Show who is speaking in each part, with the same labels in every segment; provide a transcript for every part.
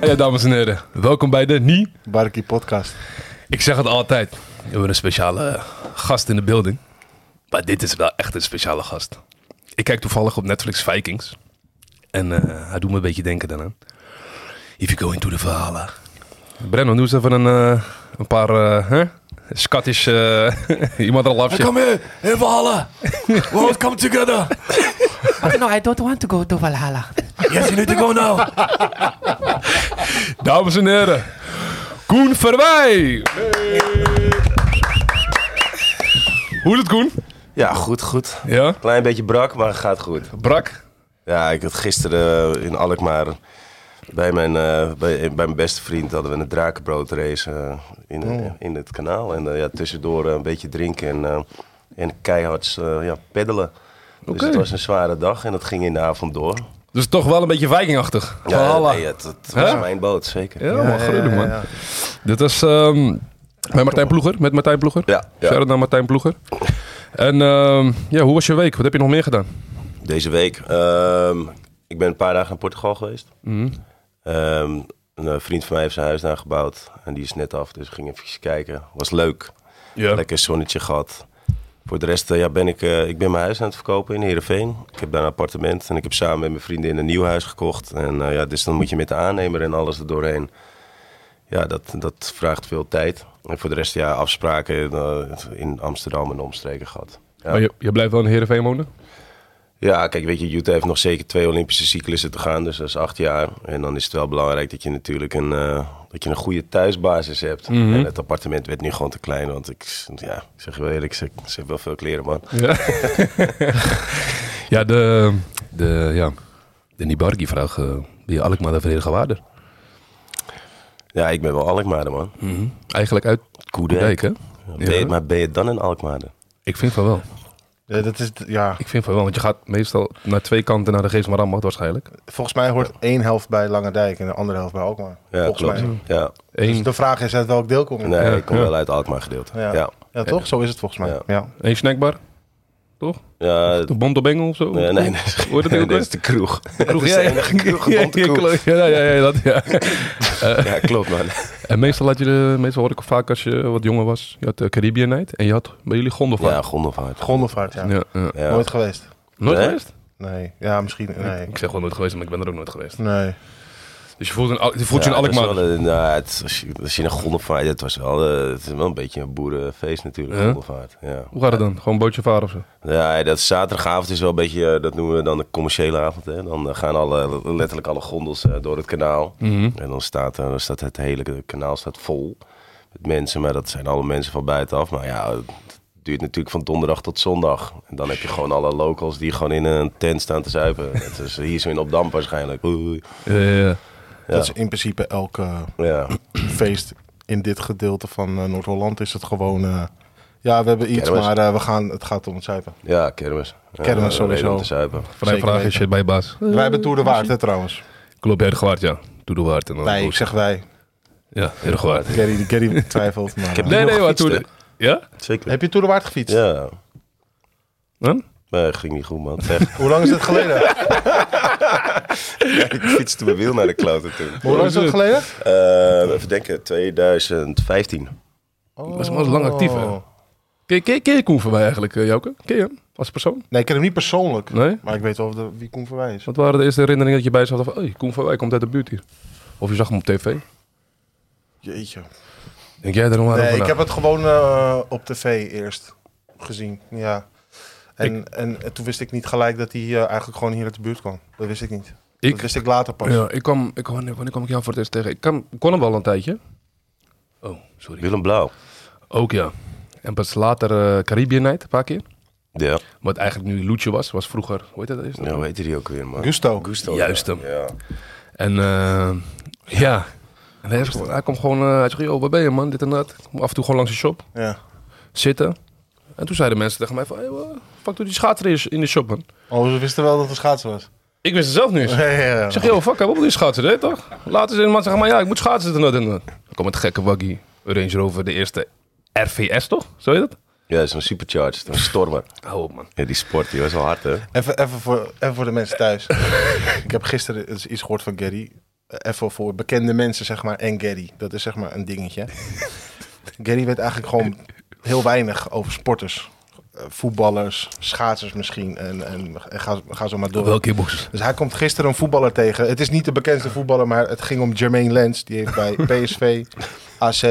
Speaker 1: Ja, dames en heren, welkom bij de Nie.
Speaker 2: Barkie podcast.
Speaker 1: Ik zeg het altijd, we hebben een speciale eh, gast in de building. Maar dit is wel echt een speciale gast. Ik kijk toevallig op Netflix Vikings. En eh, hij doet me een beetje denken daaraan. If you go into the verhalen. Brennan, doe eens even een, eh, een paar... eh, hè? Scottish... eh, iemand er al afzien.
Speaker 3: Come here, in Valhalla. We all come together.
Speaker 4: no, I don't want to go to Valhalla.
Speaker 3: Yes, you need to go now.
Speaker 1: Dames en heren, Koen Verwij! Hoe is het, Koen?
Speaker 3: Ja, goed, goed.
Speaker 1: Ja?
Speaker 3: Klein beetje brak, maar gaat goed.
Speaker 1: Brak?
Speaker 3: Ja, ik had gisteren eh, in Alkmaar bij mijn, eh, bij, bij mijn beste vriend hadden we een drakenbroodrace eh, in,
Speaker 1: Oh.
Speaker 3: in het kanaal. En eh, ja, tussendoor eh, een beetje drinken en, eh, en keihard eh, ja, peddelen. Dus
Speaker 1: Oké.
Speaker 3: het was een zware dag en dat ging in de avond door.
Speaker 1: Dus toch wel een beetje vikingachtig.
Speaker 3: Ja,
Speaker 1: Valhalla.
Speaker 3: nee, het, het was
Speaker 1: Hè?
Speaker 3: mijn boot, zeker.
Speaker 1: Ja, man, gruwelijk, man. Dit was ehm bij Martijn Ploeger, met Martijn Ploeger.
Speaker 3: Ja, ja.
Speaker 1: Shout-out naar Martijn Ploeger. En ehm, ja, hoe was je week? Wat heb je nog meer gedaan?
Speaker 3: Deze week. ehm, ik ben een paar dagen naar Portugal geweest.
Speaker 1: Mhm.
Speaker 3: Ehm, een eh, vriend van mij heeft zijn huis daar gebouwd. En die is net af, dus we gingen even kijken. Was leuk.
Speaker 1: Ja.
Speaker 3: Lekker zonnetje gehad. Voor de rest eh, ja, ben ik, eh, ik ben mijn huis aan het verkopen in Heerenveen. Ik heb daar een appartement en ik heb samen met mijn vriendin een nieuw huis gekocht. En eh, ja, dus dan moet je met de aannemer en alles er doorheen. Ja, dat, dat vraagt veel tijd. En voor de rest ja, afspraken eh, in Amsterdam en omstreken gehad. Ja.
Speaker 1: Maar je, je blijft wel in Heerenveen wonen?
Speaker 3: Ja, kijk, weet je, Utah heeft nog zeker twee Olympische cyclussen te gaan, dus dat is acht jaar. En dan is het wel belangrijk dat je natuurlijk een, eh, dat je een goede thuisbasis hebt. En het appartement werd nu gewoon te klein, want ik, ja, ik zeg je wel eerlijk, ze, ze heeft wel veel kleren, man.
Speaker 1: Ja, ja de, de, ja, de Nibargi-vraag. eh die Alkmaar de Verenigde Waarder.
Speaker 3: Ja, ik ben wel Alkmaarder, man.
Speaker 1: Mhm. Eigenlijk uit Koedijk, hè?
Speaker 3: Ben je, maar ben je dan een Alkmaarder?
Speaker 1: Ik vind van wel.
Speaker 2: Ja, Eh, dat is, ja,
Speaker 1: Ik vind van wel, want je gaat meestal naar twee kanten naar de Geest Marambat waarschijnlijk.
Speaker 2: volgens mij hoort één helft bij Lange Dijk en de andere helft bij Alkmaar.
Speaker 3: Ja,
Speaker 2: volgens
Speaker 3: klopt.
Speaker 1: Mm.
Speaker 2: mij.
Speaker 3: Ja,
Speaker 2: Dus
Speaker 1: Eén,
Speaker 2: de vraag is uit welk deel kom je?
Speaker 3: nee,
Speaker 1: Ja,
Speaker 3: ik kom
Speaker 1: ja.
Speaker 3: wel uit Alkmaar gedeelte.
Speaker 2: Ja.
Speaker 3: Ja,
Speaker 2: Ja.
Speaker 3: ja.
Speaker 2: toch? Zo is het volgens mij.
Speaker 3: Ja.
Speaker 2: Ja.
Speaker 1: één snackbar, toch? De Bondo Bengel of zo?
Speaker 3: nee, nee, nee.
Speaker 1: Hoort het ook
Speaker 3: dat
Speaker 1: weer?
Speaker 3: is de kroeg.
Speaker 1: Kroeg,
Speaker 3: dat is
Speaker 1: ja,
Speaker 3: de
Speaker 1: ja.
Speaker 3: enige kroeg, een
Speaker 1: Ja,
Speaker 3: bonte kroeg.
Speaker 1: Ja, ja, ja, ja, dat, ja.
Speaker 3: Ja, klopt, man.
Speaker 1: En meestal, had je de, meestal hoor ik vaak als je wat jonger was. Je had de Caribbean Night en je had bij jullie
Speaker 3: Ja,
Speaker 1: Gondelvaart.
Speaker 3: Gondelvaart.
Speaker 2: Gondelvaart, ja.
Speaker 1: Ja. Ja,
Speaker 3: Ja.
Speaker 2: Nooit geweest?
Speaker 1: Nooit
Speaker 3: Nee?
Speaker 1: geweest?
Speaker 2: Nee. Ja, misschien. Nee.
Speaker 1: Ik zeg wel nooit geweest, maar ik ben er ook nooit geweest.
Speaker 2: Nee.
Speaker 1: Dus je voelt, een, Al- je voelt je een
Speaker 3: dat is
Speaker 1: Alkmaar.
Speaker 3: wel een- nou, het, als, je, als je naar Gondelvaart, het was wel, eh, het is wel een beetje een boerenfeest natuurlijk,
Speaker 1: Ja?
Speaker 3: Gondelvaart. Ja.
Speaker 1: Hoe gaat het dan? Gewoon bootje varen of zo?
Speaker 3: ja, dat zaterdagavond is wel een beetje, eh, dat noemen we dan de commerciële avond. Hè. Dan eh, gaan alle, letterlijk alle gondels eh, door het kanaal.
Speaker 1: Mhm.
Speaker 3: En dan staat, eh, dan staat het hele kanaal staat vol met mensen, maar dat zijn alle mensen van buitenaf. Maar ja, het duurt natuurlijk van donderdag tot zondag. En dan heb je gewoon alle locals die gewoon in een tent staan te zuipen. Het is hier zo in Opdam waarschijnlijk. Oei.
Speaker 1: Ja, ja, ja.
Speaker 2: Dat is in principe elke
Speaker 3: Ja,
Speaker 2: feest in dit gedeelte van eh, Noord-Holland is het gewoon... eh, ja, we hebben iets,
Speaker 3: Kermis.
Speaker 2: maar eh, we gaan, het gaat om het zuipen.
Speaker 3: ja kermis. Ja,
Speaker 2: Kermis
Speaker 3: reden
Speaker 2: sowieso.
Speaker 3: om te zuipen.
Speaker 1: Vrij
Speaker 2: Zeker
Speaker 1: vraag is
Speaker 2: weten.
Speaker 1: shit bij je baas.
Speaker 2: Wij hebben Tour de Waard, hè, trouwens.
Speaker 3: Oh,
Speaker 1: Klopt, jij de gewaard, ja. Doe de waard. En dan
Speaker 2: Wij, ik zeg wij.
Speaker 1: Ja, heel gewaard.
Speaker 2: Gary, Gary twijfelt, maar... eh.
Speaker 3: heb-
Speaker 1: Nee,
Speaker 3: nog
Speaker 1: nee, maar
Speaker 3: gefietst,
Speaker 1: toen... Ja?
Speaker 3: Zeker.
Speaker 2: Heb je Tour de Waard gefietst?
Speaker 3: Ja,
Speaker 1: Huh?
Speaker 3: maar het ging niet goed, man. Echt.
Speaker 2: Hoe lang is het geleden?
Speaker 3: ik fietste mijn wiel naar de kloten toen.
Speaker 2: Hoe lang is dat geleden?
Speaker 3: Eh, even denken, 2015.
Speaker 1: Was was lang actief, hè?
Speaker 2: Oh.
Speaker 1: Ken, ken, ken je Koen van mij eigenlijk, eh, Jouke? Ken je hem als persoon?
Speaker 2: Nee, ik ken hem niet persoonlijk.
Speaker 1: Nee?
Speaker 2: Maar ik weet wel de, wie Koen Verwij is.
Speaker 1: Wat waren de eerste herinneringen dat je bij zat van, hey, Koen van Wij komt uit de buurt hier? Of je zag hem op tv?
Speaker 2: Jeetje.
Speaker 1: Denk jij daar nog aan nou?
Speaker 2: Nee,
Speaker 1: over
Speaker 2: ik
Speaker 1: na?
Speaker 2: heb het gewoon eh, op tv eerst gezien. Ja. En, en, en toen wist ik niet gelijk dat hij eh, eigenlijk gewoon hier uit de buurt kwam. Dat wist ik niet. Dat
Speaker 1: ik,
Speaker 2: wist ik later pas.
Speaker 1: ja, ik kwam, ik, wanneer, wanneer kwam ik jou voor het eerst tegen? Ik kan, kon hem wel een tijdje. Oh, sorry.
Speaker 3: Willem Blauw.
Speaker 1: Ook ja. En pas later eh, Caribbean Night, een paar keer.
Speaker 3: Ja.
Speaker 1: Wat eigenlijk nu Loetje was, was vroeger, hoe heet dat eerst?
Speaker 3: ja, hoe heette die ook weer, man?
Speaker 2: Gusto.
Speaker 3: Gusto.
Speaker 1: Juist
Speaker 3: ja.
Speaker 1: hem.
Speaker 3: Ja.
Speaker 1: En eh, ja, en hij, is gewoon- hij komt gewoon, eh, hij zegt, joh, waar ben je man, dit en dat. Ik kom af en toe gewoon langs de shop.
Speaker 2: Ja.
Speaker 1: zitten. En toen zeiden mensen tegen mij van, hey, wat fuck doet die schaatser in je- in de shop, man?
Speaker 2: Oh, ze wisten wel dat het een schaatsen was.
Speaker 1: Ik wist het zelf niet eens.
Speaker 2: Ja, ja, ja.
Speaker 1: Ik zeg, joh, fuck, hij wil die schaatsen, hè, toch? Later zei de man, zeg maar, ja, ik moet schaatsen en dat en dat. Dan kwam het gekke waggie, Range Rover, de eerste RVS, toch? Zo heet dat?
Speaker 3: Ja, zo'n supercharged. Een stormer.
Speaker 1: Hou op, man.
Speaker 3: Ja, die sport, die was wel hard, hè?
Speaker 2: Even, even, voor, even voor de mensen thuis. ik heb gisteren eens iets gehoord van Gary. eh, even voor bekende mensen, zeg maar, en Gary. Dat is zeg maar een dingetje. Gary weet eigenlijk gewoon heel weinig over sporters. Eh, voetballers, schaatsers misschien en, en, en ga, ga zo maar door.
Speaker 1: Welke box?
Speaker 2: Dus hij komt gisteren een voetballer tegen. Het is niet de bekendste voetballer, maar het ging om Jermaine Lens. Die heeft bij PSV, AZ,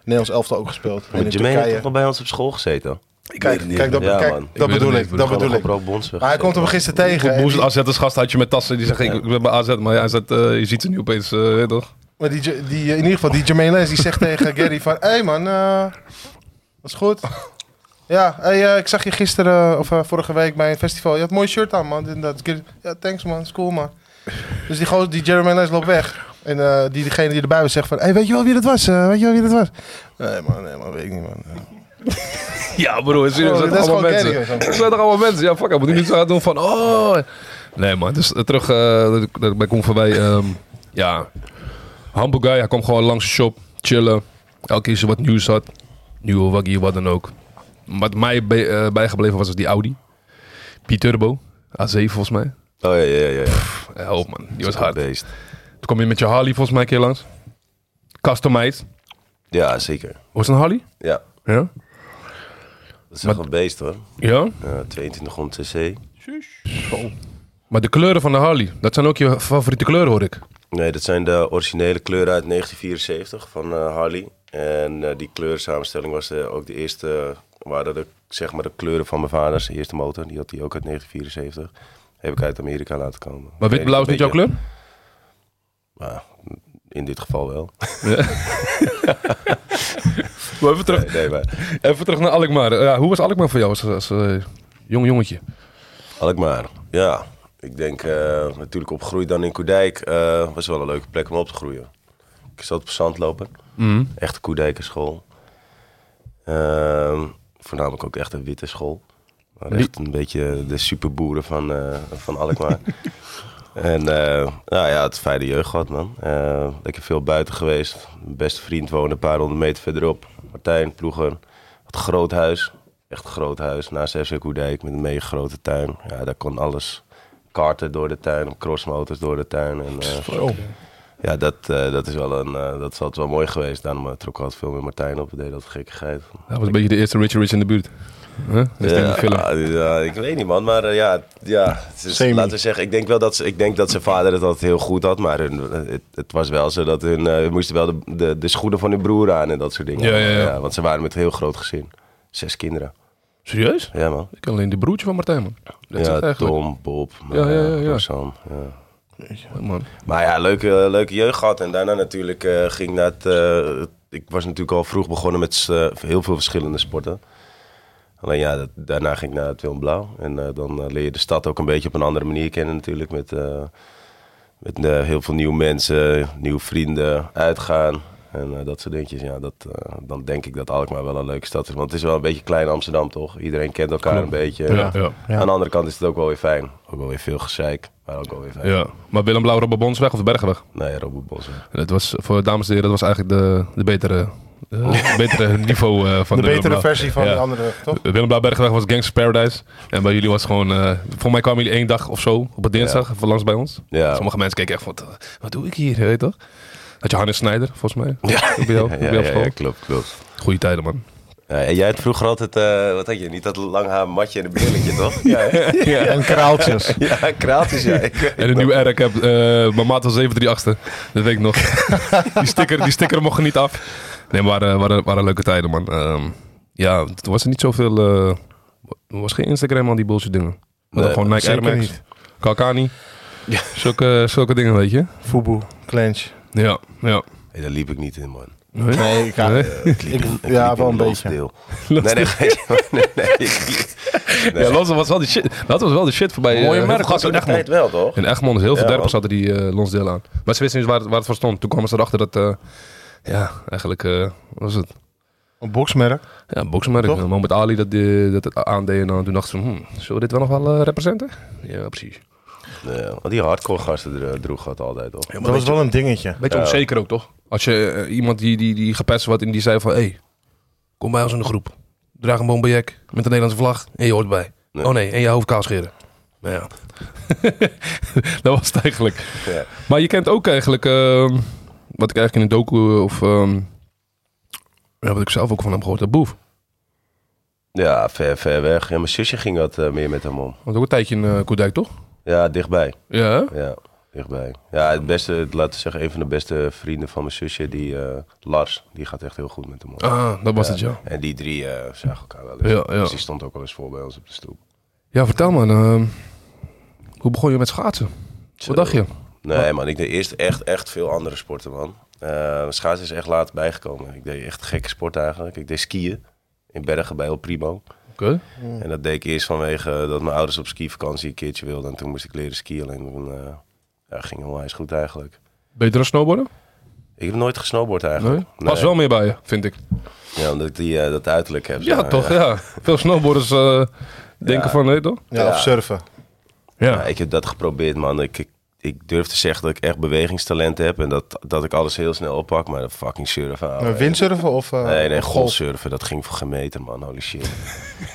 Speaker 2: Nederlands elftal ook gespeeld. En in
Speaker 3: Want Jermaine heeft
Speaker 2: Turkije.
Speaker 3: toch wel bij ons op school gezeten?
Speaker 1: Ik
Speaker 2: Kijk, kijk, dat,
Speaker 3: Ja,
Speaker 2: kijk,
Speaker 3: man.
Speaker 1: Ik
Speaker 2: dat
Speaker 1: weet
Speaker 2: bedoel
Speaker 1: het
Speaker 2: ik.
Speaker 1: niet,
Speaker 2: Dat
Speaker 1: broer.
Speaker 2: bedoel ik.
Speaker 3: Op Bonsweg.
Speaker 2: Maar hij komt hem gisteren tegen. en
Speaker 1: Hoe
Speaker 2: die-
Speaker 1: is het AZ als gast? Had je met tassen die zegt, ik, ik ben bij AZ, maar ja, AZ, eh, je ziet ze nu opeens, eh, weet je toch?
Speaker 2: Maar die, J- die, eh, in ieder geval, die Jermaine Lens die zegt tegen Gary van... Hé hey man, eh, dat is goed. Ja, hey, eh, ik zag je gisteren, eh, of eh, vorige week bij een festival. Je had een mooi shirt aan, man. Dit en dat. Gary, Ja, thanks man, is cool man. Dus die, gozer- die Jermaine Lens loopt weg. En eh, die, diegene die erbij was zegt van... Hé, hey, weet je wel wie dat was? Eh, weet je wel wie dat was? Nee man, nee man, weet ik niet man.
Speaker 1: Ja, broer, serieus,
Speaker 2: Oh,
Speaker 1: zijn
Speaker 2: dat
Speaker 1: toch
Speaker 2: is
Speaker 1: allemaal
Speaker 2: gewoon
Speaker 1: mensen.
Speaker 2: Gary,
Speaker 1: Het zijn toch allemaal mensen? Ja, fuck, ik moet ik niet zo aan doen van, oh. Nee, man, dus eh, terug eh, daar- bij Kom voorbij. ehm ja, humble guy, hij kwam gewoon langs de shop, chillen. Elke keer als je wat nieuws had, nieuwe waggie, wat dan ook. Wat mij bij- eh, bijgebleven was, was die Audi. P-Turbo, A7 volgens mij.
Speaker 3: Oh ja, ja, ja. ja.
Speaker 1: Help man, die was
Speaker 3: Zo'n
Speaker 1: hard.
Speaker 3: Beest.
Speaker 1: Toen kwam je met je Harley volgens mij een keer langs. Customized.
Speaker 3: Ja, zeker.
Speaker 1: Was het een Harley?
Speaker 3: Ja,
Speaker 1: Ja.
Speaker 3: dat is echt een beest hoor.
Speaker 1: Ja?
Speaker 3: Ja, 2200 cc.
Speaker 1: Maar de kleuren van de Harley, dat zijn ook je favoriete kleuren hoor ik.
Speaker 3: Nee, dat zijn de originele kleuren uit 1974 van eh, Harley. En eh, die kleursamenstelling was eh, ook de eerste, waren de, zeg maar de kleuren van mijn vaders eerste motor. Die had hij ook uit 1974. Heb ik uit Amerika laten komen.
Speaker 1: Maar wit-blauw is
Speaker 3: Een
Speaker 1: niet jouw
Speaker 3: beetje-
Speaker 1: kleur?
Speaker 3: Maar in dit geval wel.
Speaker 1: Maar even, terug,
Speaker 3: Nee, nee, maar.
Speaker 1: even terug naar Alkmaar. Ja, hoe was Alkmaar voor jou als, als eh, jong jongetje?
Speaker 3: Alkmaar, ja. Ik denk eh, natuurlijk opgegroeid dan in Koedijk. eh, was wel een leuke plek om op te groeien. Ik zat op zandlopen.
Speaker 1: Mm.
Speaker 3: Echte Koedijkerschool. Ehm voornamelijk ook echt een witte school. Maar
Speaker 1: Die-
Speaker 3: echt een beetje de superboeren van, eh, van Alkmaar. en eh, nou ja, het fijne jeugd gehad, man. Eh, lekker veel buiten geweest. Mijn beste vriend woonde een paar honderd meter verderop. Martijn, ploeger. Het groot huis. Echt een groot huis. Naast FC Koedijk met een mega grote tuin. Ja, daar kon alles. Karten door de tuin, crossmotors door de tuin. En, eh,
Speaker 1: Oh.
Speaker 3: ja, dat, eh, dat is wel een, eh, dat is altijd wel mooi geweest. Daarom eh, trok ik altijd veel met Martijn op. We deden dat gekkigheid.
Speaker 1: Dat was een beetje de eerste Richie Rich in de buurt. Huh? Dat is
Speaker 3: Ja,
Speaker 1: die film.
Speaker 3: ja, ja, ik weet niet man, maar eh, ja, ja het is-
Speaker 2: Semi.
Speaker 3: laten we zeggen, ik denk wel dat, ze, ik denk dat zijn vader het altijd heel goed had. Maar hun, eh, het, het was wel zo dat hun, eh, moesten wel de, de, de schoenen van hun broer aan en dat soort dingen.
Speaker 1: Ja, ja, ja.
Speaker 3: want ze waren met een heel groot gezin. Zes kinderen.
Speaker 1: Serieus?
Speaker 3: Ja man.
Speaker 1: Ik ken alleen de broertje van Martijn, man. Dat is het
Speaker 3: ja,
Speaker 1: eigenlijk.
Speaker 3: Tom, Bob,
Speaker 1: Ja, ja, ja,
Speaker 3: eh,
Speaker 1: ja.
Speaker 3: Rosanne, ja.
Speaker 1: Ja, man.
Speaker 3: Maar ja, leuke, eh, leuke jeugd gehad. En daarna natuurlijk eh, ging dat... eh, ik was natuurlijk al vroeg begonnen met eh, heel veel verschillende sporten. Alleen ja, dat- daarna ging ik naar het Willem Blauw. En eh, dan eh, leer je de stad ook een beetje op een andere manier kennen natuurlijk. Met, eh, met eh, heel veel nieuwe mensen, nieuwe vrienden, uitgaan. En eh, dat soort dingetjes. Ja, dat, eh, dan denk ik dat Alkmaar wel een leuke stad is. Want het is wel een beetje klein Amsterdam, toch? Iedereen kent elkaar
Speaker 1: Klopt.
Speaker 3: een beetje.
Speaker 1: Ja, ja,
Speaker 2: Ja.
Speaker 3: Aan de andere kant is het ook wel weer fijn. Ook wel weer veel gezeik, maar ook wel weer fijn.
Speaker 1: ja. Maar Willem Blauw, Robert Bonsweg of Bergweg?
Speaker 3: Nee, Robert Bossen.
Speaker 1: Dat was, voor dames en heren, dat was eigenlijk de, de betere, eh, betere niveau eh, van
Speaker 2: De
Speaker 1: de,
Speaker 2: betere
Speaker 1: Willem Blauw.
Speaker 2: versie van
Speaker 1: Ja.
Speaker 2: de andere, toch?
Speaker 1: Willem Blauw Bergweg was Gangsters Paradise. En bij jullie was het gewoon... eh voor mij kwamen jullie één dag of zo op een dinsdag even langs bij ons.
Speaker 3: Ja.
Speaker 1: Sommige mensen keken echt van, "Wat- wat doe ik hier, weet je toch? Had je Hannes Snijder, volgens mij.
Speaker 3: Ja,
Speaker 1: Op jou, op
Speaker 3: ja,
Speaker 1: jou
Speaker 3: ja,
Speaker 1: school.
Speaker 3: ja, klopt, klopt.
Speaker 1: Goeie tijden, man.
Speaker 3: Ja, en jij had vroeger altijd, eh, wat had je, niet dat lang haar matje en een brilletje, toch? Ja, hè?
Speaker 2: En kraaltjes.
Speaker 3: ja kraaltjes, ja. Ik weet
Speaker 1: En een
Speaker 3: nog.
Speaker 1: nieuwe R, ik heb... eh, mijn maat was 738 Dat weet ik nog. die, sticker, die sticker mocht er niet af. Nee, maar waren, waren, waren leuke tijden, man. Ehm, ja, toen was er niet zoveel... eh, er was geen Instagram aan die bullshit dingen. We hadden
Speaker 3: Nee,
Speaker 1: gewoon Nike Air
Speaker 2: zeker
Speaker 1: Max,
Speaker 2: niet.
Speaker 1: Kalkani. Zulke, zulke dingen, weet je.
Speaker 2: Fubu, clench.
Speaker 1: Ja, ja.
Speaker 3: Nee, daar liep ik niet in, man.
Speaker 2: Nee, ik, ja,
Speaker 1: Nee?
Speaker 2: ik,
Speaker 3: Ik
Speaker 2: ja
Speaker 3: liep
Speaker 2: wel
Speaker 3: in
Speaker 2: een beetje.
Speaker 3: Lonsdale. Nee, nee, nee, nee, nee, ik liep- nee.
Speaker 1: Ja, Lonsdale was wel de shit. Dat was wel de shit voorbij.
Speaker 3: Mooie
Speaker 1: eh,
Speaker 3: merk,
Speaker 1: gast in
Speaker 3: toen de tijd
Speaker 1: Egmond.
Speaker 3: wel, toch?
Speaker 1: In Egmond is heel veel
Speaker 3: Ja,
Speaker 1: derpers
Speaker 3: man.
Speaker 1: hadden die eh Lonsdale aan. Maar ze wisten niet waar, het- waar het voor stond. Toen kwamen ze erachter dat, eh, ja, eigenlijk, eh, wat was het?
Speaker 2: Een boksmerk.
Speaker 1: Ja, boksenmerk.
Speaker 2: Toch?
Speaker 1: Eh, Mohammed Ali dat, die, dat het aandeed. En dan- toen dachten ze, hmm, zullen we dit wel nog wel eh, representen? Ja, precies.
Speaker 3: Nee, want die hardcore gasten dro- droeg dat altijd, toch?
Speaker 2: Dat was wel een dingetje.
Speaker 1: Beetje onzeker ook, toch? Als je eh, iemand die, die, die gepest wordt en die zei van, hé, hey, kom bij ons in de groep. Draag een bombejek met een Nederlandse vlag en je hoort bij.
Speaker 3: Nee.
Speaker 1: Oh nee, en je hoofd kaal scheren. Nou ja. dat was het eigenlijk.
Speaker 3: Ja.
Speaker 1: Maar je kent ook eigenlijk, ehm, wat ik eigenlijk in de docu of ehm, ja, wat ik zelf ook van hem gehoord heb, Boef.
Speaker 3: Ja, ver, ver weg. Ja, mijn zusje ging wat eh, meer met hem om.
Speaker 1: Want ook een tijdje in eh Koerdijk, toch?
Speaker 3: Ja, dichtbij.
Speaker 1: Ja, hè?
Speaker 3: Ja, dichtbij. Ja, het beste, laten we zeggen, een van de beste vrienden van mijn zusje, die eh, Lars, die gaat echt heel goed met hem om.
Speaker 1: Ah, dat was het, ja.
Speaker 3: En die drie eh, zagen elkaar wel eens.
Speaker 1: Ja, ja.
Speaker 3: Dus die stond ook wel eens voor bij ons op de stoep.
Speaker 1: Ja, vertel man, ehm, hoe begon je met schaatsen?
Speaker 3: Zo.
Speaker 1: Wat dacht je?
Speaker 3: Nee, man, ik deed eerst echt, echt veel andere sporten, man. Eh schaatsen is echt laat bijgekomen. Ik deed echt gekke sporten eigenlijk. Ik deed skiën in Bergen bij El Primo.
Speaker 1: Oké.
Speaker 3: En dat deed ik eerst vanwege eh, dat mijn ouders op skivakantie een keertje wilden. En toen moest ik leren skiën. En toen eh, ja, ging onwijs goed eigenlijk.
Speaker 1: Beter dan snowboarden?
Speaker 3: Ik heb nooit gesnowboard
Speaker 1: Nee?
Speaker 3: eigenlijk.
Speaker 1: Pas wel meer bij je, vind ik.
Speaker 3: Ja, omdat ik die, eh, dat uiterlijk heb.
Speaker 1: Ja,
Speaker 3: zeg maar.
Speaker 1: toch,
Speaker 3: Ja.
Speaker 1: ja. Veel snowboarders eh, denken
Speaker 3: Ja.
Speaker 1: van, nee toch?
Speaker 2: Ja,
Speaker 3: Ja.
Speaker 2: of surfen.
Speaker 3: Ja, ik heb dat geprobeerd, man. Ik, ik, ik durf te zeggen dat ik echt bewegingstalent heb. En dat, dat ik alles heel snel oppak. Maar dat fucking surfen. ouwe.
Speaker 2: Maar windsurfen of... eh,
Speaker 3: Oh, Nee, nee,
Speaker 2: of golf?
Speaker 3: golfsurfen. Dat ging voor gemeten, man. Holy shit.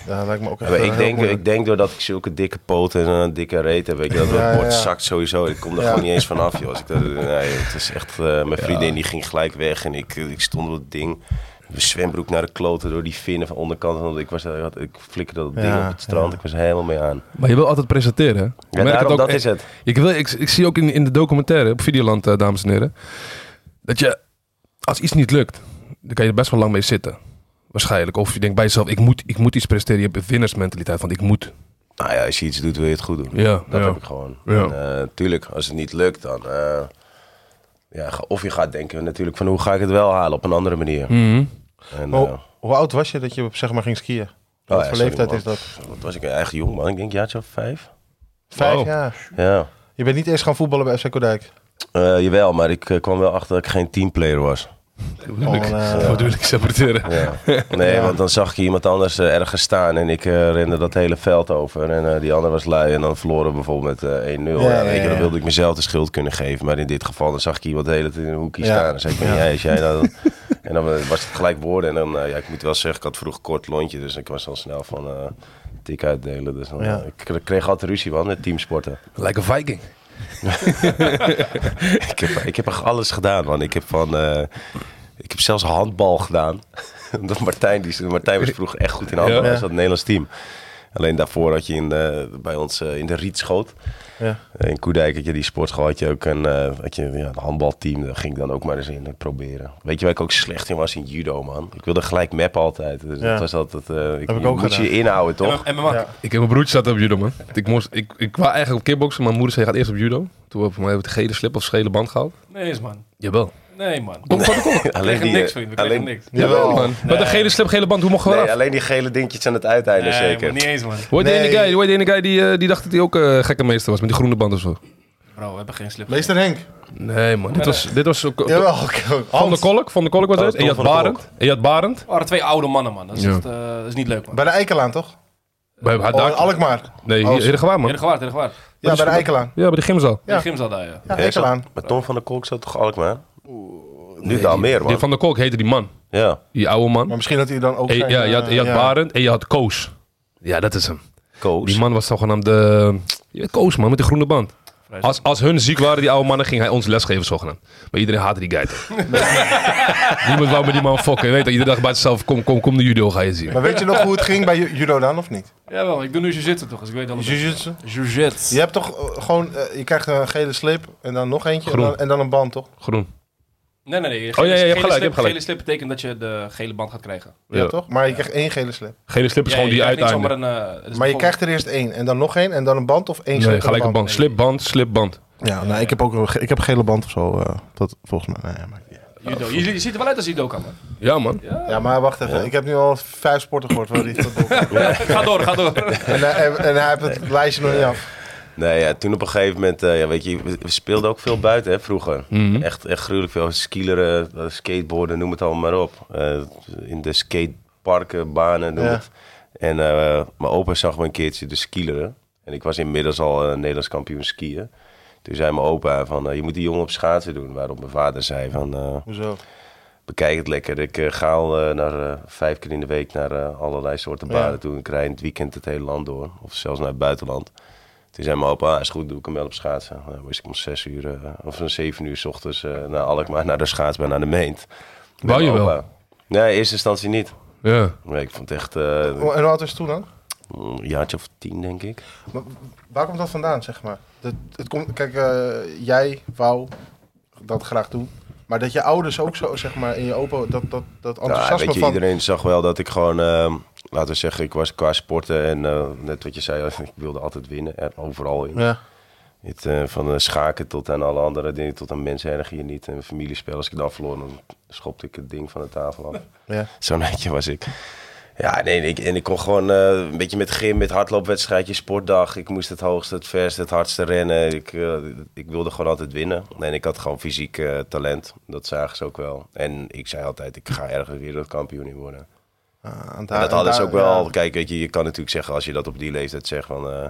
Speaker 2: Ja, lijkt me ook echt
Speaker 3: Maar
Speaker 2: eh,
Speaker 3: ik,
Speaker 2: heel
Speaker 3: denk,
Speaker 2: moeilijk.
Speaker 3: ik denk doordat ik zulke dikke poten en een dikke reet heb, weet je, dat
Speaker 2: Ja,
Speaker 3: het bord
Speaker 2: ja.
Speaker 3: zakt sowieso. Ik kom er
Speaker 2: Ja.
Speaker 3: gewoon niet eens vanaf, joh. Als ik dat, nee, het is echt, eh, mijn vriendin die ging gelijk weg en ik, ik stond op het ding. Mijn zwembroek naar de kloten door die vinnen van onderkant. Want ik, was, eh, ik flikkerde dat ding
Speaker 2: Ja,
Speaker 3: op het strand.
Speaker 2: ja.
Speaker 3: Ik was er helemaal mee aan.
Speaker 1: Maar je wil altijd presenteren, hè? Ik
Speaker 3: Ja,
Speaker 1: merk het
Speaker 3: daarom,
Speaker 1: ook
Speaker 3: dat
Speaker 1: echt-
Speaker 3: is het.
Speaker 1: Ik, wil, ik, ik zie ook in, in de documentaire op Videoland, eh, dames en heren, dat je als iets niet lukt, dan kan je er best wel lang mee zitten. Waarschijnlijk. Of je denkt bij jezelf, ik moet, ik moet iets presteren. Je hebt een winnersmentaliteit, want ik moet.
Speaker 3: Nou ja, als je iets doet, wil je het goed doen.
Speaker 1: Ja,
Speaker 3: dat
Speaker 1: ja.
Speaker 3: heb ik gewoon.
Speaker 1: Ja.
Speaker 3: En, eh, tuurlijk, als het niet lukt, dan... eh, ja, ga- of je gaat denken natuurlijk van hoe ga ik het wel halen op een andere manier.
Speaker 1: Mhm.
Speaker 3: En,
Speaker 2: Hoe-
Speaker 3: eh,
Speaker 2: Hoe oud was je dat je zeg maar ging skiën?
Speaker 3: Oh,
Speaker 2: Wat
Speaker 3: ja,
Speaker 2: Oh, voor
Speaker 3: sorry,
Speaker 2: leeftijd
Speaker 3: man.
Speaker 2: is dat?
Speaker 3: Pff, Wat was ik echt jong, man. Ik denk een jaartje of vijf.
Speaker 2: Vijf
Speaker 1: Wow.
Speaker 2: jaar.
Speaker 3: Ja.
Speaker 2: Je bent niet eerst gaan voetballen bij FC Kodijk.
Speaker 3: Eh, jawel, maar ik eh, kwam wel achter dat ik geen teamplayer was.
Speaker 1: Natuurlijk.
Speaker 2: Oh, nee.
Speaker 1: Wat wil ik saboteren?
Speaker 3: Ja. Nee, want dan zag ik iemand anders eh, ergens staan en ik eh, rende dat hele veld over. En eh, die ander was lui en dan verloren we bijvoorbeeld met eh, 1-0.
Speaker 2: Ja,
Speaker 3: En, weet
Speaker 2: ja,
Speaker 3: je, dan
Speaker 2: ja.
Speaker 3: wilde ik mezelf de schuld kunnen geven. Maar in dit geval dan zag ik iemand de hele tijd in een hoekje
Speaker 2: Ja.
Speaker 3: staan. Dan zei ik van,
Speaker 2: Ja.
Speaker 3: jij, is jij dat? En dan eh, was het gelijk woorden. En dan, eh, ja, ik moet wel zeggen, ik had vroeg kort lontje. Dus ik was al snel van eh tik uitdelen. Dus dan,
Speaker 2: Ja.
Speaker 3: eh, ik ik kreeg altijd ruzie man met teamsporten.
Speaker 1: Like a viking.
Speaker 3: Ik heb, ik heb echt alles gedaan, man. Ik heb van... eh, ik heb zelfs handbal gedaan. Omdat Martijn, die, Martijn was vroeger echt goed in handbal.
Speaker 1: Ja.
Speaker 3: Hij zat in het Nederlands team. Alleen daarvoor had je in de, bij ons eh, in de Rietschoot.
Speaker 2: Ja.
Speaker 3: Eh, In Koedijk had je die sportschool. Had je ook een, eh, had je, ja, een handbalteam. Daar ging ik dan ook maar eens in eh, proberen. Weet je waar ik ook slecht in was? In judo, man. Ik wilde gelijk mappen altijd. Dus
Speaker 2: Ja.
Speaker 3: dat was altijd... eh, ik,
Speaker 2: ik
Speaker 3: je
Speaker 2: ook
Speaker 3: moet
Speaker 2: gedaan.
Speaker 3: je inhouden, toch?
Speaker 2: Ja.
Speaker 1: Ik heb mijn broertje zat op judo, man. Ik, moest, ik, ik wou eigenlijk op kickboksen, maar mijn moeder zei, gaat eerst op judo. Toen hebben we het gele slip of gele band gehaald.
Speaker 5: Nee, is man.
Speaker 1: Jawel.
Speaker 5: Nee, man. We
Speaker 1: Kom, kom, kom.
Speaker 3: Alleen
Speaker 5: kregen
Speaker 3: die,
Speaker 5: niks,
Speaker 3: eh,
Speaker 5: vriend. We kregen
Speaker 3: alleen,
Speaker 5: niks.
Speaker 1: Jawel, man. Maar de gele slip, gele band, hoe mocht we
Speaker 3: nee,
Speaker 1: eraf?
Speaker 3: alleen die gele dingetjes aan het uiteinde,
Speaker 5: Nee,
Speaker 3: zeker.
Speaker 5: man, niet eens, man.
Speaker 1: Hoor je die ene
Speaker 2: Nee.
Speaker 1: guy, hoor je die ene guy die, eh, die dacht dat hij ook eh, gekke meester was met die groene band of zo?
Speaker 5: Bro, we hebben geen slip.
Speaker 2: Meester Henk.
Speaker 1: Nee man, dit was, dit was ook...
Speaker 2: Jawel. oké.
Speaker 1: Van de
Speaker 2: Hans.
Speaker 1: Kolk, Van de Kolk was
Speaker 3: Oh,
Speaker 1: het. En je had
Speaker 3: Tom van der
Speaker 1: Barend. En je had Barend.
Speaker 5: We waren twee oude mannen, man. Dat is,
Speaker 1: Ja.
Speaker 5: echt, eh, dat is niet leuk, man.
Speaker 2: Bij de Eikelaan toch?
Speaker 1: Bij haar
Speaker 2: Oh,
Speaker 1: daar.
Speaker 2: Alkmaar.
Speaker 1: nee,
Speaker 2: Oh,
Speaker 1: hier, Heerdegewaard,
Speaker 5: Hele
Speaker 1: man.
Speaker 5: gewaard, hele gewaard.
Speaker 2: Ja, bij de Eikelaan.
Speaker 1: Ja, bij de gymzaal.
Speaker 5: Ja.
Speaker 2: Ja.
Speaker 5: De gym zat daar, ja.
Speaker 2: Ja,
Speaker 3: Ja, ik zat-
Speaker 2: Eikelaan.
Speaker 3: Maar Tom van der Kolk zat toch Alkmaar? Nu dan meer,
Speaker 1: Die
Speaker 3: man.
Speaker 1: Van de Kolk heette die man.
Speaker 3: Ja.
Speaker 1: Die oude
Speaker 2: Maar
Speaker 1: man.
Speaker 2: misschien dat hij dan ook...
Speaker 1: En,
Speaker 2: zijn,
Speaker 1: ja, je had,
Speaker 2: eh,
Speaker 1: je had Barend en je had Koos. Ja, dat is hem.
Speaker 3: Koos.
Speaker 1: Die man was zogenaamd de... Ja, Koos, man, met de groene band.
Speaker 5: Vreselijk.
Speaker 1: Als, als hun ziek waren, die oude mannen, ging hij ons lesgeven, zogenaamd. Maar iedereen haatte die guy toch. Niemand wou met die man fokken. Je weet dat iedere dag bij zichzelf, kom, kom, kom de judo, ga je zien.
Speaker 2: Maar weet je nog hoe het ging bij ju- judo dan, of niet?
Speaker 5: Jawel, ik doe nu jiu-jitsu toch, dus ik weet alles.
Speaker 2: Jiu-jitsu?
Speaker 5: Jiu-jitsu.
Speaker 2: Je hebt toch eh, gewoon... eh, je krijgt een gele slip en dan nog eentje en
Speaker 1: Groen.
Speaker 2: dan, en dan een band, toch?
Speaker 1: Groen.
Speaker 5: Nee, nee, nee.
Speaker 1: Oh, ja, ja, je hebt
Speaker 5: gele
Speaker 1: gelijk, je
Speaker 5: slip-
Speaker 1: hebt gelijk.
Speaker 5: Gele slip betekent dat je de gele band gaat krijgen.
Speaker 2: Ja,
Speaker 1: Ja.
Speaker 2: toch? Maar je krijgt één gele slip.
Speaker 1: Gele slip is
Speaker 5: Ja,
Speaker 1: gewoon
Speaker 5: je
Speaker 1: die
Speaker 5: krijgt niet
Speaker 1: uiteinde.
Speaker 5: zomaar een,
Speaker 6: Dus
Speaker 5: eh, het is
Speaker 2: Maar je
Speaker 5: begonnen.
Speaker 2: krijgt er eerst één en dan nog één en dan een band of één slip
Speaker 1: Nee,
Speaker 2: en
Speaker 1: gelijk een band. Slipband, slipband.
Speaker 2: Ja, nou, ik heb ook wel ge- ik heb gele band of zo. eh, dat volgens mij. Nee, maar...
Speaker 5: Judo. Je, je ziet er wel uit als judoka, man.
Speaker 1: Ja, man.
Speaker 2: Ja, maar wacht even. Ik heb nu al vijf sporten gehoord. Waar die dat doet.
Speaker 5: ga door, ga door.
Speaker 2: en, hij- en, en hij heeft het lijstje nog niet af.
Speaker 3: Nee, ja, toen op een gegeven moment, eh, ja, weet je, we we speelden ook veel buiten hè, vroeger.
Speaker 1: Mhm.
Speaker 3: Echt, echt gruwelijk veel. Skileren, eh, skateboarden, noem het allemaal maar op. Eh, in de skateparken, banen, noem
Speaker 2: Ja.
Speaker 3: het. En eh, mijn opa zag me een keertje de skileren. En ik was inmiddels al eh, Nederlands kampioen skiën. Toen zei mijn opa van, eh, je moet die jongen op schaatsen doen. Waarop mijn vader zei van, eh,
Speaker 2: Hoezo?
Speaker 3: bekijk het lekker. Ik eh, ga al eh, naar, eh, vijf keer in de week naar eh, allerlei soorten
Speaker 2: Ja.
Speaker 3: baden toe. Ik rij in het weekend het hele land door. Of zelfs naar het buitenland. Toen zei mijn opa, ah, is goed, doe ik hem wel op schaatsen. Nou, wist ik om zes uur, eh, of om zeven uur s ochtends eh, naar Alkmaar, naar de schaats bij naar de meent. Met
Speaker 1: Wou je
Speaker 3: mijn
Speaker 1: wel?
Speaker 3: opa. Nee, in eerste instantie niet.
Speaker 1: Ja.
Speaker 3: Nee, ik vond het echt eh,
Speaker 2: En hoe oud was je toen dan?
Speaker 3: een jaartje of tien, denk ik.
Speaker 2: Maar Waar komt dat vandaan, zeg maar? Dat, het komt, kijk, eh, jij wou dat graag doen. Maar dat je ouders ook zo, zeg maar, in je opa, dat, dat, dat
Speaker 3: Ja,
Speaker 2: enthousiasme
Speaker 3: weet je,
Speaker 2: van...
Speaker 3: iedereen zag wel dat ik gewoon, ehm, laten we zeggen, ik was qua sporten en eh, net wat je zei, ik wilde altijd winnen. En overal in.
Speaker 2: Ja.
Speaker 3: Het, eh, van eh, schaken tot aan alle andere dingen, tot aan mensen erg hier niet. En familiespel, als ik dan verloor, dan schopte ik het ding van de tafel af.
Speaker 2: Ja.
Speaker 3: Zo'n eentje was ik. Ja, nee, en ik, en ik kon gewoon eh, een beetje met gym, met hardloopwedstrijdje, sportdag. Ik moest het hoogste, het verste, het hardste rennen. Ik, eh, ik wilde gewoon altijd winnen. En ik had gewoon fysiek eh, talent. Dat zagen ze ook wel. En ik zei altijd, ik ga ergens wereldkampioen in worden.
Speaker 2: Ah,
Speaker 3: En
Speaker 2: daar-
Speaker 3: dat hadden ze
Speaker 2: daar-
Speaker 3: ook wel.
Speaker 2: ja.
Speaker 3: Kijk, weet je, je kan natuurlijk zeggen als je dat op die leeftijd zegt van... eh,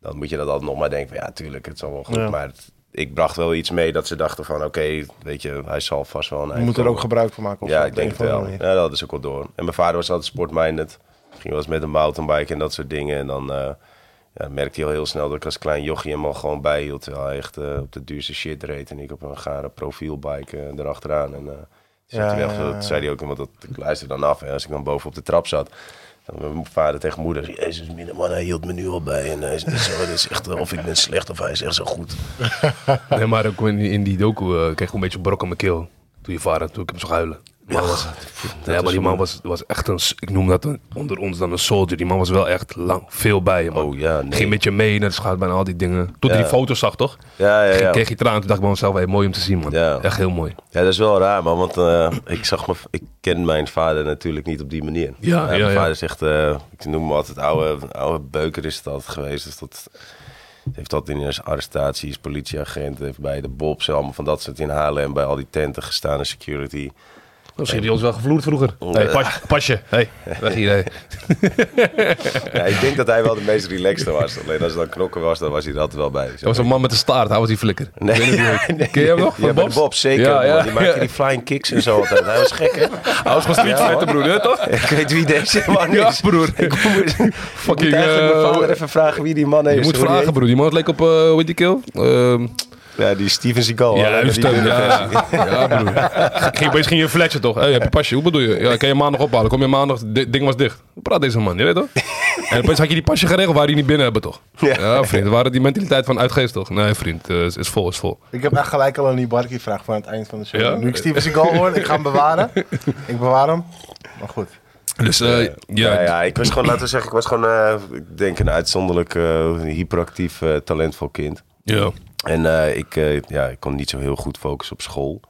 Speaker 3: dan moet je dat altijd nog maar denken van ja, tuurlijk, het zal wel goed.
Speaker 2: Ja.
Speaker 3: Maar het- ik bracht wel iets mee dat ze dachten van oké, weet je, hij zal vast wel een
Speaker 2: Je
Speaker 3: eind
Speaker 2: moet er
Speaker 3: komen.
Speaker 2: ook gebruik van maken. of
Speaker 3: Ja,
Speaker 2: zo,
Speaker 3: ik denk
Speaker 2: op
Speaker 3: het
Speaker 2: een of
Speaker 3: wel.
Speaker 2: andere
Speaker 3: Ja,
Speaker 2: manier.
Speaker 3: dat hadden ze ook wel door. En mijn vader was altijd sportminded. Ging wel eens met een mountainbike en dat soort dingen. En dan eh, ja, merkte hij al heel snel dat ik als klein jochie hem al gewoon bijhield. Terwijl hij echt eh, op de duurste shit reed. En ik op een gare profielbike eh, erachteraan. En eh, toen zat
Speaker 2: Ja,
Speaker 3: hij wel-
Speaker 2: ja, ja.
Speaker 3: toen zei hij ook, want dat, ik luister dan af. En als ik dan boven op de trap zat... Dan met mijn vader tegen moeder. Jezus, minder man, hij hield me nu al bij. En hij is niet zo, hij is echt, eh, of ik ben slecht of hij is echt zo goed.
Speaker 1: Nee, maar ook in, in die docu eh, kreeg ik een beetje brok aan mijn keel. Toen je vader, toen ik hem zag huilen. Die man was, ja, maar die man was, was echt een, s- ik noem dat een- onder ons dan een soldier. Die man was wel echt lang, veel bij je man.
Speaker 3: Oh ja, nee.
Speaker 1: Ging met je mee naar de schaats, bijna al die dingen. Toen hij
Speaker 3: Ja.
Speaker 1: die foto's zag, toch?
Speaker 3: Ja, ja,
Speaker 1: Ging-
Speaker 3: ja.
Speaker 1: Kreeg je traan, toen dacht ik bij mezelf, hey, mooi om te zien, man.
Speaker 3: Ja.
Speaker 1: Echt heel mooi.
Speaker 3: Ja, dat is wel raar, man. Want eh, ik, zag me, ik ken mijn vader natuurlijk niet op die manier.
Speaker 1: Ja, ja,
Speaker 3: mijn
Speaker 1: ja.
Speaker 3: vader zegt, eh, ik noem hem altijd oude, oude beuker is het altijd geweest. Dus dat heeft altijd in zijn arrestatie, is politieagent, heeft bij de Bob's, allemaal van dat soort in Haarlem, bij al die tenten gestaan en security.
Speaker 1: Misschien heeft hij ons wel gevloerd vroeger.
Speaker 3: Oh,
Speaker 1: Hey,
Speaker 3: eh.
Speaker 1: pas, pas je. Hey, weg hier. hey.
Speaker 3: Ja, ik denk dat hij wel de meest relaxed was. Alleen als het dan knokken was, dan was hij er altijd wel bij.
Speaker 1: Dat was een man met een staart, hij was die flikker.
Speaker 3: Nee,
Speaker 1: Ken je hem nog? Van
Speaker 3: Ja, bij de
Speaker 1: Bob's?
Speaker 3: Bob, zeker.
Speaker 1: Ja, ja.
Speaker 3: man. Die maakte die flying kicks en zo altijd. Hij was gek, hè?
Speaker 1: Hij was gewoon street
Speaker 3: Ja,
Speaker 1: fighter, broer, hè, toch?
Speaker 3: Ik weet wie deze man is.
Speaker 1: Ja, broer.
Speaker 3: Ik moet, ik moet
Speaker 1: eh,
Speaker 3: eigenlijk mijn vader even vragen wie die man is.
Speaker 1: Je moet
Speaker 3: hoe die
Speaker 1: vragen, broer. Die man leek op, eh, hoe heet die kill? Ehm,
Speaker 3: heet. Ja, die Steven Seagal.
Speaker 1: Ja,
Speaker 3: hè,
Speaker 1: uw
Speaker 3: die
Speaker 1: stem,
Speaker 3: dunne
Speaker 1: ja.
Speaker 3: versie.
Speaker 1: Oh, ja broer. Ging, opeens ging je flexen toch? Hey, heb je pasje? Hoe bedoel je? Ja, kan je maandag ophalen? Kom je maandag? Dit ding was dicht. Hoe praat deze man? Je weet toch? En opeens had je die pasje geregeld waar die niet binnen hebben toch? Ja, vriend. Waren die mentaliteit van uitgeest toch? Nee vriend, eh, is, is vol, is vol.
Speaker 2: Ik heb echt gelijk al een Ibarki vraag voor aan het eind van de show.
Speaker 1: Ja?
Speaker 2: Nu ik Steven Seagal hoor, ik ga hem bewaren. ik bewaar hem. Maar goed.
Speaker 1: Dus eh, ja,
Speaker 3: Ja, ja, ik was gewoon, laten we zeggen, ik was gewoon, eh, ik denk een uitzonderlijk eh, hyperactief, eh, talentvol kind.
Speaker 1: ja,
Speaker 3: En eh, ik, eh, ja, ik kon niet zo heel goed focussen op school.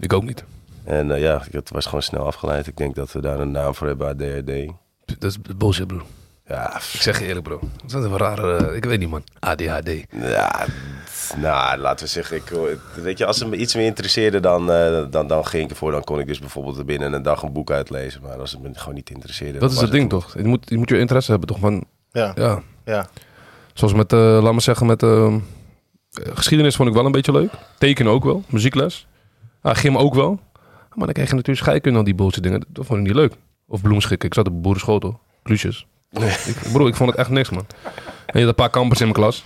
Speaker 1: ik ook niet.
Speaker 3: En eh, ja, het was gewoon snel afgeleid. Ik denk dat we daar een naam voor hebben, ADHD.
Speaker 1: Dat is bullshit broer.
Speaker 3: Ja, pff,
Speaker 1: Ik zeg je eerlijk bro. Dat is een rare, eh, ik weet niet man. ADHD.
Speaker 3: Ja, t- nou, laten we zeggen, ik, weet je, als het me iets meer interesseerde, dan, eh, dan, dan ging ik ervoor. Dan kon ik dus bijvoorbeeld binnen een dag een boek uitlezen. Maar als het me gewoon niet interesseerde...
Speaker 1: Dat is
Speaker 3: dan
Speaker 1: het
Speaker 3: was
Speaker 1: ding toch? Je moet, je moet je interesse hebben toch? Van,
Speaker 2: Ja,
Speaker 1: ja.
Speaker 2: ja.
Speaker 1: Zoals met, eh laat maar zeggen, met eh, geschiedenis vond ik wel een beetje leuk. Tekenen ook wel, muziekles. Ja, gym ook wel. Maar dan kreeg je natuurlijk scheikunde aan die bullshit dingen. Dat vond ik niet leuk. Of bloemschikken. Ik zat op boerenschool toch? Klusjes. Ik, broer, ik vond het echt niks, man. En je had een paar kampers in mijn klas.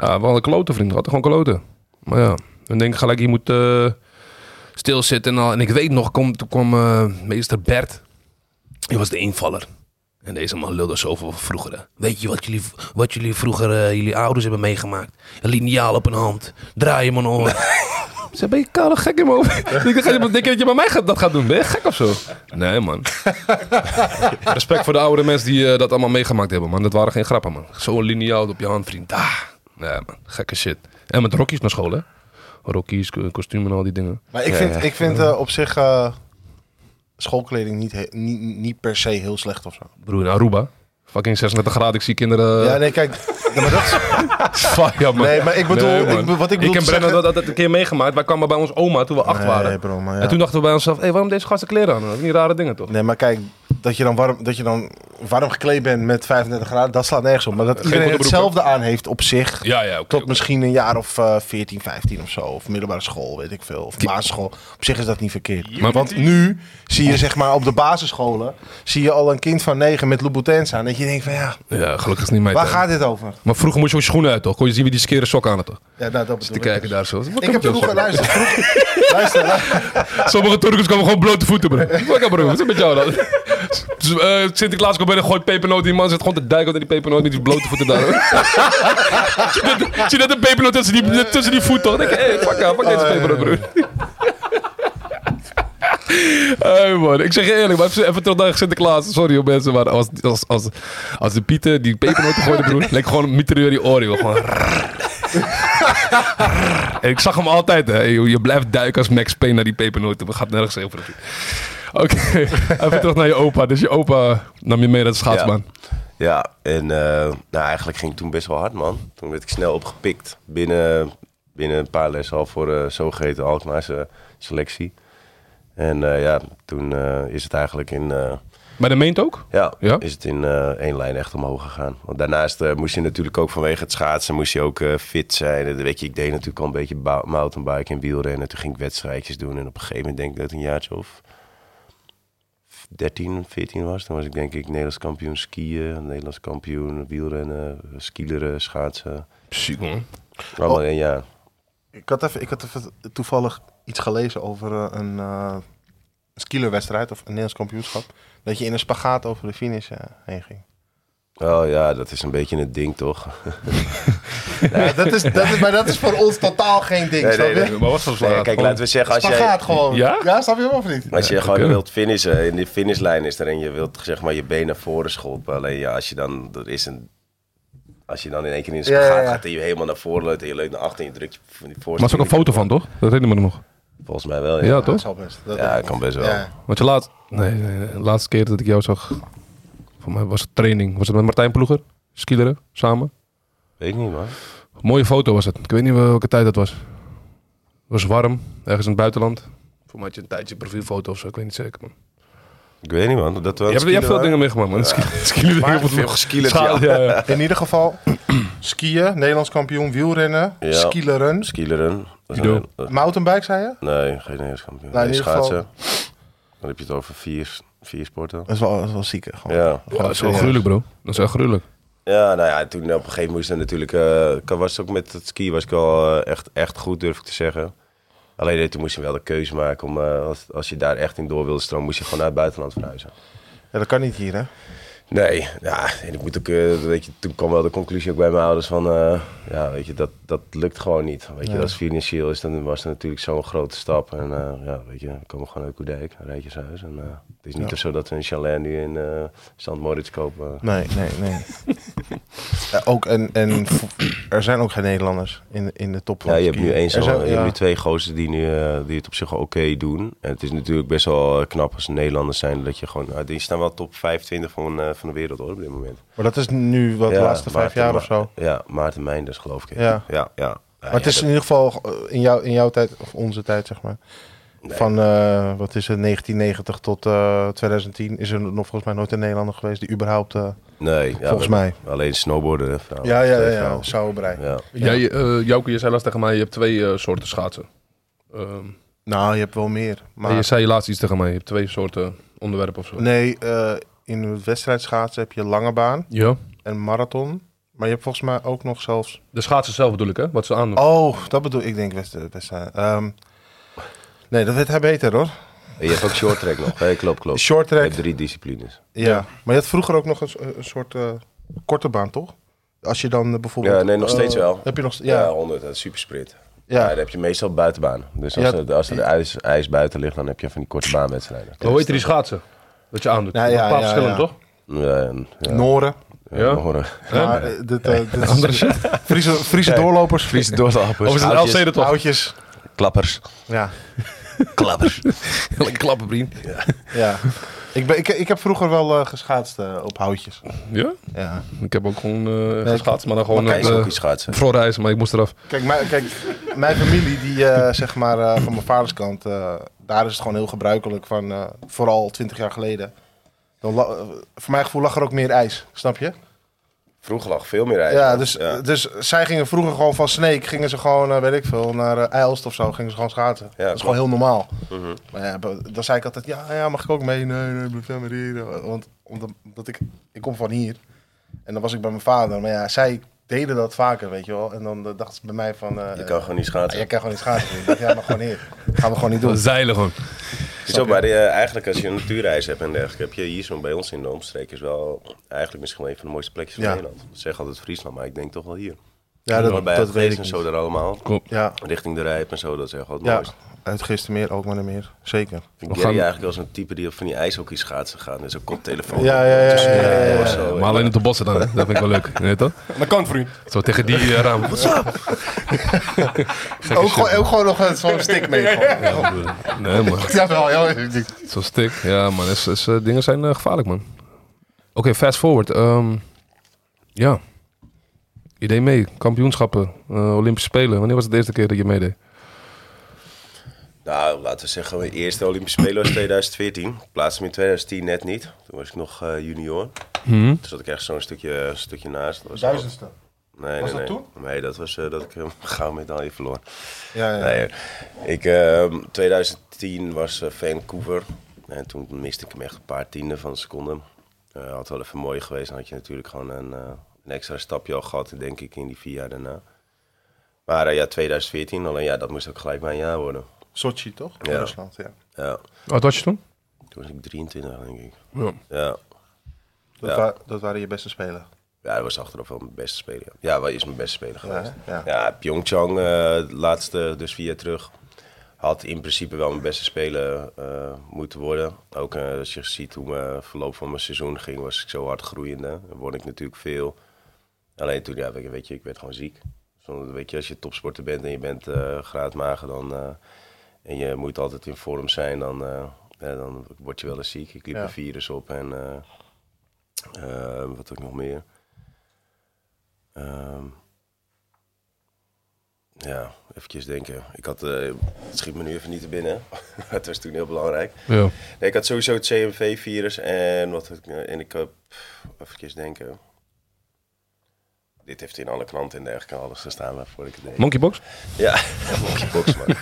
Speaker 1: Ja, we hadden kloten, vriend. We hadden gewoon kloten. Maar ja, dan denk ik gelijk, je moet eh, stilzitten en al. En ik weet nog, kom, toen kwam eh, meester Bert. Die was de invaller. En deze man lulde zoveel van vroeger. hè. Weet je wat jullie, wat jullie vroeger, eh, jullie ouders hebben meegemaakt? Een liniaal op een hand, draai hem een oor. Ze hebben je kale gek in mijn hoofd. Ik dacht, ga je- Denk je dat je bij mij gaat- dat gaat doen? Ben je gek of zo? Nee, man. Respect voor de oude mensen die eh, dat allemaal meegemaakt hebben, man. Dat waren geen grappen, man. Zo'n liniaal op je hand, vriend. Ah. Nee, man. Gekke shit. En met rokjes naar school, hè? Rokjes, ko- kostuum en al die dingen.
Speaker 2: Maar ik vind, ik vind eh, op zich eh, schoolkleding niet, he- niet, niet per se heel slecht of zo.
Speaker 1: Broer, in Aruba. Fucking 36 graden. Ik zie kinderen...
Speaker 2: Ja, nee, kijk. Ja, maar dat is,
Speaker 1: wel jammer.
Speaker 2: Nee, maar ik bedoel- ik bedoel- wat ik bedoel
Speaker 1: en Brennan
Speaker 2: te zeggen-
Speaker 1: hadden dat een keer meegemaakt. Wij kwamen bij ons oma toen we acht waren.
Speaker 2: Nee, bro, maar ja.
Speaker 1: En toen dachten we bij onszelf, hey, waarom deze gasten kleren aan? Dat zijn niet rare dingen, toch?
Speaker 2: Nee, maar kijk, dat je, dan warm, dat je dan warm gekleed bent met 35 graden, dat slaat nergens op. Maar dat iedereen
Speaker 1: onderbroek,
Speaker 2: hetzelfde aan heeft op zich.
Speaker 1: Ja, ja, oké.
Speaker 2: Tot misschien een jaar of eh 14, 15 of zo. Of middelbare school, weet ik veel. Of basisschool. Op zich is dat niet verkeerd.
Speaker 1: Maar-
Speaker 2: Want nu zie je zeg maar op de basisscholen... zie je al een kind van 9 met Louboutins aan. Dat je denkt van ja,
Speaker 1: Ja, gelukkig is het niet mijn
Speaker 2: waar
Speaker 1: tijd.
Speaker 2: gaat dit over?
Speaker 1: Maar vroeger moest je gewoon je schoenen uit, toch? Kon je zien wie die skere sok aan had, toch?
Speaker 2: Ja, nou, dat
Speaker 1: Zit
Speaker 2: bedoel
Speaker 1: te
Speaker 2: ik.
Speaker 1: kijken daar zo. Wat
Speaker 2: Ik
Speaker 1: kan
Speaker 2: heb
Speaker 1: toch
Speaker 2: vroeger,
Speaker 1: zeggen?
Speaker 2: luister, vroeger, luister, luister.
Speaker 1: Sommige Turkers komen gewoon blote voeten, bro. Wat kan, bro? Wat is het met jou dan? Dus, eh, Sinterklaas komt binnen, gooit pepernoot in. Die man zit gewoon te duiken onder die pepernoot met die blote voeten daar. zie, je dat, zie je dat een pepernoot tussen die, tussen die voeten? Dan denk ik, hey, fuck, aan, pak deze pepernoot, bro. Hey man, ik zeg je eerlijk, maar even terug naar Sinterklaas. Sorry hoor mensen, maar als, als, als, als de Pieter die pepernoten gooide, broer, leek gewoon een mitrailleur die Oreo. Gewoon en ik zag hem altijd, hè. Je, je blijft duiken als Max Payne naar die pepernoten. We gaat nergens over. Oké, even terug naar je opa. Dus je opa nam je mee naar de schaatsbaan.
Speaker 3: Ja, en eh, nou, eigenlijk ging het toen best wel hard, man. Toen werd ik snel opgepikt binnen, binnen een paar lessen al voor de zogeheten Alkmaarse selectie. En eh, ja, toen eh, is het eigenlijk in, eh,
Speaker 1: Maar de meent ook?
Speaker 3: ja,
Speaker 1: Ja?
Speaker 3: Is het in eh, één lijn echt omhoog gegaan. Want daarnaast eh, moest je natuurlijk ook vanwege het schaatsen moest je ook eh, fit zijn. En, weet je, ik deed natuurlijk al een beetje ba- mountainbiken en wielrennen. Toen ging ik wedstrijdjes doen en op een gegeven moment denk ik dat het een jaartje of 13, 14 was. Toen was ik denk ik Nederlands kampioen skiën, Nederlands kampioen wielrennen, skileren, schaatsen.
Speaker 1: Ziek, man.
Speaker 3: Allemaal in één jaar.
Speaker 2: Ik had even, ik had even toevallig iets gelezen over eh, een eh skielerwedstrijd of een Nederlands kampioenschap. Dat je in een spagaat over de finish eh, heen ging.
Speaker 3: Oh ja, dat is een beetje het ding toch?
Speaker 2: Ja, dat is, dat is, maar dat is voor ons totaal geen ding,
Speaker 3: Nee,
Speaker 2: snap je?
Speaker 3: nee, nee.
Speaker 1: Maar wat was
Speaker 3: Nee, kijk, laten we zeggen als jij...
Speaker 2: Spagaat gewoon.
Speaker 1: Ja?
Speaker 2: snap je hem of niet?
Speaker 3: Als je gewoon
Speaker 1: kunnen.
Speaker 3: wilt finishen, in die finishlijn is er en je wilt zeg maar je been naar voren schoppen. Alleen ja, als je dan, er is een, als je dan in één keer in de
Speaker 2: Ja,
Speaker 3: spagaat
Speaker 2: ja, ja.
Speaker 3: gaat en je helemaal naar voren leunt en je leunt naar achter en je drukt je van die
Speaker 1: Maar er is
Speaker 3: voorste.
Speaker 1: ook een foto van, toch? Dat herinner me nog.
Speaker 3: Volgens mij wel,
Speaker 1: Ja,
Speaker 3: ja. Ja,
Speaker 2: Dat
Speaker 1: toch?
Speaker 2: zal best. Dat
Speaker 3: dat kan best wel.
Speaker 2: Ja.
Speaker 1: Want je laat... Nee, nee, nee, de laatste keer dat ik jou zag... Voor mij was het training. Was het met Martijn Ploeger? Skileren, samen.
Speaker 3: Weet ik niet, man.
Speaker 1: Mooie foto was het. Ik weet niet welke tijd dat was. Het was warm, ergens in het buitenland. Voor mij had je een tijdje profielfoto of zo. Ik weet niet zeker, man.
Speaker 3: Ik weet niet, man. Dat
Speaker 1: Je
Speaker 3: wel
Speaker 1: hebt, je hebt veel dingen meegemaakt, man. Ski- Skileren.
Speaker 3: Maar
Speaker 1: heel
Speaker 3: veel geskielerd,
Speaker 1: Schaal- ja. ja.
Speaker 2: In ieder geval, skiën, Nederlands kampioen, wielrennen,
Speaker 3: Ja.
Speaker 2: skileren,
Speaker 3: Skileren. Dat is
Speaker 1: Judo.
Speaker 3: een- eh,
Speaker 2: mountainbike, zei je?
Speaker 3: Nee, geen Nederlands kampioen.
Speaker 2: Nou, in
Speaker 3: nee,
Speaker 2: ieder geval-
Speaker 3: schaatsen. Dan heb je het over vier, vier sporten.
Speaker 2: Dat is wel, dat is wel zieke. Gewoon.
Speaker 3: Ja.
Speaker 1: Ja, dat is wel gruwelijk, bro. Dat is echt gruwelijk.
Speaker 3: Ja, nou ja, toen op een gegeven moment moest er natuurlijk... eh, ik was ook met het ski was ik wel eh, echt, echt goed, durf ik te zeggen. Alleen eh, toen moest je wel de keuze maken om... eh, als, als je daar echt in door wilde stromen, moest je gewoon naar het buitenland verhuizen.
Speaker 2: Ja, dat kan niet hier, hè?
Speaker 3: Nee, ja, en ik moet ook, eh, weet je, toen kwam wel de conclusie ook bij mijn ouders van... eh, ja, weet je, dat, dat lukt gewoon niet. Weet je,
Speaker 2: Ja.
Speaker 3: dat is financieel is, dan was dat natuurlijk zo'n grote stap. En eh, ja, weet je, we komen gewoon uit Koedijk, een rijtjeshuis. En eh, het is niet
Speaker 2: Ja.
Speaker 3: zo dat we een chalet nu in eh St. Moritz kopen.
Speaker 2: Nee, nee, nee. Ja, ook, en, en v- er zijn ook geen Nederlanders in, in de top van
Speaker 3: Ja, je
Speaker 2: het
Speaker 3: hebt nu
Speaker 2: skiën. Er
Speaker 3: één zo'n-
Speaker 2: zijn-
Speaker 3: je hebt
Speaker 2: ja.
Speaker 3: nu twee gozers die, nu, eh, die het op zich wel oké doen. En het is natuurlijk best wel eh, knap als Nederlanders zijn dat je gewoon... nou, die staan wel top 25 van, eh, van de wereld hoor, op dit moment.
Speaker 2: Maar dat is nu wat de
Speaker 3: Ja,
Speaker 2: laatste vijf
Speaker 3: Maarten
Speaker 2: jaar
Speaker 3: Ma-
Speaker 2: of zo.
Speaker 3: Ja, Maarten Meinders geloof ik.
Speaker 2: Ja.
Speaker 3: Ja, ja.
Speaker 2: Maar het is in ieder geval eh, in, jou, in jouw tijd, of onze tijd zeg maar, van eh, wat is het, 1990 tot eh, 2010 is er nog volgens mij nooit een Nederlander geweest die überhaupt, eh,
Speaker 3: Nee. ja,
Speaker 2: volgens
Speaker 3: maar-
Speaker 2: mij.
Speaker 3: Alleen snowboarden. hè, vrouwen.
Speaker 2: Ja, ja, ja,
Speaker 3: Twee
Speaker 2: ja,
Speaker 3: vrouwen.
Speaker 2: sauberij.
Speaker 3: Ja.
Speaker 1: Jij, eh Jouke, je zei laatst tegen mij, je hebt twee eh, soorten schaatsen. Ehm,
Speaker 2: Nou, je hebt wel meer. Maar
Speaker 1: en je zei laatst iets tegen mij, je hebt twee soorten onderwerpen of zo.
Speaker 2: nee, eh, in het wedstrijdschaatsen heb je lange baan
Speaker 1: Ja.
Speaker 2: en marathon. Maar je hebt volgens mij ook nog zelfs...
Speaker 1: De schaatsen zelf bedoel ik, hè? Wat ze aandoen.
Speaker 2: Oh, dat bedoel ik, denk wedstrijd. wedstrijd. Ehm, nee, dat werd hij beter hoor.
Speaker 3: En je hebt ook short track nog. hè, klopt, klopt.
Speaker 2: Short
Speaker 3: Je
Speaker 2: track,
Speaker 3: hebt drie disciplines.
Speaker 2: Ja, maar je had vroeger ook nog een, so- een soort eh, korte baan, toch? Als je dan eh, bijvoorbeeld...
Speaker 3: Ja, nee, nog
Speaker 2: eh,
Speaker 3: steeds wel.
Speaker 2: Heb je nog... Ja,
Speaker 3: Ja,
Speaker 2: ja.
Speaker 3: 100. Dat is super sprint. Ja.
Speaker 2: ja.
Speaker 3: dan heb je meestal buitenbaan. Dus als,
Speaker 2: Ja.
Speaker 3: er, als er ijs, ijs buiten ligt, dan heb je van die korte baanwedstrijden.
Speaker 1: Hoe heet die schaatsen? Wat je aandoet.
Speaker 2: Ja,
Speaker 1: een
Speaker 2: ja,
Speaker 1: paar
Speaker 2: ja,
Speaker 1: verschillende,
Speaker 2: ja.
Speaker 1: toch?
Speaker 3: Ja, en- ja,
Speaker 2: Noren.
Speaker 1: Ja.
Speaker 3: nog horen.
Speaker 2: Ja, eh, dit, eh, dit is-
Speaker 1: Andere shit.
Speaker 2: Friese, Friese doorlopers.
Speaker 3: Friese doorlopers.
Speaker 1: Of is het
Speaker 3: oudjes,
Speaker 1: LC er toch?
Speaker 2: Oudjes.
Speaker 3: Klappers.
Speaker 2: Ja.
Speaker 3: Klappers.
Speaker 1: Lekker klappen, vriend.
Speaker 2: ja. Ik, ben, ik, ik heb vroeger wel eh, geschaatst eh, op houtjes.
Speaker 1: Ja?
Speaker 2: Ja.
Speaker 1: Ik heb ook gewoon eh geschaatst, maar dan gewoon...
Speaker 3: Hij is ook
Speaker 1: Uh,
Speaker 3: iets schaatsen.
Speaker 1: Voorreizen, maar ik moest eraf.
Speaker 2: Kijk, mijn, kijk, mijn familie, die, eh, zeg maar, eh, van mijn vaders kant, eh, daar is het gewoon heel gebruikelijk van, eh, vooral 20 jaar geleden. Dan la- eh, voor mijn gevoel lag er ook meer ijs, snap je?
Speaker 3: Vroeger lag veel meer ijs.
Speaker 2: Ja, dus, dus zij gingen vroeger gewoon van Sneek, gingen ze gewoon, eh, weet ik veel, naar eh, Eilst of zo, gingen ze gewoon schaatsen. dat is
Speaker 3: klopt.
Speaker 2: gewoon heel normaal. Maar ja, be- dan zei ik altijd, ja, ja, mag ik ook mee? Nee, nee, blijf jij maar hier. Want omdat, omdat ik, ik kom van hier. En dan was ik bij mijn vader. Maar ja, zij deden dat vaker, weet je wel. En dan eh, dachten ze bij mij van... eh,
Speaker 3: Je kan gewoon niet
Speaker 2: ja,
Speaker 3: schaatsen.
Speaker 2: jij kan gewoon niet schaatsen. Ik dacht, ja, maar gewoon hier. Gaan we gewoon niet doen.
Speaker 1: Zeilen gewoon.
Speaker 3: Zo, maar eh, eigenlijk als je een natuurreis hebt en dergelijke, heb je hier zo bij ons in de omstreek is wel eigenlijk misschien wel een van de mooiste plekjes van
Speaker 2: Ja.
Speaker 3: Nederland. Ik zeg altijd Friesland, maar ik denk toch wel hier.
Speaker 2: Ja,
Speaker 3: Dat, bij dat
Speaker 2: weet
Speaker 3: en
Speaker 2: ik
Speaker 3: zo
Speaker 2: niet.
Speaker 3: daar allemaal.
Speaker 2: Ja,
Speaker 3: Richting de Rijp en zo, dat is echt wat
Speaker 2: ja.
Speaker 3: moois.
Speaker 2: Uit Gistermeer, ook maar meer. Zeker.
Speaker 3: Ik ken
Speaker 1: gaan-
Speaker 3: je eigenlijk als een type die op van die ijshockey schaatsen gaat met zo'n koptelefoon.
Speaker 2: Ja, ja, ja, ja, ja, ja, ja.
Speaker 3: Zo,
Speaker 1: Maar alleen op de bossen dan, hè? dat vind ik wel leuk. Weet je toch?
Speaker 5: Dat kan, vriend.
Speaker 1: Zo tegen die eh, raam. What's up? Gekke
Speaker 2: Ook,
Speaker 1: shit,
Speaker 2: gewoon- ook gewoon nog een- zo'n stick mee. gewoon.
Speaker 1: man. Nee, man.
Speaker 2: Ja, wel, ja.
Speaker 1: Zo'n stik. Ja, man. Is, is, eh, dingen zijn eh, gevaarlijk, man. Oké, fast forward. Ehm, ja. Idee mee. Kampioenschappen. eh, Olympische Spelen. Wanneer was het de eerste keer dat je meedeed?
Speaker 3: Nou, laten we zeggen, mijn eerste Olympische Spelen was 2014. Ik plaatste me in 2010 net niet. Toen was ik nog eh, junior. Toen zat ik echt zo'n stukje, stukje naast. Dat was wel-
Speaker 2: Duizendste.
Speaker 3: Nee,
Speaker 2: Was
Speaker 3: nee,
Speaker 2: dat
Speaker 3: nee. Nee, dat was eh, dat ik een gouden medaille verloor.
Speaker 2: Ja, ja.
Speaker 3: Nee, eh, ik, ehm, 2010 was eh, Vancouver. En toen miste ik hem echt een paar tienden van een seconde. Eh, had wel even mooi geweest. Dan had je natuurlijk gewoon een, eh, een extra stapje al gehad, denk ik, in die vier jaar daarna. Maar eh, ja, 2014, alleen ja, dat moest ook gelijk mijn jaar worden.
Speaker 2: Sochi, toch?
Speaker 3: Ja.
Speaker 2: Rusland, ja.
Speaker 3: Ja,
Speaker 1: Wat Oh, was je toen?
Speaker 3: toen was ik 23, denk ik.
Speaker 1: Ja.
Speaker 3: Ja,
Speaker 2: Dat,
Speaker 3: Ja.
Speaker 2: wa- dat waren je beste spelen.
Speaker 3: ja dat was achteraf wel mijn beste speler. ja. Ja, wat is mijn beste speler
Speaker 2: Ja,
Speaker 3: geweest?
Speaker 2: hè? ja.
Speaker 3: Ja, Pyeongchang, eh laatste, dus vier jaar terug, had in principe wel mijn beste speler eh, moeten worden. Ook eh, als je ziet hoe mijn verloop van mijn seizoen ging, was ik zo hard groeiende. Dan won ik natuurlijk veel. Alleen toen, ja, weet je, weet je, ik werd gewoon ziek. Dus dan, weet je, als je topsporter bent en je bent eh graadmager dan, eh, en je moet altijd in vorm zijn, dan, eh, ja, dan word je wel eens ziek. Ik liep
Speaker 2: Ja.
Speaker 3: een virus op en eh, eh, wat ook nog meer. Ehm, ja, eventjes denken. Ik had, eh, het schiet me nu even niet te binnen. het was toen heel belangrijk.
Speaker 1: Ja.
Speaker 3: Nee, ik had sowieso het CMV-virus en wat had ik, nou- en ik heb, eventjes denken. Dit heeft in alle kranten en dergelijke alles gestaan waarvoor ik het deed.
Speaker 1: Monkeybox?
Speaker 3: Ja, monkeypox man.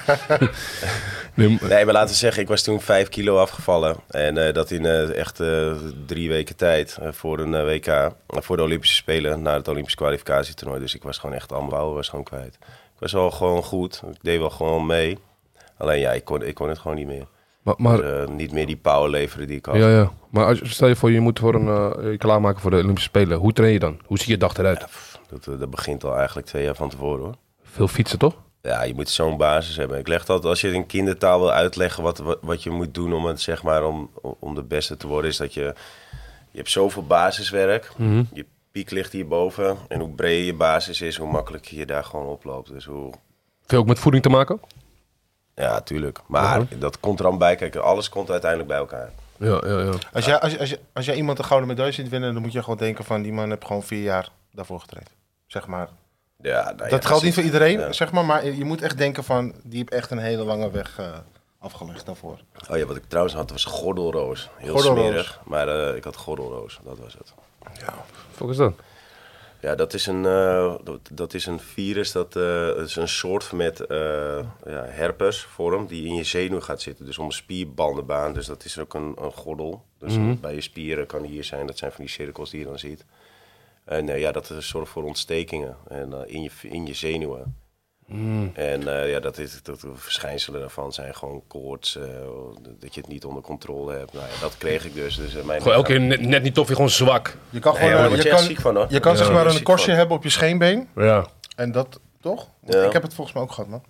Speaker 1: Nee,
Speaker 3: Nee, maar laten we zeggen, ik was toen vijf kilo afgevallen. En eh, dat in eh, echt eh, drie weken tijd eh, voor een eh, WK. eh, voor de Olympische Spelen, na het Olympisch kwalificatietoernooi. Dus ik was gewoon echt ambouwen, was gewoon kwijt. Ik was wel gewoon goed, ik deed wel gewoon mee. Alleen ja, ik kon, ik kon het gewoon niet meer.
Speaker 1: maar, maar,
Speaker 3: Dus, eh, niet meer die power leveren die ik had.
Speaker 1: ja, ja. maar als, je- stel je voor, je moet voor een, eh, je klaarmaken voor de Olympische Spelen. Hoe train je dan? Hoe ziet je dag eruit?
Speaker 3: Dat, eh, dat begint al eigenlijk twee jaar van tevoren hoor.
Speaker 1: Veel fietsen, toch?
Speaker 3: Ja, je moet zo'n basis hebben. Ik leg dat als je het in kindertaal wil uitleggen wat, wat, wat je moet doen om het zeg maar om, om de beste te worden, is dat je je hebt zoveel basiswerk.
Speaker 2: Mhm.
Speaker 3: Je piek ligt hierboven en hoe breder je basis is, hoe makkelijker je daar gewoon oploopt. Dus hoe
Speaker 1: Veel ook met voeding te maken?
Speaker 3: ja, tuurlijk. Maar dat komt er dan bij kijken. Alles komt uiteindelijk bij elkaar.
Speaker 1: Ja, ja, ja.
Speaker 2: Als jij, als, je- als, je, als jij iemand een gouden medaille ziet winnen, dan moet je gewoon denken van die man heeft gewoon vier jaar daarvoor getraind. Zeg maar.
Speaker 3: Ja, nou ja,
Speaker 2: dat geldt niet
Speaker 3: zit-
Speaker 2: voor iedereen,
Speaker 3: ja.
Speaker 2: zeg maar, maar je moet echt denken van die heeft echt een hele lange weg eh, afgelegd daarvoor.
Speaker 3: Oh ja, wat ik trouwens had was gordelroos. Heel
Speaker 2: Gordelroos.
Speaker 3: smerig. Maar eh, ik had gordelroos. Dat was het.
Speaker 1: Fuck is dat?
Speaker 3: Ja, dat is een, eh, dat, dat is een virus, dat, eh, dat is een soort met eh ja, herpesvorm die in je zenuw gaat zitten. Dus om spierbandenbaan, dus dat is ook een, een gordel. Dus
Speaker 1: Mhm.
Speaker 3: bij je spieren kan die hier zijn, dat zijn van die cirkels die je dan ziet. En eh, ja, dat is- zorgt voor ontstekingen en, eh, in, je, in je zenuwen.
Speaker 1: Mhm.
Speaker 3: En eh, ja, dat is, dat de verschijnselen daarvan zijn gewoon koorts, eh, dat je het niet onder controle hebt. Nou ja, dat kreeg ik dus. dus eh, mijn
Speaker 1: Gewoon elke
Speaker 3: lichaam-
Speaker 1: keer net, net niet tof, je gewoon zwak.
Speaker 2: Je kan gewoon
Speaker 3: Nee, maar daar
Speaker 2: eh,
Speaker 3: word
Speaker 2: je
Speaker 3: je echt
Speaker 2: kan,
Speaker 3: ziek van, hoor.
Speaker 2: je kan
Speaker 3: Ja,
Speaker 2: zeg
Speaker 3: daar
Speaker 2: maar
Speaker 3: word je
Speaker 2: een
Speaker 3: ziek
Speaker 2: korstje
Speaker 3: van.
Speaker 2: hebben op je scheenbeen
Speaker 1: Ja.
Speaker 2: en dat toch? Want
Speaker 3: Ja.
Speaker 2: Ik heb het volgens mij ook gehad, man.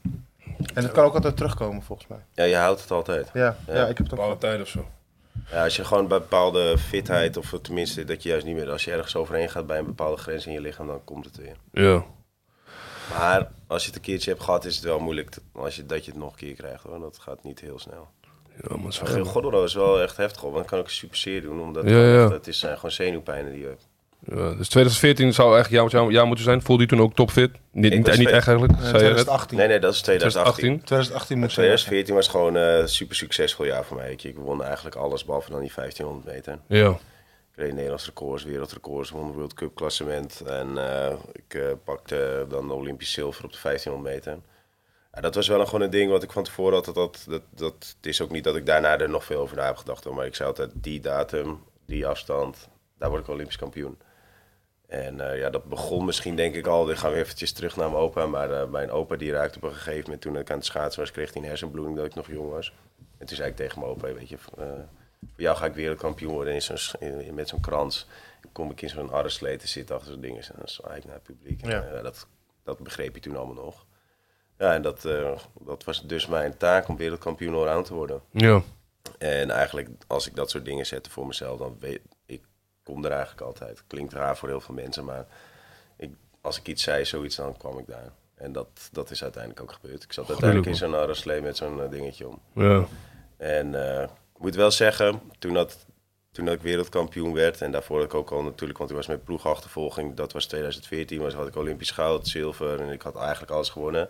Speaker 2: En het kan ook altijd terugkomen volgens mij.
Speaker 3: Ja, je houdt het altijd.
Speaker 2: Ja, ja.
Speaker 3: Ja.
Speaker 2: ik heb het ook. gehad.
Speaker 1: tijd of zo.
Speaker 3: Ja, als je gewoon bij bepaalde fitheid, of tenminste dat je juist niet meer, als je ergens overheen gaat bij een bepaalde grens in je lichaam, dan komt het weer.
Speaker 1: Ja.
Speaker 3: Maar als je het een keertje hebt gehad, is het wel moeilijk te- als je, dat je het nog een keer krijgt hoor. Dat gaat niet heel snel.
Speaker 1: Ja, man, is wel
Speaker 3: Ja,
Speaker 1: gek.
Speaker 3: Gordoro is wel echt heftig op, want dan kan ik super zeer doen. Omdat
Speaker 1: Ja, ja.
Speaker 3: echt- het is, zijn gewoon zenuwpijnen die je hebt.
Speaker 1: Ja, dus 2014 zou eigenlijk jouw, jouw jaar moeten zijn. Voelde je toen ook topfit? Niet,
Speaker 3: Ik
Speaker 1: niet,
Speaker 3: was
Speaker 1: niet
Speaker 3: fit.
Speaker 1: echt eigenlijk.
Speaker 2: Eh,
Speaker 1: zei je net.
Speaker 2: 2018.
Speaker 3: Nee, nee, dat is
Speaker 1: 2018.
Speaker 3: 2018.
Speaker 2: 2018 moet zijn.
Speaker 3: 2014 was gewoon een super succesvol jaar voor mij. Ik, ik won eigenlijk alles, behalve dan die 1500 meter.
Speaker 1: Ja.
Speaker 3: Ik reed Nederlands records, wereldrecords, won World Cup klassement. En eh, ik eh, pakte dan Olympisch zilver op de 1500 meter. Ja, dat was wel een, gewoon een ding wat ik van tevoren had. Dat, dat, dat, dat, het is ook niet dat ik daarna er nog veel over na heb gedacht. hoor, Maar ik zei altijd, die datum, die afstand, daar word ik Olympisch kampioen. En eh, ja, dat begon misschien denk ik al. Dan gaan we eventjes terug naar mijn opa. Maar eh, mijn opa die raakte op een gegeven moment toen ik aan het schaatsen was, kreeg hij een hersenbloeding dat ik nog jong was. En toen zei ik tegen mijn opa, weet je, eh, voor jou ga ik wereldkampioen worden in zo'n, sch- in- in- met zo'n krans. Dan kom ik in zo'n arreslate te zitten achter zo'n ding. En dan zwaai ik naar het publiek. En,
Speaker 2: Ja.
Speaker 3: eh, dat, dat begreep je toen allemaal nog. Ja, en dat, eh, dat was dus mijn taak om wereldkampioen allround te worden.
Speaker 1: Ja.
Speaker 3: En eigenlijk, als ik dat soort dingen zette voor mezelf, dan weet ik, kom er eigenlijk altijd. Klinkt raar voor heel veel mensen, maar ik, als ik iets zei, zoiets, dan kwam ik daar. En dat, dat is uiteindelijk ook gebeurd. Ik zat uiteindelijk in
Speaker 1: man.
Speaker 3: zo'n arreslee met zo'n eh, dingetje om.
Speaker 1: Ja.
Speaker 3: En eh, ik moet wel zeggen, toen, dat, toen dat ik wereldkampioen werd, en daarvoor had ik ook al natuurlijk, want ik was met ploegachtervolging, dat was 2014, was, had ik Olympisch goud, zilver en ik had eigenlijk alles gewonnen.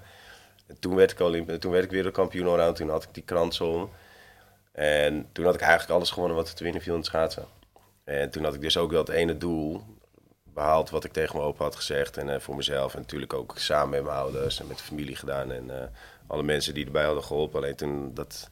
Speaker 3: En toen werd ik, Olymp- toen werd ik wereldkampioen allround, toen had ik die krans om. En toen had ik eigenlijk alles gewonnen wat er te winnen viel in het schaatsen. En toen had ik dus ook dat ene doel behaald wat ik tegen mijn opa had gezegd. En eh, voor mezelf en natuurlijk ook samen met mijn ouders en met de familie gedaan. En eh, alle mensen die erbij hadden geholpen. Alleen toen, dat,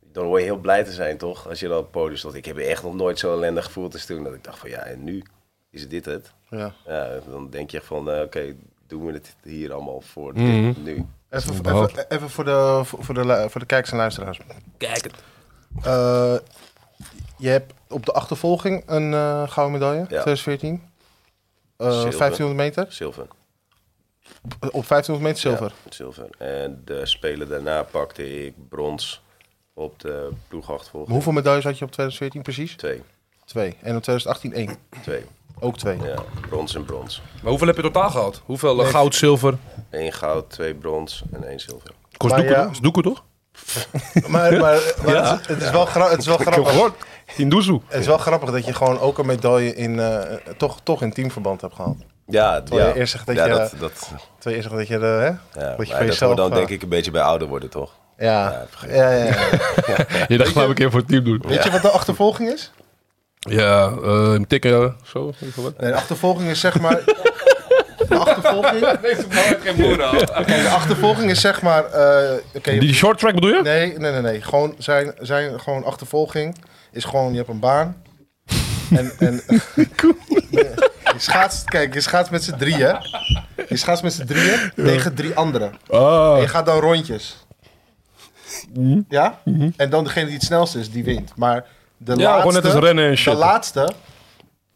Speaker 3: dan hoor je heel blij te zijn, toch? Als je dan op het podium stond. Ik heb me echt nog nooit zo ellendig gevoeld als toen. Dat ik dacht van, ja, en nu is dit het?
Speaker 2: Ja.
Speaker 3: Ja, dan denk je echt van, eh, oké, doen we het hier allemaal voor dit
Speaker 1: Mhm.
Speaker 3: nu?
Speaker 2: Even,
Speaker 1: Überhaupt.
Speaker 2: even, even voor, de, voor, voor de, lu- voor de kijkers en luisteraars.
Speaker 1: Kijk het.
Speaker 2: Eh, je hebt op de achtervolging een eh, gouden medaille, 2014. Eh,
Speaker 3: Zilver.
Speaker 2: 1500 meter.
Speaker 3: Zilver.
Speaker 2: Op 1500 meter zilver.
Speaker 3: Ja, zilver. En de spelen daarna pakte ik brons op de
Speaker 2: Maar
Speaker 3: ploegachtvolging.
Speaker 2: hoeveel medailles had je op 2014 precies?
Speaker 3: Twee.
Speaker 2: Twee. En op 2018 één.
Speaker 3: Twee.
Speaker 2: Ook twee.
Speaker 3: Ja, brons en brons.
Speaker 1: Maar hoeveel heb je totaal gehad? Hoeveel? eh,
Speaker 2: Nee.
Speaker 1: Goud, zilver.
Speaker 3: Eén goud, twee brons en één zilver.
Speaker 1: Kost
Speaker 2: Maar
Speaker 1: doeken,
Speaker 2: ja.
Speaker 1: toch? Is doeken toch?
Speaker 2: Maar, maar, maar het, is- het is wel gra- het is wel grappig.
Speaker 1: Hindoezoe.
Speaker 2: Het is wel grappig dat je gewoon ook een medaille in, eh, toch, toch in teamverband hebt gehaald.
Speaker 3: Ja,
Speaker 2: Terwijl
Speaker 3: ja.
Speaker 2: je eerst zegt dat
Speaker 3: ja,
Speaker 2: je-
Speaker 3: dat, dat,
Speaker 2: Terwijl je zegt dat je, de, hè?
Speaker 3: ja.
Speaker 2: dat je
Speaker 3: Maar
Speaker 2: van
Speaker 3: dat hoort
Speaker 2: jezelf...
Speaker 3: dan
Speaker 2: eh,
Speaker 3: denk ik een beetje bij ouder worden, toch?
Speaker 2: Ja,
Speaker 3: Ja, vergeet
Speaker 2: ja, ja. ja.
Speaker 1: Je dacht, laat ik een keer voor het team doen.
Speaker 2: Weet je wat de achtervolging is?
Speaker 1: Ja, eh, hem tikken, eh, zo. in ieder geval wat.
Speaker 2: Nee, de achtervolging is zeg maar... De achtervolging,
Speaker 5: Deze man heeft geen boer al.
Speaker 2: nee, de achtervolging is zeg maar... eh, oké,
Speaker 1: Die short track bedoel je?
Speaker 2: nee, nee, nee, nee. Gewoon zijn, zijn gewoon achtervolging is gewoon, je hebt een baan. En, en je schaatst, kijk, je schaatst met z'n drieën. Je schaatst met z'n drieën tegen drie anderen. En
Speaker 1: Ah. Mhm.
Speaker 2: je gaat dan rondjes. Ja? En dan degene die het snelst is, die wint. Maar de
Speaker 1: Ja,
Speaker 2: laatste...
Speaker 1: gewoon net als rennen en shit.
Speaker 2: De laatste...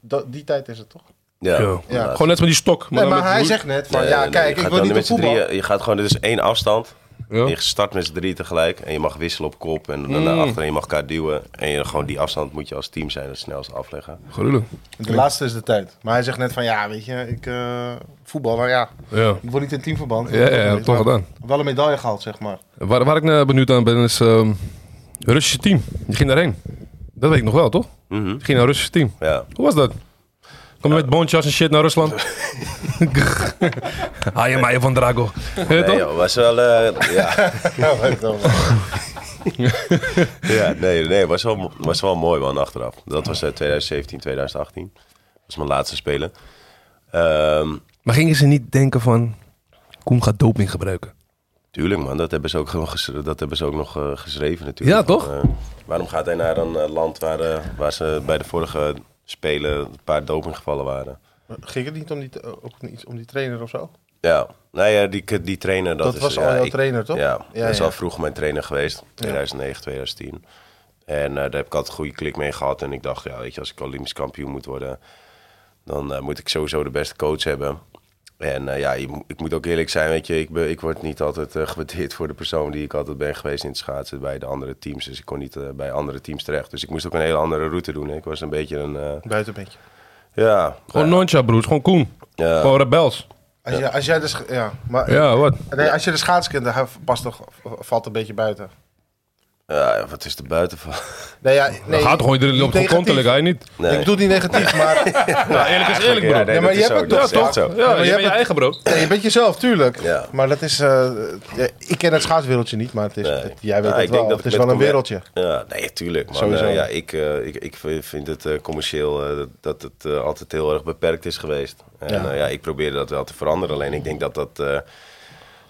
Speaker 2: da- die tijd is het toch?
Speaker 3: Ja.
Speaker 1: Ja.
Speaker 3: inderdaad.
Speaker 1: Gewoon net met die stok.
Speaker 2: Nee,
Speaker 1: dan
Speaker 2: maar
Speaker 1: met-
Speaker 2: hij zegt net van...
Speaker 3: Nee,
Speaker 2: ja,
Speaker 3: Eh, nee, nee, je
Speaker 2: kijk, ik
Speaker 3: gaat
Speaker 2: wil
Speaker 3: dan
Speaker 2: niet op
Speaker 3: met z'n
Speaker 2: voetbal.
Speaker 3: drieën- Je gaat gewoon, dit is één afstand.
Speaker 1: Ja.
Speaker 3: Je start met z'n drieën tegelijk en je mag wisselen op kop en dan
Speaker 2: Hmm.
Speaker 3: naar achteren en je mag elkaar duwen. En je, gewoon die afstand moet je als team zijn het snelst afleggen.
Speaker 1: Gruwelijk.
Speaker 2: De laatste is de tijd. Maar hij zegt net van... Ja, weet je, ik... eh, voetbal, nou ja.
Speaker 1: Ja.
Speaker 2: Ik wil niet in teamverband.
Speaker 1: Ja, ja, ja,
Speaker 2: Maar
Speaker 1: toch gedaan.
Speaker 2: Wel een medaille gehaald, zeg maar.
Speaker 1: Waar, waar ik nou benieuwd aan ben is... ehm, het Russische team. Je ging daarheen. Dat weet ik nog wel, toch?
Speaker 3: Mhm.
Speaker 1: Je ging naar het Russische team.
Speaker 3: Ja.
Speaker 1: Hoe was dat? Kom je met bontjas en shit naar Rusland? Haaien maaien van Drago. Weet
Speaker 3: Nee,
Speaker 1: toch?
Speaker 3: joh, was wel. eh, ja.
Speaker 2: Ja, weet ik wel.
Speaker 3: ja, nee, nee, was wel, was wel mooi man achteraf. Dat was eh, 2017, 2018. Dat was mijn laatste spelen. Ehm,
Speaker 1: Maar gingen ze niet denken van... Koen gaat doping gebruiken.
Speaker 3: tuurlijk man, dat hebben ze ook, gewoon ges- dat hebben ze ook nog eh, geschreven natuurlijk.
Speaker 1: Ja, toch?
Speaker 3: Van, eh, waarom gaat hij naar een eh, land waar, eh, waar ze bij de vorige spelen een paar dopinggevallen waren?
Speaker 2: Ging het niet om die, t- ook niet om die trainer of zo?
Speaker 3: Ja, nou ja, die, die trainer. Dat,
Speaker 2: Dat
Speaker 3: is,
Speaker 2: was
Speaker 3: ja,
Speaker 2: al jouw
Speaker 3: ik-
Speaker 2: trainer, toch?
Speaker 3: Ja,
Speaker 2: Ja,
Speaker 3: dat is
Speaker 2: ja.
Speaker 3: al vroeg mijn trainer geweest, 2009, 2010. En eh, daar heb ik altijd een goede klik mee gehad. En ik dacht, ja, weet je, als ik Olympisch kampioen moet worden, dan eh, moet ik sowieso de beste coach hebben. En eh, ja, je mo- ik moet ook eerlijk zijn, weet je, ik, ben, ik word niet altijd eh, gewaardeerd voor de persoon die ik altijd ben geweest in het schaatsen bij de andere teams. Dus ik kon niet eh, bij andere teams terecht. Dus ik moest ook een hele andere route doen. hè. Ik was een beetje een, eh,
Speaker 2: Buitenbeentje.
Speaker 3: ja,
Speaker 1: Gewoon noncha, broers. Gewoon Koen.
Speaker 3: Ja.
Speaker 1: Gewoon rebels.
Speaker 2: Als, je, als jij de sch- Ja, maar...
Speaker 1: Ja, wat?
Speaker 2: Nee, als je de schaats kent, dan hij past toch, valt een beetje buiten.
Speaker 3: Ja, ja, wat is er buiten van?
Speaker 2: Nee, ja, nee,
Speaker 1: gaat gewoon iedereen op
Speaker 2: negatief.
Speaker 1: gekontelijk, hij niet.
Speaker 3: Nee.
Speaker 2: Ik bedoel het niet negatief, maar Ah,
Speaker 1: Ja, eerlijk is eerlijk, bro.
Speaker 3: Ja,
Speaker 1: Ja,
Speaker 3: nee,
Speaker 2: Ja, maar
Speaker 3: dat
Speaker 2: je
Speaker 3: is
Speaker 2: hebt
Speaker 3: zo,
Speaker 2: het
Speaker 3: dat
Speaker 2: toch,
Speaker 3: is
Speaker 2: toch?
Speaker 3: echt zo.
Speaker 2: maar
Speaker 1: je
Speaker 2: je
Speaker 1: bent je
Speaker 2: hebt
Speaker 1: eigen, bro.
Speaker 2: nee, je bent jezelf, tuurlijk.
Speaker 3: Ja.
Speaker 2: Maar dat is... eh, ja, ik ken het schaatswereldje niet, maar het is,
Speaker 3: Nee.
Speaker 2: jij weet het
Speaker 3: Nou, ik denk
Speaker 2: wel.
Speaker 3: dat
Speaker 2: het
Speaker 3: ik
Speaker 2: is wel
Speaker 3: met
Speaker 2: een
Speaker 3: commer-
Speaker 2: wereldje.
Speaker 3: Ja, nee, tuurlijk. Man.
Speaker 2: Sowieso.
Speaker 3: Eh, ja, ik, eh, ik, ik v- vind het eh, commercieel eh, dat- dat het eh, altijd heel erg beperkt is geweest. En eh,
Speaker 2: Ja.
Speaker 3: ja. ja, ik probeer dat wel te veranderen. Alleen ik denk dat dat... eh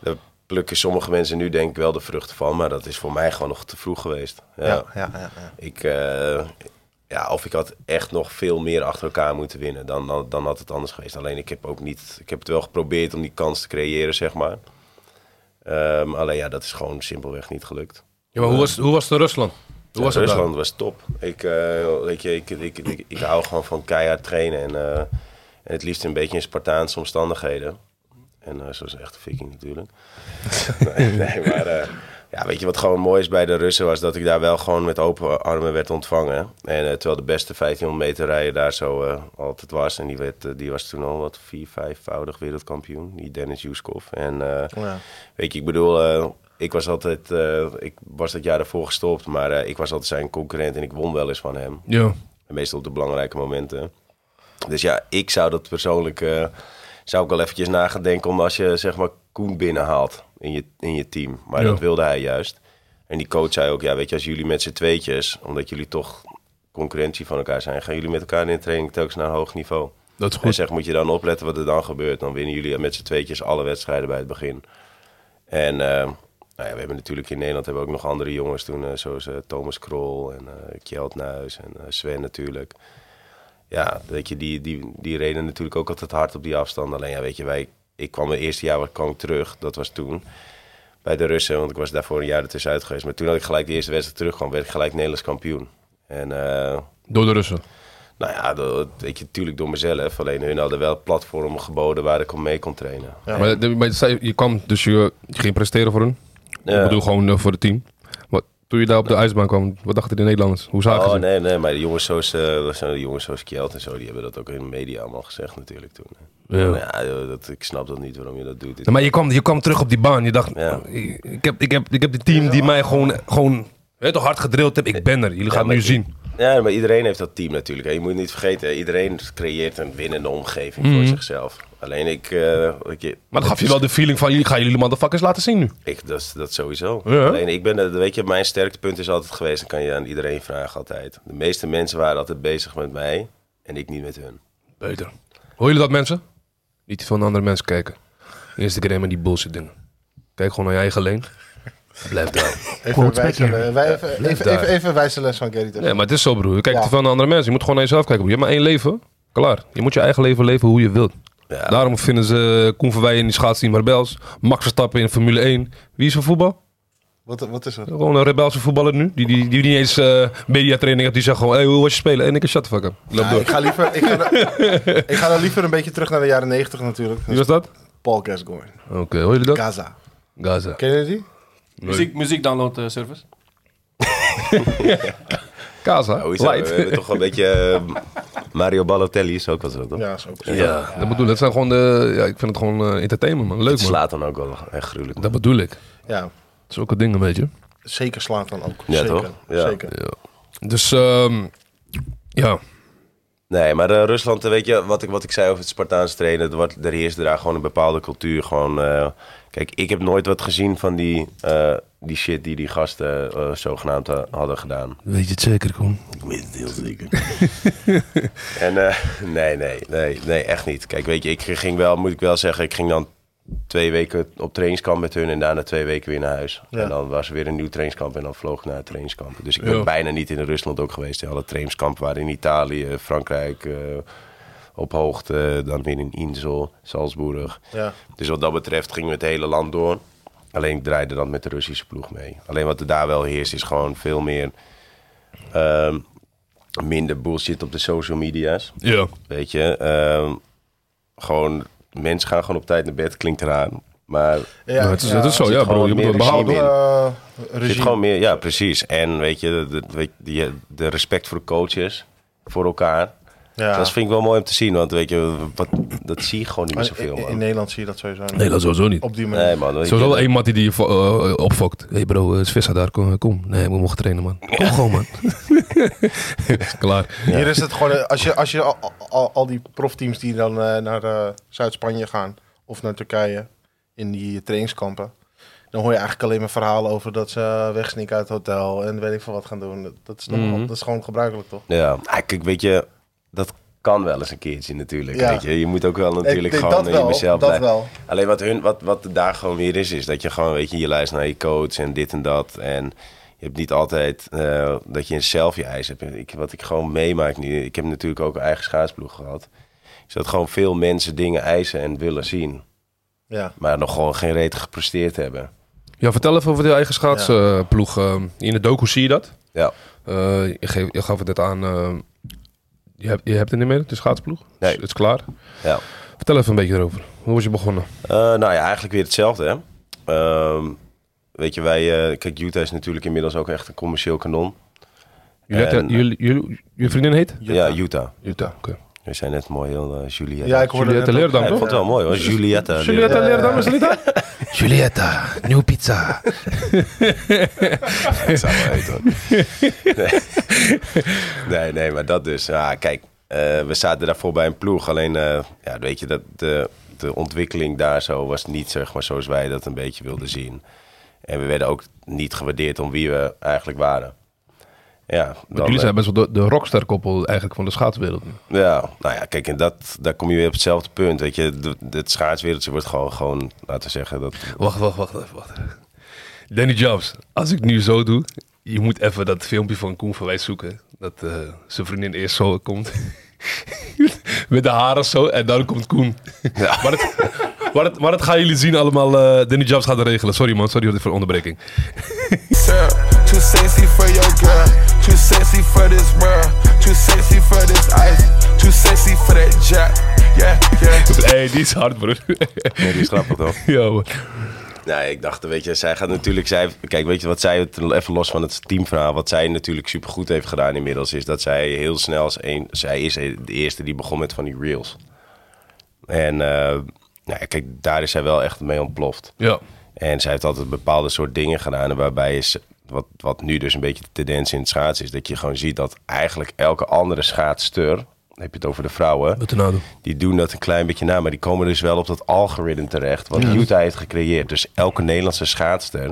Speaker 3: daar plukken sommige mensen nu denk ik wel de vruchten van. Maar dat is voor mij gewoon nog te vroeg geweest. Ja.
Speaker 2: Ja, ja, ja, ja.
Speaker 3: Ik, eh, ja, of ik had echt nog veel meer achter elkaar moeten winnen. Dan, dan, dan had het anders geweest. Alleen ik heb ook niet... Ik heb het wel geprobeerd om die kans te creëren, zeg maar. Ehm, alleen ja, dat is gewoon simpelweg niet gelukt.
Speaker 1: Ja, maar hoe was, hoe was het in Rusland? Hoe
Speaker 3: Ja,
Speaker 1: was het daar?
Speaker 3: Rusland was top. Ik, eh, weet je, ik, ik, ik, ik hou gewoon van keihard trainen. En, eh, en het liefst een beetje in Spartaanse omstandigheden. En eh, zoals een echte viking natuurlijk. nee, nee, maar... eh, ja, weet je wat gewoon mooi is bij de Russen was dat ik daar wel gewoon met open armen werd ontvangen. En eh, terwijl de beste 1500 meter rijden daar zo eh, altijd was. En die, werd, eh, die was toen al wat vier, vijfvoudig wereldkampioen. Die Dennis Yuskov. En
Speaker 1: Oh,
Speaker 3: eh,
Speaker 2: Ja.
Speaker 3: Weet je, ik bedoel, eh, ik was altijd, eh, ik was dat jaar daarvoor gestopt, maar eh, ik was altijd zijn concurrent en ik won wel eens van hem.
Speaker 1: Ja.
Speaker 3: En meestal op de belangrijke momenten. Dus ja, ik zou dat persoonlijk, eh, zou ik wel eventjes na gaan denken om als je zeg maar Koen binnenhaalt in je, in je team. Maar
Speaker 1: Ja.
Speaker 3: dat wilde hij juist. En die coach zei ook, ja weet je, als jullie met z'n tweetjes, omdat jullie toch concurrentie van elkaar zijn, gaan jullie met elkaar in de training telkens naar een hoog niveau.
Speaker 1: Dat is
Speaker 3: Hij
Speaker 1: goed.
Speaker 3: zegt, moet je dan opletten wat er dan gebeurt. Dan winnen jullie met z'n tweetjes alle wedstrijden bij het begin. En eh, nou ja, we hebben natuurlijk in Nederland hebben we ook nog andere jongens toen. eh, zoals eh, Thomas Krol en eh Kjeld Nuis en eh, Sven natuurlijk. Ja, weet je, die, die, die reden natuurlijk ook altijd hard op die afstand. Alleen ja, weet je, wij, ik kwam het eerste jaar kwam ik terug. Dat was toen bij de Russen, want ik was daarvoor een jaar ertussenuit geweest. Maar toen had ik gelijk de eerste wedstrijd terugkwam, werd ik gelijk Nederlands kampioen. En... eh,
Speaker 1: Door de Russen.
Speaker 3: nou ja, dat, weet je, natuurlijk door mezelf. Alleen hun hadden wel platformen geboden waar ik om mee kon trainen.
Speaker 1: Maar, de- maar je zei- je kwam, dus je je ging presteren voor hun. Ik bedoel gewoon eh, voor het team. Maar toen je daar op de ijsbaan kwam, wat dachten de Nederlanders? Hoe zagen
Speaker 3: Oh
Speaker 1: ze?
Speaker 3: nee, nee, maar de jongens zoals, eh, dat zijn de jongens zoals Kjeld en zo, die hebben dat ook in de media allemaal gezegd natuurlijk toen.
Speaker 1: Ja.
Speaker 3: Nou Ja, joh, dat, ik snap dat niet waarom je dat doet.
Speaker 1: Nee, maar je kwam, je kwam terug op die baan. Je dacht,
Speaker 3: Ja.
Speaker 1: ik, ik heb, ik, heb, ik heb die team die mij gewoon, gewoon weet, toch hard gedrild heeft. Ik ben er. Jullie gaan het
Speaker 3: maar
Speaker 1: nu
Speaker 3: ik-
Speaker 1: zien.
Speaker 3: Ja, maar iedereen heeft dat team natuurlijk. hè. Je moet niet vergeten, hè, iedereen creëert een winnende omgeving voor zichzelf. Alleen ik... eh, weet je,
Speaker 1: Mhm. Maar
Speaker 3: het
Speaker 1: dan gaf je
Speaker 3: is-
Speaker 1: wel de feeling van, jullie gaan jullie motherfuckers laten zien nu.
Speaker 3: Ik, dat, is- dat sowieso.
Speaker 1: Ja.
Speaker 3: Alleen ik ben, eh, weet je, mijn sterktepunt is altijd geweest, dan kan je aan iedereen vragen altijd. De meeste mensen waren altijd bezig met mij en ik niet met hun.
Speaker 1: Beter. Hoor jullie dat mensen? Niet te veel naar andere mensen kijken. Eerste keer helemaal die bullshit dingen. Kijk gewoon naar je eigen leen. Blijf daar.
Speaker 2: Even
Speaker 4: Quotes
Speaker 2: een wijze-
Speaker 4: back here.
Speaker 2: wij- even- even-
Speaker 1: daar.
Speaker 2: even- even een wijze les van Gary. toch?
Speaker 1: Nee, maar het is zo broer. Je kijkt
Speaker 2: Ja.
Speaker 1: te veel naar andere mensen. Je moet gewoon naar jezelf kijken. broer. Je hebt maar één leven. Klaar. Je moet je eigen leven leven hoe je wilt.
Speaker 3: Ja.
Speaker 1: Daarom vinden ze Koen Verwij in die schaatsteam Rebels. Max Verstappen in Formule 1. Wie is voor voetbal?
Speaker 2: Wat, wat is dat?
Speaker 1: Gewoon een Rebelse voetballer nu. Die, die, die niet eens eh mediatraining heeft. Die zegt gewoon, hey, hoe was je spelen? En ik een shut the fuck up. Ik Loop
Speaker 2: Nou,
Speaker 1: door.
Speaker 2: ik, ga liever, ik, ga dan, ik ga dan liever een beetje terug naar de jaren 90 natuurlijk.
Speaker 1: Wie was dat?
Speaker 2: Paul Gascoigne.
Speaker 1: Oké, hoor jullie dat?
Speaker 2: Gaza.
Speaker 1: Gaza.
Speaker 2: Ken je die?
Speaker 5: Muziek, muziek download eh, service.
Speaker 1: Gaza,
Speaker 3: Hoezo? Oh, We
Speaker 1: light.
Speaker 3: hebben toch wel een beetje eh, Mario Balotelli is ook wat zo, toch?
Speaker 2: Ja, is ook zo.
Speaker 1: Ja, dat bedoel ik. Dat zijn gewoon de, ja, ik vind het gewoon eh, entertainment, man. Leuk,
Speaker 3: Het
Speaker 1: man.
Speaker 3: slaat dan ook wel echt gruwelijk. man.
Speaker 1: Dat bedoel ik.
Speaker 2: Ja,
Speaker 1: Zulke dingen, weet je.
Speaker 2: zeker slaat dan ook.
Speaker 3: Ja,
Speaker 2: zeker.
Speaker 3: toch? Ja.
Speaker 2: Zeker.
Speaker 1: Dus, ehm, ja.
Speaker 3: Nee, maar eh, Rusland, eh, weet je, wat ik, wat ik zei over het Spartaans trainen, er wordt- er heerst daar gewoon een bepaalde cultuur. Gewoon, eh, kijk, ik heb nooit wat gezien van die, eh, die shit die die gasten eh, zogenaamd eh, hadden gedaan.
Speaker 1: Weet je het zeker, Koen?
Speaker 3: Ik weet het heel zeker. en eh, nee, nee, nee, nee, echt niet. Kijk, weet je, ik ging wel, moet ik wel zeggen, ik ging dan twee weken op trainingskamp met hun en daarna twee weken weer naar huis.
Speaker 2: Ja.
Speaker 3: En dan was er weer een nieuw trainingskamp en dan vloog ik naar het trainingskamp. Dus ik ben
Speaker 1: Ja.
Speaker 3: bijna niet in Rusland ook geweest. Alle trainingskampen waren in Italië, Frankrijk, eh, op hoogte, dan weer in Insel, Salzburg.
Speaker 2: Ja.
Speaker 3: Dus wat dat betreft gingen we het hele land door. Alleen ik draaide dan met de Russische ploeg mee. Alleen wat er daar wel heerst is gewoon veel meer... ehm, minder bullshit op de social media's.
Speaker 1: Ja.
Speaker 3: Weet je, ehm, gewoon mensen gaan gewoon op tijd naar bed, klinkt raar. Maar
Speaker 2: Ja,
Speaker 1: Nou, het is,
Speaker 2: ja.
Speaker 1: het is zo,
Speaker 3: zit
Speaker 1: ja, bro.
Speaker 3: gewoon
Speaker 1: Je moet
Speaker 3: meer
Speaker 1: het behouden.
Speaker 3: regime in.
Speaker 2: Eh,
Speaker 3: er zit
Speaker 2: regime.
Speaker 3: gewoon meer, ja, precies. En weet je, de, de- weet je, die- de respect voor coaches, voor elkaar.
Speaker 2: Ja.
Speaker 3: Dus dat vind ik wel mooi om te zien, want weet je, wat, dat zie je gewoon niet meer zoveel.
Speaker 2: in, in
Speaker 3: man.
Speaker 2: Nederland zie je dat sowieso niet.
Speaker 1: Nee, dat sowieso niet.
Speaker 2: Op die manier.
Speaker 3: Nee, man. weet je,
Speaker 1: Sowieso wel één mattie die je vo- eh, eh, opfokt. Hé hey bro, eh, is Vissa daar? Kom, kom. Nee, we mogen trainen, man. Kom gewoon, man. Klaar.
Speaker 2: Hier is het gewoon, eh, als je, als je al, al, al die profteams die dan eh, naar eh, Zuid-Spanje gaan of naar Turkije in die trainingskampen, dan hoor je eigenlijk alleen maar verhalen over dat ze eh, wegsnikken uit het hotel en weet ik veel wat gaan doen. Dat- Dat is, nog,
Speaker 1: Mhm.
Speaker 2: dat is gewoon gebruikelijk toch?
Speaker 3: Ja, ah, kijk, weet je, dat kan wel eens een keertje natuurlijk.
Speaker 2: Ja.
Speaker 3: Weet je. je moet ook wel
Speaker 2: Ik
Speaker 3: natuurlijk
Speaker 2: denk
Speaker 3: gewoon in jezelf
Speaker 2: dat
Speaker 3: blijven.
Speaker 2: wel.
Speaker 3: Alleen wat, hun, wat, wat daar gewoon weer is, is dat je gewoon, weet je, je luistert naar je coach en dit en dat. En je hebt niet altijd eh, dat je zelf je eis hebt. Ik, wat ik gewoon meemaak nu, ik heb natuurlijk ook een eigen schaatsploeg gehad. Is dat gewoon veel mensen dingen eisen en willen zien.
Speaker 2: Ja.
Speaker 3: Maar nog gewoon geen reet gepresteerd hebben.
Speaker 1: Ja, vertel even over de eigen schaatsploeg. Ehm, in de docu zie je dat.
Speaker 3: Ja.
Speaker 1: Eh, je, geef- je gaf het net aan. eh, je, hebt, je hebt het niet meer, de schaatsploeg.
Speaker 3: Nee.
Speaker 1: Het is klaar.
Speaker 3: Ja.
Speaker 1: Vertel even een beetje erover. Hoe was je begonnen?
Speaker 3: Eh, nou ja, eigenlijk weer hetzelfde. Hè? Ehm, weet je, wij, eh, kijk, Utah is natuurlijk inmiddels ook echt een commercieel kanon.
Speaker 1: Jullie
Speaker 3: En-
Speaker 1: had- eh, jullie- jullie- Je vriendin heet?
Speaker 3: Ja, Utah.
Speaker 1: Utah. Oké.
Speaker 3: We zijn net mooi heel eh, Juliette.
Speaker 2: ja, ik hoorde
Speaker 1: Juliette
Speaker 2: net ook-
Speaker 1: Leerdam,
Speaker 3: Ja, ik
Speaker 1: toch?
Speaker 3: vond het wel mooi hoor, Juliette.
Speaker 1: Julietta
Speaker 3: Ja.
Speaker 1: Leerdam, is het niet dat? Julietta, nieuwe pizza.
Speaker 3: Dat zou wel heet, hoor. nee. nee, nee, maar dat dus. Ja, kijk, eh, we zaten daarvoor bij een ploeg. Alleen, eh, ja, weet je, dat de, de ontwikkeling daar zo was niet zeg maar, zoals wij dat een beetje wilden zien. En we werden ook niet gewaardeerd om wie we eigenlijk waren. Ja, dan,
Speaker 1: Want jullie
Speaker 3: eh,
Speaker 1: zijn best wel de, de rockstar koppel eigenlijk van de schaatswereld.
Speaker 3: Ja, nou ja, kijk, en dat, daar kom je weer op hetzelfde punt. Weet je, De- het schaatswereldje wordt gewoon, gewoon, laten we zeggen, dat...
Speaker 1: Wacht, wacht, wacht even. Wacht. Danny Jobs, als ik nu zo doe, je moet even dat filmpje van Koen van Wijs zoeken. Dat eh, zijn vriendin eerst zo komt. Met de haren zo en dan komt Koen. Maar, dat, maar, dat, maar dat gaan jullie zien allemaal. eh, Danny Jobs gaat het regelen. Sorry man, sorry voor de onderbreking.
Speaker 7: girl. Too sexy for your girl. Too sexy for this world. Too sexy for this ice. Too sexy for that jack. Yeah, yeah.
Speaker 1: hey, die is hard broer.
Speaker 3: Nee, die is grappig, toch?
Speaker 1: ja, man.
Speaker 3: Nee, ik dacht, weet je, zij gaat natuurlijk... Zij, kijk, weet je, wat zij, het- even los van het teamverhaal... Wat zij natuurlijk supergoed heeft gedaan inmiddels... is dat zij heel snel... Als een, zij is de eerste die begon met van die reels. En, eh, nou ja, kijk, daar is zij wel echt mee ontploft.
Speaker 1: ja.
Speaker 3: En zij heeft altijd bepaalde soort dingen gedaan. Waarbij is wat, wat nu dus een beetje de tendens in het schaatsen is. Dat je gewoon ziet dat eigenlijk elke andere schaatster. Dan heb je het over de vrouwen.
Speaker 1: Wat een nadoen.
Speaker 3: Die doen dat een klein beetje na. Maar die komen dus wel op dat algoritme terecht. Wat Utah heeft gecreëerd. Dus elke Nederlandse schaatster.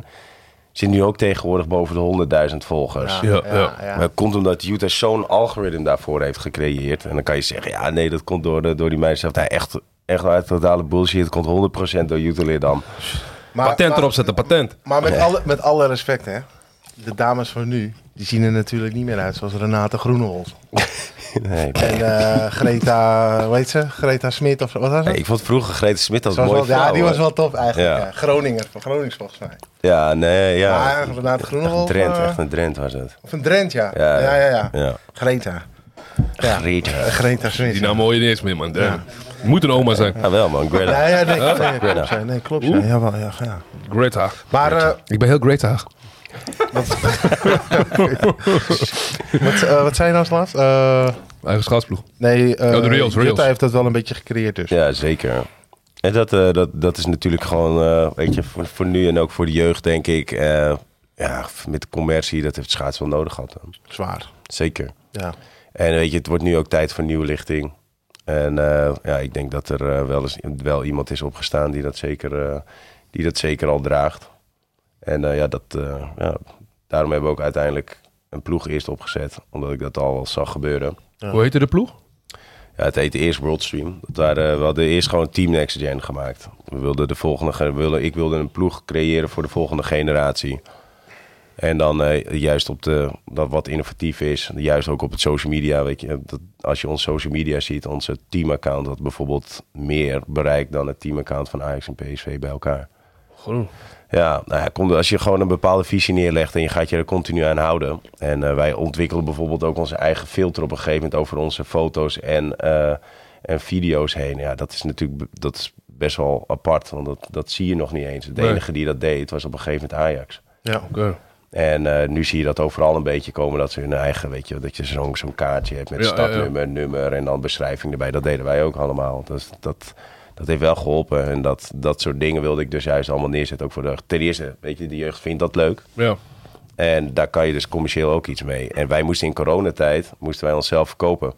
Speaker 3: Zit nu ook tegenwoordig boven de 100.000 volgers.
Speaker 1: Ja, ja.
Speaker 3: Maar dat komt omdat Utah zo'n algoritme daarvoor heeft gecreëerd. En dan kan je zeggen, ja nee, dat komt door, de- door die meiden zelf. Nee, echt, echt uit totale bullshit. Het komt 100% door Utah Leerdam.
Speaker 2: Maar-
Speaker 1: Patent
Speaker 2: maar-
Speaker 1: erop zetten, patent.
Speaker 2: Maar met, alle, met alle respect, hè. De dames van nu, die zien er natuurlijk niet meer uit zoals Renate Groenewold.
Speaker 3: Nee,
Speaker 2: En eh, Greta, hoe heet ze? Greta Smit of zo. Wat was
Speaker 3: Nee,
Speaker 2: het?
Speaker 3: ik vond vroeger Greta Smit als
Speaker 2: Ze was
Speaker 3: mooi
Speaker 2: wel- ja, die was wel tof eigenlijk.
Speaker 3: Ja.
Speaker 2: Ja. Groninger, van Gronings volgens mij.
Speaker 3: Ja, nee, ja.
Speaker 2: Maar Renate
Speaker 3: Echt een
Speaker 2: Groenewold.
Speaker 3: Drent,
Speaker 2: eh,
Speaker 3: echt een Drent was het.
Speaker 2: Of een Drent, ja.
Speaker 3: Ja,
Speaker 2: Ja, ja, ja.
Speaker 3: Ja.
Speaker 2: Greta. Ja.
Speaker 3: Greta.
Speaker 2: Greta
Speaker 1: Die
Speaker 2: Smit.
Speaker 1: naam hoor je niet eens meer, man. Damn. Moet een oma zijn.
Speaker 3: Ah, wel man, Greta.
Speaker 2: Ja, ja, nee, nee,
Speaker 3: Greta.
Speaker 2: klopt. ja. Nee, klopt. ja. Jawel, ja, ja.
Speaker 1: Greta.
Speaker 2: Maar eh,
Speaker 1: Ik ben heel Greta.
Speaker 2: wat, eh, wat zei je nou als laatst? Eh,
Speaker 1: Eigen schaatsploeg.
Speaker 2: nee, eh
Speaker 1: Oh, de Reels,
Speaker 2: Jutta
Speaker 1: Reels.
Speaker 2: heeft dat wel een beetje gecreëerd dus.
Speaker 3: Ja, zeker. En dat, eh, dat, dat is natuurlijk gewoon, eh, weet je, voor, voor nu en ook voor de jeugd, denk ik. eh, ja, met de commercie, dat heeft schaats wel nodig gehad. dan.
Speaker 2: Zwaar.
Speaker 3: Zeker.
Speaker 2: Ja.
Speaker 3: En weet je, het wordt nu ook tijd voor nieuwe lichting. En eh, ja, ik denk dat er eh, wel, eens, wel iemand is opgestaan die dat zeker, eh, die dat zeker al draagt. En eh, ja, dat, eh, ja, daarom hebben we ook uiteindelijk een ploeg eerst opgezet. Omdat ik dat al wel zag gebeuren.
Speaker 1: Hoe heette de ploeg?
Speaker 3: Ja, het heette eerst Worldstream. Dat waren, eh, we hadden eerst gewoon Team Next Gen gemaakt. We wilden de volgende, ge- we wilden, ik wilde een ploeg creëren voor de volgende generatie. En dan eh, juist op de, dat wat innovatief is. Juist ook op het social media. Weet je, dat, als je ons social media ziet, onze teamaccount had bijvoorbeeld meer bereik dan het teamaccount van Ajax en PSV bij elkaar.
Speaker 1: Groen.
Speaker 3: Ja, nou ja, kom, als je gewoon een bepaalde visie neerlegt en je gaat je er continu aan houden. En eh, wij ontwikkelen bijvoorbeeld ook onze eigen filter op een gegeven moment over onze foto's en, eh, en video's heen. Ja, dat is natuurlijk be- dat is best wel apart, want dat, dat zie je nog niet eens. De
Speaker 1: Nee.
Speaker 3: enige die dat deed was op een gegeven moment Ajax.
Speaker 2: Ja.
Speaker 1: Oké.
Speaker 3: En eh, nu zie je dat overal een beetje komen dat ze hun eigen, weet je, dat je zo'n zo'n kaartje hebt met
Speaker 1: Ja,
Speaker 3: stadnummer, nummer en dan beschrijving erbij. Dat deden wij ook allemaal. Dus dat, dat heeft wel geholpen. En dat, dat soort dingen wilde ik dus juist allemaal neerzetten. Ook voor de, ten eerste, weet je, de jeugd vindt dat leuk.
Speaker 1: Ja.
Speaker 3: En daar kan je dus commercieel ook iets mee. En wij moesten in coronatijd, moesten wij onszelf verkopen.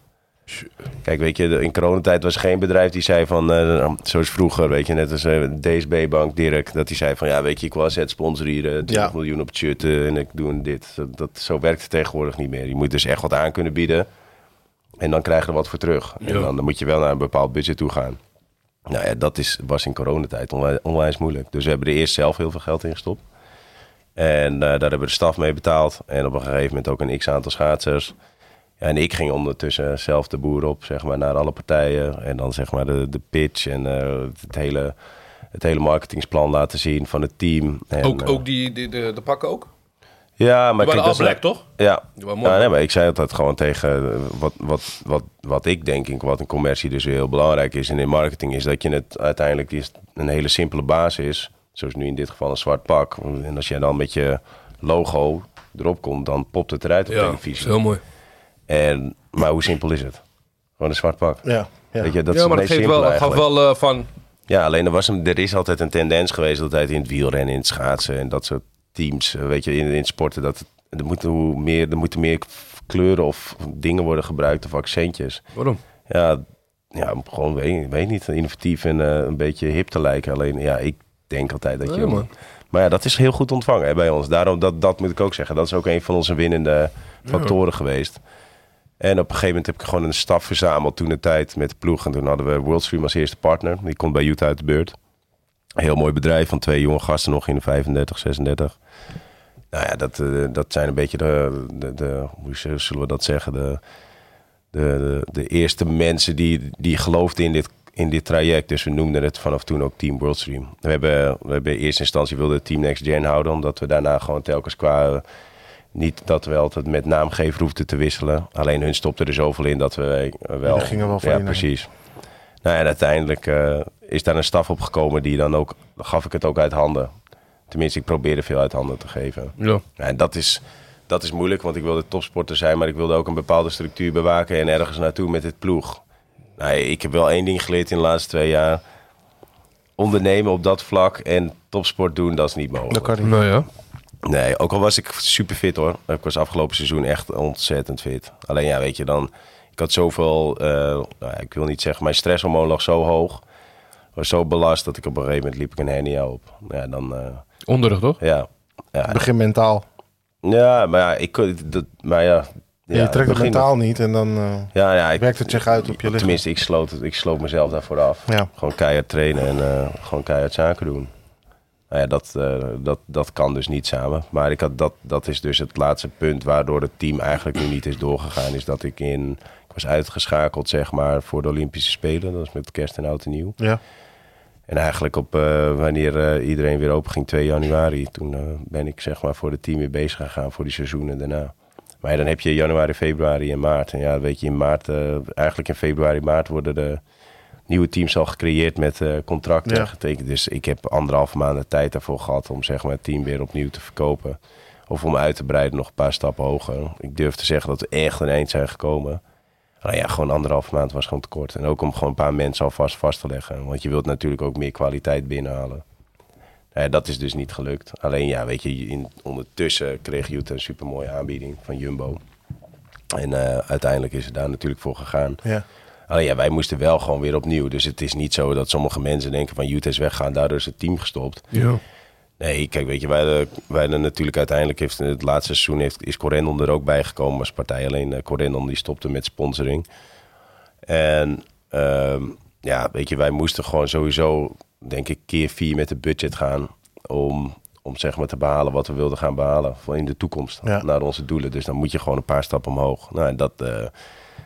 Speaker 3: Kijk, weet je, de- in coronatijd was er geen bedrijf die zei van, eh, zoals vroeger, weet je, net als eh, DSB Bank, Dirk, dat die zei van, ja, weet je, ik wil zet sponsor hier, eh, 20
Speaker 2: Ja.
Speaker 3: miljoen op het shirt eh, en ik doe dit. Dat, dat- zo werkt het tegenwoordig niet meer. Je moet dus echt wat aan kunnen bieden en dan krijg je er wat voor terug.
Speaker 1: Ja.
Speaker 3: En dan, dan moet je wel naar een bepaald budget toe gaan. Nou ja, dat is, was in coronatijd onwij- onwijs moeilijk. Dus we hebben er eerst zelf heel veel geld in gestopt. En eh, daar hebben we de staf mee betaald. En op een gegeven moment ook een x-aantal schaatsers. En ik ging ondertussen zelf de boer op, zeg maar, naar alle partijen. En dan zeg maar de, de pitch en eh, het, hele, het hele marketingsplan laten zien van het team. En,
Speaker 1: Ook,
Speaker 3: eh,
Speaker 1: ook die, die, de, de pakken ook?
Speaker 3: ja, maar
Speaker 1: Die waren
Speaker 3: kijk, dat is-
Speaker 1: aflek, toch?
Speaker 3: ja.
Speaker 1: Die waren mooi.
Speaker 3: ja nee, maar ik zei altijd gewoon tegen eh, wat, wat, wat, wat ik denk, ik, wat in commercie dus heel belangrijk is en in marketing, is dat je het uiteindelijk is een hele simpele basis, zoals nu in dit geval een zwart pak. En als jij dan met je logo erop komt, dan popt het eruit op
Speaker 1: Ja, dat is
Speaker 3: televisie.
Speaker 1: heel mooi.
Speaker 3: En, maar hoe simpel is het? Gewoon een zwart pak.
Speaker 2: Ja, ja.
Speaker 3: Weet je, dat
Speaker 1: ja,
Speaker 3: is
Speaker 1: maar
Speaker 3: het
Speaker 1: dat geeft
Speaker 3: meest simpel
Speaker 1: wel, dat gaf
Speaker 3: eigenlijk.
Speaker 1: wel eh, van...
Speaker 3: Ja, alleen er, was een, er is altijd een tendens geweest altijd in het wielrennen, in het schaatsen en dat soort teams, eh, weet je, in, in het sporten. Dat, het- er, moeten hoe meer, er moeten meer kleuren of dingen worden gebruikt of accentjes.
Speaker 1: Waarom?
Speaker 3: Ja, ja gewoon, weet, weet niet, innovatief en eh, een beetje hip te lijken. Alleen, ja, ik denk altijd dat je...
Speaker 1: Oh, Ja, man.
Speaker 3: Maar ja, dat is heel goed ontvangen hè, bij ons. Daarom, dat, dat moet ik ook zeggen. Dat is ook een van onze winnende factoren geweest. En op een gegeven moment heb ik gewoon een staf verzameld toen de tijd met de ploeg. En toen hadden we Worldstream als eerste partner. Die komt bij Utah uit de beurt. Een heel mooi bedrijf van twee jonge gasten nog in de 35, 36. Nou ja, dat, eh, dat zijn een beetje de, de, de- hoe z- zullen we dat zeggen, de, de, de, de eerste mensen die, die geloofden in dit, in dit traject. Dus we noemden het vanaf toen ook Team Worldstream. We hebben, we hebben in eerste instantie wilden we Team Next Gen houden, omdat we daarna gewoon telkens qua... eh, niet dat we altijd met naamgever hoefden te wisselen. Alleen hun stopte er zoveel in dat we eh, wel...
Speaker 2: Ja, daar gingen we wel van
Speaker 3: Ja,
Speaker 2: in, hè?
Speaker 3: precies. Nou ja, en uiteindelijk eh, is daar een staf op gekomen die dan ook... gaf ik het ook uit handen. Tenminste, ik probeerde veel uit handen te geven.
Speaker 1: Ja.
Speaker 3: Ja, en dat is, dat is moeilijk, want ik wilde topsporter zijn, maar ik wilde ook een bepaalde structuur bewaken en ergens naartoe met dit ploeg. Nou, ik heb wel één ding geleerd in de laatste twee jaar. Ondernemen op dat vlak en topsport doen, dat is niet mogelijk.
Speaker 2: Dat kan niet.
Speaker 1: Nou ja.
Speaker 3: Nee, ook al was ik super fit hoor. Ik was afgelopen seizoen echt ontzettend fit. Alleen ja, weet je dan, ik had zoveel, eh, nou ja, ik wil niet zeggen, mijn stresshormoon lag zo hoog. Was zo belast dat ik op een gegeven moment liep ik een hernia op. Ja, dan, eh,
Speaker 1: Onderrug, toch?
Speaker 3: ja. ja.
Speaker 2: Begin mentaal.
Speaker 3: Ja, maar ja, ik kon- dat, maar ja. ja,
Speaker 2: je trekt het
Speaker 3: begin-
Speaker 2: mentaal niet en dan eh,
Speaker 3: Ja, ja, ik,
Speaker 2: werkt het zich uit op je lichaam.
Speaker 3: tenminste, ik sloot, het- ik sloot mezelf daarvoor af.
Speaker 2: Ja.
Speaker 3: Gewoon keihard trainen en eh, gewoon keihard zaken doen. Nou ja, dat, eh, dat, dat kan dus niet samen. Maar ik had dat, dat is dus het laatste punt waardoor het team eigenlijk nu niet is doorgegaan. Is dat ik in. Ik was uitgeschakeld, zeg maar, voor de Olympische Spelen. Dat was met kerst en oud en nieuw.
Speaker 2: Ja.
Speaker 3: En eigenlijk op eh, wanneer eh, iedereen weer open ging, 2 januari, toen eh, ben ik zeg maar voor het team weer bezig gegaan voor die seizoenen daarna. Maar ja, dan heb je januari, februari en maart. En ja, weet je, in maart, eh, eigenlijk in februari, maart worden de nieuwe teams al gecreëerd met eh, contracten
Speaker 2: Ja.
Speaker 3: getekend. Dus ik heb anderhalf maanden tijd daarvoor gehad om zeg maar het team weer opnieuw te verkopen. Of om uit te breiden nog een paar stappen hoger. Ik durf te zeggen dat we echt een eind zijn gekomen. Nou ja, gewoon anderhalf maand was gewoon tekort. En ook om gewoon een paar mensen alvast vast te leggen. Want je wilt natuurlijk ook meer kwaliteit binnenhalen. Nou ja, dat is dus niet gelukt. Alleen ja, weet je, in, ondertussen kreeg Utah een supermooie aanbieding van Jumbo. En eh, uiteindelijk is het daar natuurlijk voor gegaan.
Speaker 2: Ja.
Speaker 3: Alleen ja, wij moesten wel gewoon weer opnieuw. Dus het is niet zo dat sommige mensen denken van Utah is weggaan, daardoor is het team gestopt.
Speaker 1: Ja.
Speaker 3: Nee, kijk, weet je, wij, hadden- wij hadden natuurlijk uiteindelijk heeft het laatste seizoen heeft, is Corendon er ook bij gekomen als partij. Alleen eh Corendon die stopte met sponsoring. En ehm, ja, weet je, wij moesten gewoon sowieso, denk ik, keer vier met het budget gaan om, om zeg maar te behalen wat we wilden gaan behalen voor in de toekomst
Speaker 2: Ja.
Speaker 3: naar onze doelen. Dus dan moet je gewoon een paar stappen omhoog. Nou, en dat, eh,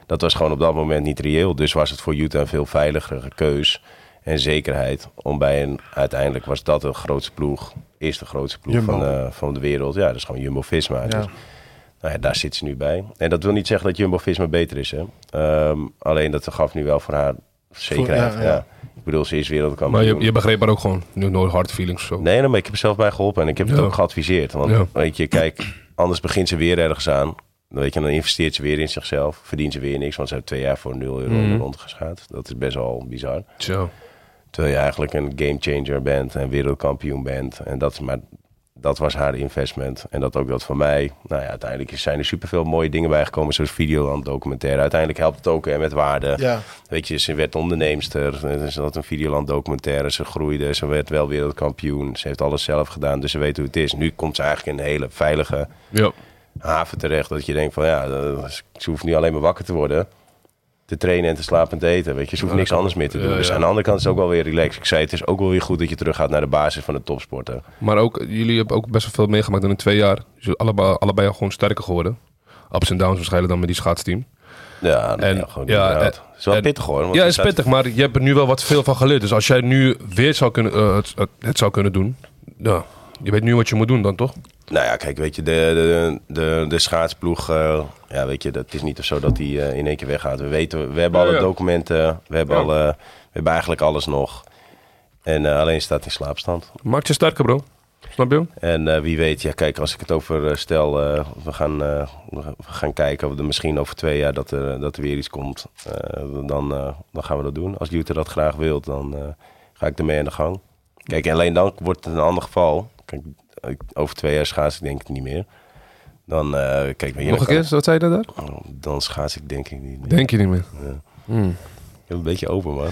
Speaker 3: dat was gewoon op dat moment niet reëel. Dus was het voor Utah een veel veiligere keus en zekerheid. Om bij een, uiteindelijk was dat de grootste ploeg, eerste grootste ploeg
Speaker 2: Jumbo.
Speaker 3: van, eh, van de wereld. Ja, dat is gewoon Jumbo-Visma.
Speaker 2: Ja.
Speaker 3: Dus, nou ja, daar zit ze nu bij. En dat wil niet zeggen dat Jumbo-Visma beter is. Hè? Ehm, alleen dat gaf nu wel voor haar zekerheid.
Speaker 2: ja,
Speaker 3: ja,
Speaker 2: ja.
Speaker 3: bedoel, ze is wereldkampioen.
Speaker 1: Maar je, je begreep maar ook gewoon, nu nooit hard feelings of zo.
Speaker 3: Nee, nee, maar ik heb er zelf bij geholpen en ik heb het
Speaker 1: Ja.
Speaker 3: ook geadviseerd. Want
Speaker 1: Ja.
Speaker 3: weet je, kijk, anders begint ze weer ergens aan. Dan, weet je, dan investeert ze weer in zichzelf, verdient ze weer niks, want ze heeft twee jaar voor 0 euro
Speaker 1: Mhm.
Speaker 3: rondgeschaat. Dat is best wel bizar.
Speaker 1: Zo.
Speaker 3: Terwijl je eigenlijk een gamechanger bent en wereldkampioen bent. En dat, is maar dat was haar investment. En dat ook dat van mij. Nou ja, uiteindelijk zijn er superveel mooie dingen bijgekomen. Zoals Videoland documentaire. Uiteindelijk helpt het ook hè, met waarde.
Speaker 2: Ja.
Speaker 3: Weet je, ze werd onderneemster. Ze had een Videoland documentaire. Ze groeide. Ze werd wel wereldkampioen. Ze heeft alles zelf gedaan. Dus ze weet hoe het is. Nu komt ze eigenlijk in een hele veilige
Speaker 1: Ja.
Speaker 3: haven terecht. Dat je denkt van ja, eh, ze hoeft nu alleen maar wakker te worden. Te trainen en te slapen en te eten. Weet je, ze hoeft niks anders meer te doen.
Speaker 1: Ja,
Speaker 3: Dus
Speaker 1: ja.
Speaker 3: aan de andere kant is het ook wel weer relaxed. Ik zei, het is ook wel weer goed dat je terug gaat naar de basis van de topsporten.
Speaker 1: Maar ook, eh, jullie hebben ook best wel veel meegemaakt in de twee jaar. Dus jullie allebei, allebei al gewoon sterker geworden. Ups en downs waarschijnlijk dan met die schaatsteam.
Speaker 3: Ja, nou
Speaker 1: En-
Speaker 3: ja, gewoon
Speaker 1: ja,
Speaker 3: inderdaad.
Speaker 1: en-
Speaker 3: Het is wel
Speaker 1: en-
Speaker 3: pittig hoor. want
Speaker 1: ja,
Speaker 3: je
Speaker 1: het is
Speaker 3: staat-
Speaker 1: pittig, maar je hebt er nu wel wat veel van geleerd. Dus als jij nu weer zou kunnen, eh, het, het, het zou kunnen doen, ja, je weet nu wat je moet doen dan toch?
Speaker 3: Nou ja, kijk, weet je, de, de, de, de schaatsploeg, eh, ja, weet je, dat het is niet zo dat die eh, in één keer weggaat. We weten, we hebben
Speaker 1: Ja,
Speaker 3: alle
Speaker 1: ja.
Speaker 3: documenten, we hebben,
Speaker 1: Ja.
Speaker 3: alle, we hebben eigenlijk alles nog. En eh, alleen staat in slaapstand.
Speaker 1: Maakt je sterker, bro. Snap je?
Speaker 3: En eh, wie weet, ja, kijk, als ik het over eh, stel, eh, we, gaan, eh, we gaan kijken of er misschien over twee jaar dat er, dat er weer iets komt. eh, dan, eh, dan gaan we dat doen. Als Jutta dat graag wilt, dan eh, ga ik ermee aan de gang. Kijk, en alleen dan wordt het een ander geval. Kijk, ik- over twee jaar schaats ik denk ik niet meer. Dan, eh, kijk, weet
Speaker 1: Nog
Speaker 3: je,
Speaker 1: een
Speaker 3: dan
Speaker 1: keer, wat zei je daar?
Speaker 3: kan- Dan schaats ik denk ik niet meer.
Speaker 1: Denk je niet meer.
Speaker 3: Ik ben een beetje open, man.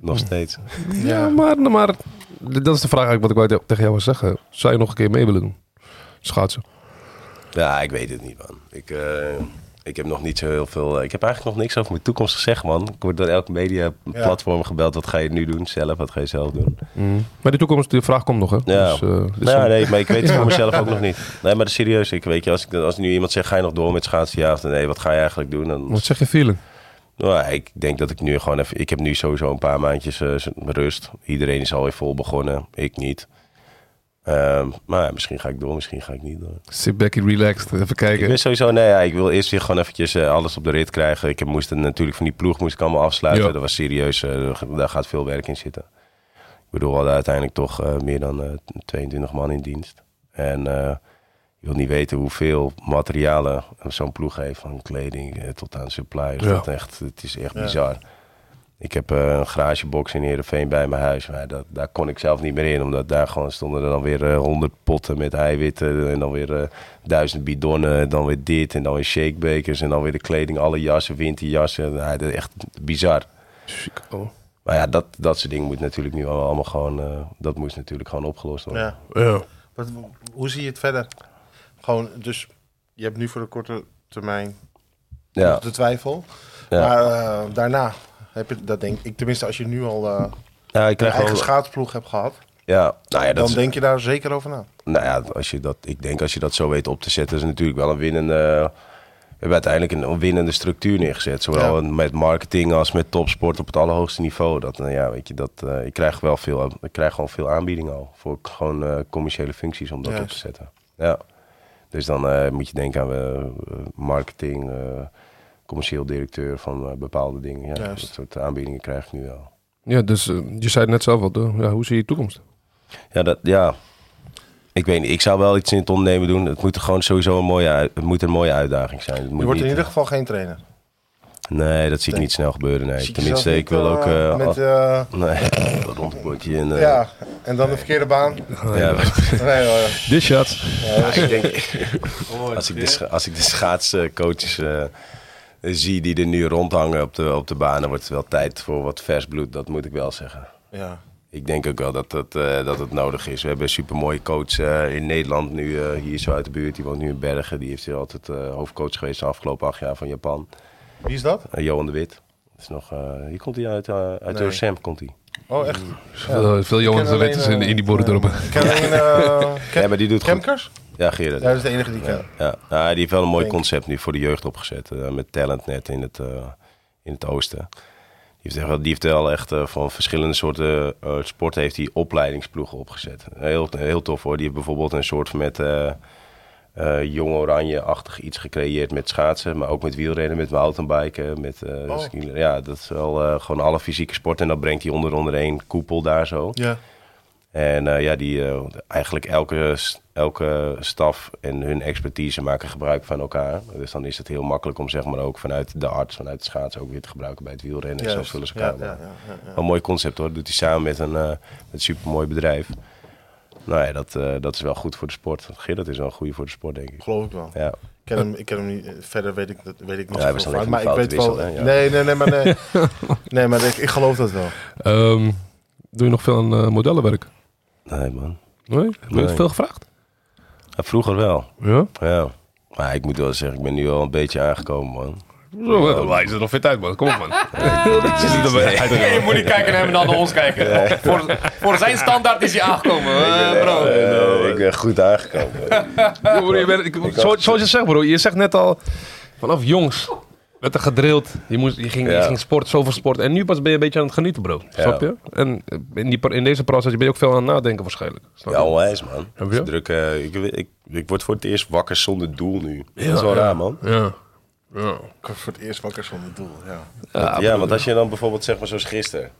Speaker 3: Nog steeds.
Speaker 1: Ja, maar, nou, maar dat is de vraag eigenlijk wat ik wou te- tegen jou wil zeggen. Zou je nog een keer mee willen doen? Schaatsen.
Speaker 3: Ja, ik weet het niet, man. Ik, eh, ik heb nog niet zo heel veel... eh, ik heb eigenlijk nog niks over mijn toekomst gezegd, man. Ik word door elk media-platform gebeld. Wat ga je nu doen zelf? Wat ga je zelf doen?
Speaker 1: Maar de toekomst, de vraag komt nog, hè?
Speaker 3: Ja,
Speaker 1: Dus, eh, dit is
Speaker 3: nou, ja,
Speaker 1: een-
Speaker 3: nee, maar ik weet het voor mezelf ook nog niet. Nee, maar serieus, ik weet je, als, ik, als nu iemand zegt... Ga je nog door met schaatsen? Ja of nee, wat ga je eigenlijk doen? Dan,
Speaker 1: Wat zeg je feeling?
Speaker 3: nou, ik denk dat ik nu gewoon even... Ik heb nu sowieso een paar maandjes eh, z- rust. Iedereen is alweer vol begonnen. Ik niet. Ehm, maar ja, misschien ga ik door, misschien ga ik niet door.
Speaker 1: Sit back and relaxed. Even
Speaker 3: Ik
Speaker 1: kijken.
Speaker 3: ben sowieso, nee, ja, ik wil eerst weer gewoon eventjes eh, alles op de rit krijgen. Ik heb- moest het natuurlijk van die ploeg moest ik allemaal afsluiten.
Speaker 1: Ja.
Speaker 3: Dat was serieus, eh, daar gaat veel werk in zitten. Ik bedoel, we hadden uiteindelijk toch eh, meer dan eh, 22 man in dienst. En eh je wil niet weten hoeveel materialen zo'n ploeg heeft. Van kleding eh, tot aan supplies.
Speaker 1: Ja.
Speaker 3: Dat echt, het is echt bizar. Ik heb eh, een garagebox in Heerenveen bij mijn huis. Maar dat, daar kon ik zelf niet meer in. Omdat daar gewoon stonden er dan weer eh, honderd potten met eiwitten. En dan weer eh, duizend bidonnen. En dan weer dit. En dan weer shakebekers. En dan weer de kleding. Alle jassen, winterjassen. Nou, dat is echt bizar.
Speaker 1: Chic, oh.
Speaker 3: Maar ja, dat, dat soort dingen moet natuurlijk nu allemaal gewoon... eh, dat moest natuurlijk gewoon opgelost worden.
Speaker 2: Ja.
Speaker 1: Ja.
Speaker 2: Wat, hoe zie je het verder? Gewoon, dus je hebt nu voor de korte termijn
Speaker 3: Ja,
Speaker 2: nog de twijfel.
Speaker 3: Ja.
Speaker 2: Maar eh, daarna heb je dat denk ik, tenminste als je nu al eh
Speaker 3: ja ik
Speaker 2: een
Speaker 3: krijg
Speaker 2: eigen
Speaker 3: wel...
Speaker 2: schaatsploeg hebt gehad,
Speaker 3: Ja, nou ja, dat
Speaker 2: dan
Speaker 3: is-
Speaker 2: denk je daar zeker over na.
Speaker 3: Nou ja, als je dat, ik denk als je dat zo weet op te zetten, is het natuurlijk wel een winnende. eh, We hebben uiteindelijk een winnende structuur neergezet. Zowel met marketing als met topsport op het allerhoogste niveau. Dat, nou ja, weet je, dat, eh, ik, krijg wel veel, ik krijg gewoon veel aanbiedingen al. Voor k- gewoon eh, commerciële functies om dat
Speaker 2: Juist.
Speaker 3: op te zetten. Ja. Dus dan eh, moet je denken aan eh, marketing, eh, commercieel directeur van eh, bepaalde dingen. Ja, dat
Speaker 2: Juist.
Speaker 3: soort aanbiedingen krijg ik nu wel.
Speaker 1: Ja, dus eh, je zei het net zelf al. eh, ja, hoe zie je je toekomst?
Speaker 3: Ja, dat, ja. Ik weet niet, ik zou wel iets in het ondernemen doen. Het moet er gewoon sowieso een mooie, uit- het moet een mooie uitdaging zijn. Het moet
Speaker 2: Je wordt
Speaker 3: niet- eh,
Speaker 2: in ieder geval geen trainer.
Speaker 3: Nee, dat zie ik
Speaker 2: Nee.
Speaker 3: niet snel gebeuren. Nee.
Speaker 2: Zie ik
Speaker 3: Tenminste,
Speaker 2: jezelf
Speaker 3: ik wil
Speaker 2: niet,
Speaker 3: ook...
Speaker 2: eh,
Speaker 3: eh,
Speaker 2: met,
Speaker 3: af-
Speaker 2: eh,
Speaker 3: Nee, een rondbordje en... eh,
Speaker 2: ja, en dan de verkeerde baan. Nee
Speaker 3: ja,
Speaker 2: hoor.
Speaker 1: Dit shot.
Speaker 3: Ja, ik denk, als, ik de, scha- als ik de schaatscoaches eh, zie die er nu rondhangen op de, op de baan... dan wordt het wel tijd voor wat vers bloed, dat moet ik wel zeggen.
Speaker 2: Ja.
Speaker 3: Ik denk ook wel dat het, eh, dat het nodig is. We hebben een supermooie coach eh, in Nederland nu, eh, hier zo uit de buurt. Die woont nu in Bergen. Die heeft hier altijd eh, hoofdcoach geweest de afgelopen acht jaar van Japan.
Speaker 2: Wie is dat?
Speaker 3: Eh, Johan de Wit. Dat is nog, eh, hier komt hij uit, eh uit
Speaker 2: Nee.
Speaker 3: OSM komt hij.
Speaker 2: Oh, echt?
Speaker 3: Mm.
Speaker 1: Veel, Eh, veel jongens
Speaker 2: ken
Speaker 1: de wet is in,
Speaker 2: alleen,
Speaker 1: in die borden
Speaker 2: eh,
Speaker 1: dorpen.
Speaker 2: Ik ken alleen eh, Kem-
Speaker 3: Ja, maar die doet het goed.
Speaker 2: Kemkers?
Speaker 3: Ja, Gerard.
Speaker 2: Ja,
Speaker 3: Ja,
Speaker 2: dat is de enige die ik ken.
Speaker 3: ja. Ah, die heeft wel een mooi
Speaker 2: Denk ik.
Speaker 3: concept nu voor de jeugd opgezet. eh, met talentnet in het, eh, in het oosten. Die heeft, echt wel- die heeft wel echt eh, van verschillende soorten eh sporten heeft hij opleidingsploegen opgezet. Heel, heel tof hoor. Die heeft bijvoorbeeld een soort met eh, eh, jong oranje-achtig iets gecreëerd met schaatsen, maar ook met wielrennen, met mountainbiken, met eh,
Speaker 2: Oh.
Speaker 3: skiën. Ja, dat is wel eh, gewoon alle fysieke sport en dat brengt hij onder onder één koepel daar zo.
Speaker 2: Ja.
Speaker 3: En eh, ja, die, eh, eigenlijk elke, s- elke staf en hun expertise maken gebruik van elkaar. Dus dan is het heel makkelijk om zeg maar ook vanuit de arts, vanuit de schaats ook weer te gebruiken bij het wielrennen. En zo
Speaker 2: Juist.
Speaker 3: vullen ze
Speaker 2: Ja,
Speaker 3: elkaar.
Speaker 2: ja,
Speaker 3: maken.
Speaker 2: ja, ja, ja.
Speaker 3: Wel Een mooi concept hoor. Dat doet hij samen met een, eh, met een supermooi bedrijf. Nou ja, dat, eh, dat is wel goed voor de sport. Gerrit is wel een goede voor de sport, denk ik.
Speaker 2: Geloof ik wel.
Speaker 3: Ja.
Speaker 2: Ik ken hem, ik ken hem niet. eh, Verder weet ik, dat weet ik niet
Speaker 3: Ja,
Speaker 2: zo
Speaker 3: we
Speaker 2: veel
Speaker 3: staan
Speaker 2: van,
Speaker 3: even
Speaker 2: Maar
Speaker 3: met
Speaker 2: ik weet
Speaker 3: fouten
Speaker 2: wel...
Speaker 3: wisselen, hè,
Speaker 2: Nee,
Speaker 3: ja.
Speaker 2: nee, nee, maar nee. nee, maar ik, ik geloof dat wel.
Speaker 1: Ehm, doe je nog veel aan eh, modellenwerk?
Speaker 3: Nee, man.
Speaker 1: Nee? Heb je
Speaker 3: Nee.
Speaker 1: veel gevraagd?
Speaker 3: Ja, vroeger wel.
Speaker 1: Ja?
Speaker 3: Ja. Maar ik moet wel zeggen, ik ben nu al een beetje aangekomen, man.
Speaker 1: Zo, eh, Wij zitten er nog fit uit, man. Kom op, man. Dat is niet dat we uit-
Speaker 5: Nee, je moet niet kijken naar hem en dan naar ons kijken. Voor, voor zijn standaard is hij aangekomen, eh, bro.
Speaker 3: Eh, ik ben goed aangekomen.
Speaker 1: Ja, broer, je bent- ik- zo- Zoals je zegt, bro. Je zegt net al, vanaf jongs werd er gedrild. Je, moest, je, ging, je
Speaker 3: Ja.
Speaker 1: ging sport, zoveel sport. En nu pas ben je een beetje aan het genieten, bro. Snap je? En eh, in, die, pro- in deze proces ben je ook veel aan het nadenken waarschijnlijk. Snap je?
Speaker 3: Ja, onwijs, man.
Speaker 1: Heb
Speaker 3: Het
Speaker 1: je?
Speaker 3: is Druk, eh, ik, ik, ik word voor het eerst wakker zonder doel nu. dat is wel raar, man.
Speaker 1: Ja.
Speaker 2: Ik word voor het eerst wakker zonder doel, ja.
Speaker 3: Ja, want als je dan bijvoorbeeld, zeg maar zoals gisteren. Het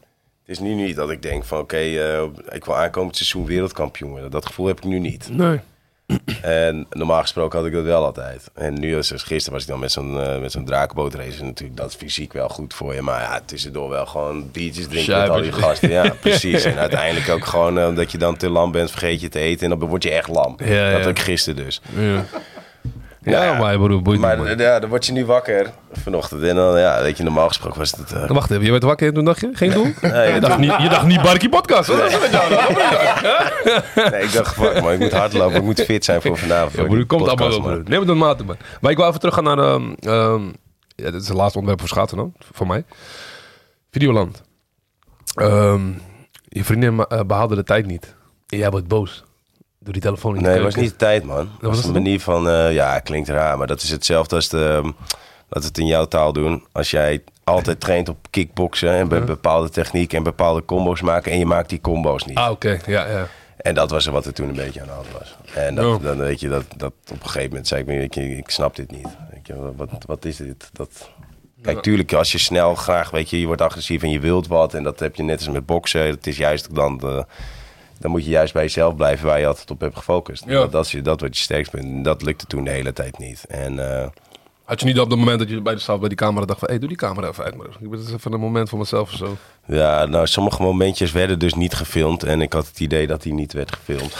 Speaker 3: is nu niet dat ik denk van, oké, eh, ik wil aankomend seizoen wereldkampioen worden. Dat gevoel heb ik nu niet.
Speaker 1: Nee.
Speaker 3: En normaal gesproken had ik dat wel altijd. En nu, als- als gisteren was ik dan met zo'n eh, met zo'n drakenbootrace. En Natuurlijk, dat is fysiek wel goed voor je. Maar ja, tussendoor wel gewoon biertjes drinken met al die gasten. Ja, precies. En uiteindelijk ook gewoon eh, omdat je dan te lam bent, vergeet je te eten. En dan word je echt lam.
Speaker 1: Ja,
Speaker 3: dat
Speaker 1: ja.
Speaker 3: ook gisteren dus.
Speaker 1: Ja, ja maar broer, boeit niet, man.
Speaker 3: Maar ja, dan word je nu wakker vanochtend. En dan, ja, weet je, normaal gesproken was het... eh,
Speaker 1: Wacht even, je werd wakker en toen dacht je, geen doel?
Speaker 3: Nee,
Speaker 1: je, dacht niet, je dacht niet Barkie Podcast, hoor.
Speaker 3: nee, ik dacht, fuck man, ik moet hardlopen. Ik moet fit zijn voor vanavond.
Speaker 1: Ja,
Speaker 3: voor
Speaker 1: broer,
Speaker 3: die
Speaker 1: komt allemaal
Speaker 3: podcast,
Speaker 1: wel, broer.
Speaker 3: man.
Speaker 1: Neem het een mate, man. Maar ik wil even teruggaan naar... ehm ehm, ja, dit is het laatste onderwerp voor schaatsen dan, voor mij. Videoland. Ehm, je vriendin ma- eh, behaalde de tijd niet. En jij wordt boos. Door die telefoon in de
Speaker 3: Nee, het was
Speaker 1: keuken.
Speaker 3: niet de tijd, man. Het was
Speaker 1: was
Speaker 3: een
Speaker 1: het?
Speaker 3: manier van, eh, ja, klinkt raar, maar dat is hetzelfde als de, ehm, dat we het in jouw taal doen. Als jij altijd traint op kickboksen en bij bepaalde techniek en bepaalde combo's maken en je maakt die combo's niet.
Speaker 1: Ah, oké. Ja, ja.
Speaker 3: En dat was er wat er toen een beetje aan de hand was. En dat,
Speaker 1: Ja.
Speaker 3: dan weet je, dat, dat op een gegeven moment zei ik me, ik, ik snap dit niet. Weet je, wat, wat is dit? Dat... Kijk, tuurlijk, als je snel graag, weet je, je wordt agressief en je wilt wat. En dat heb je net als met boksen. Het is juist dan, de- dan moet je juist bij jezelf blijven waar je altijd op hebt gefocust.
Speaker 1: Ja.
Speaker 3: Dat, dat, is, je- dat wordt je sterkst punt. En Dat lukte toen de hele tijd niet. En eh,
Speaker 1: Had je niet op het moment dat je bij de zaal bij die camera dacht van... Hé, hey, doe die camera even uit, maar ik ben dus even een moment voor mezelf of zo.
Speaker 3: ja, nou, sommige momentjes werden dus niet gefilmd. En ik had het idee dat die niet werd gefilmd.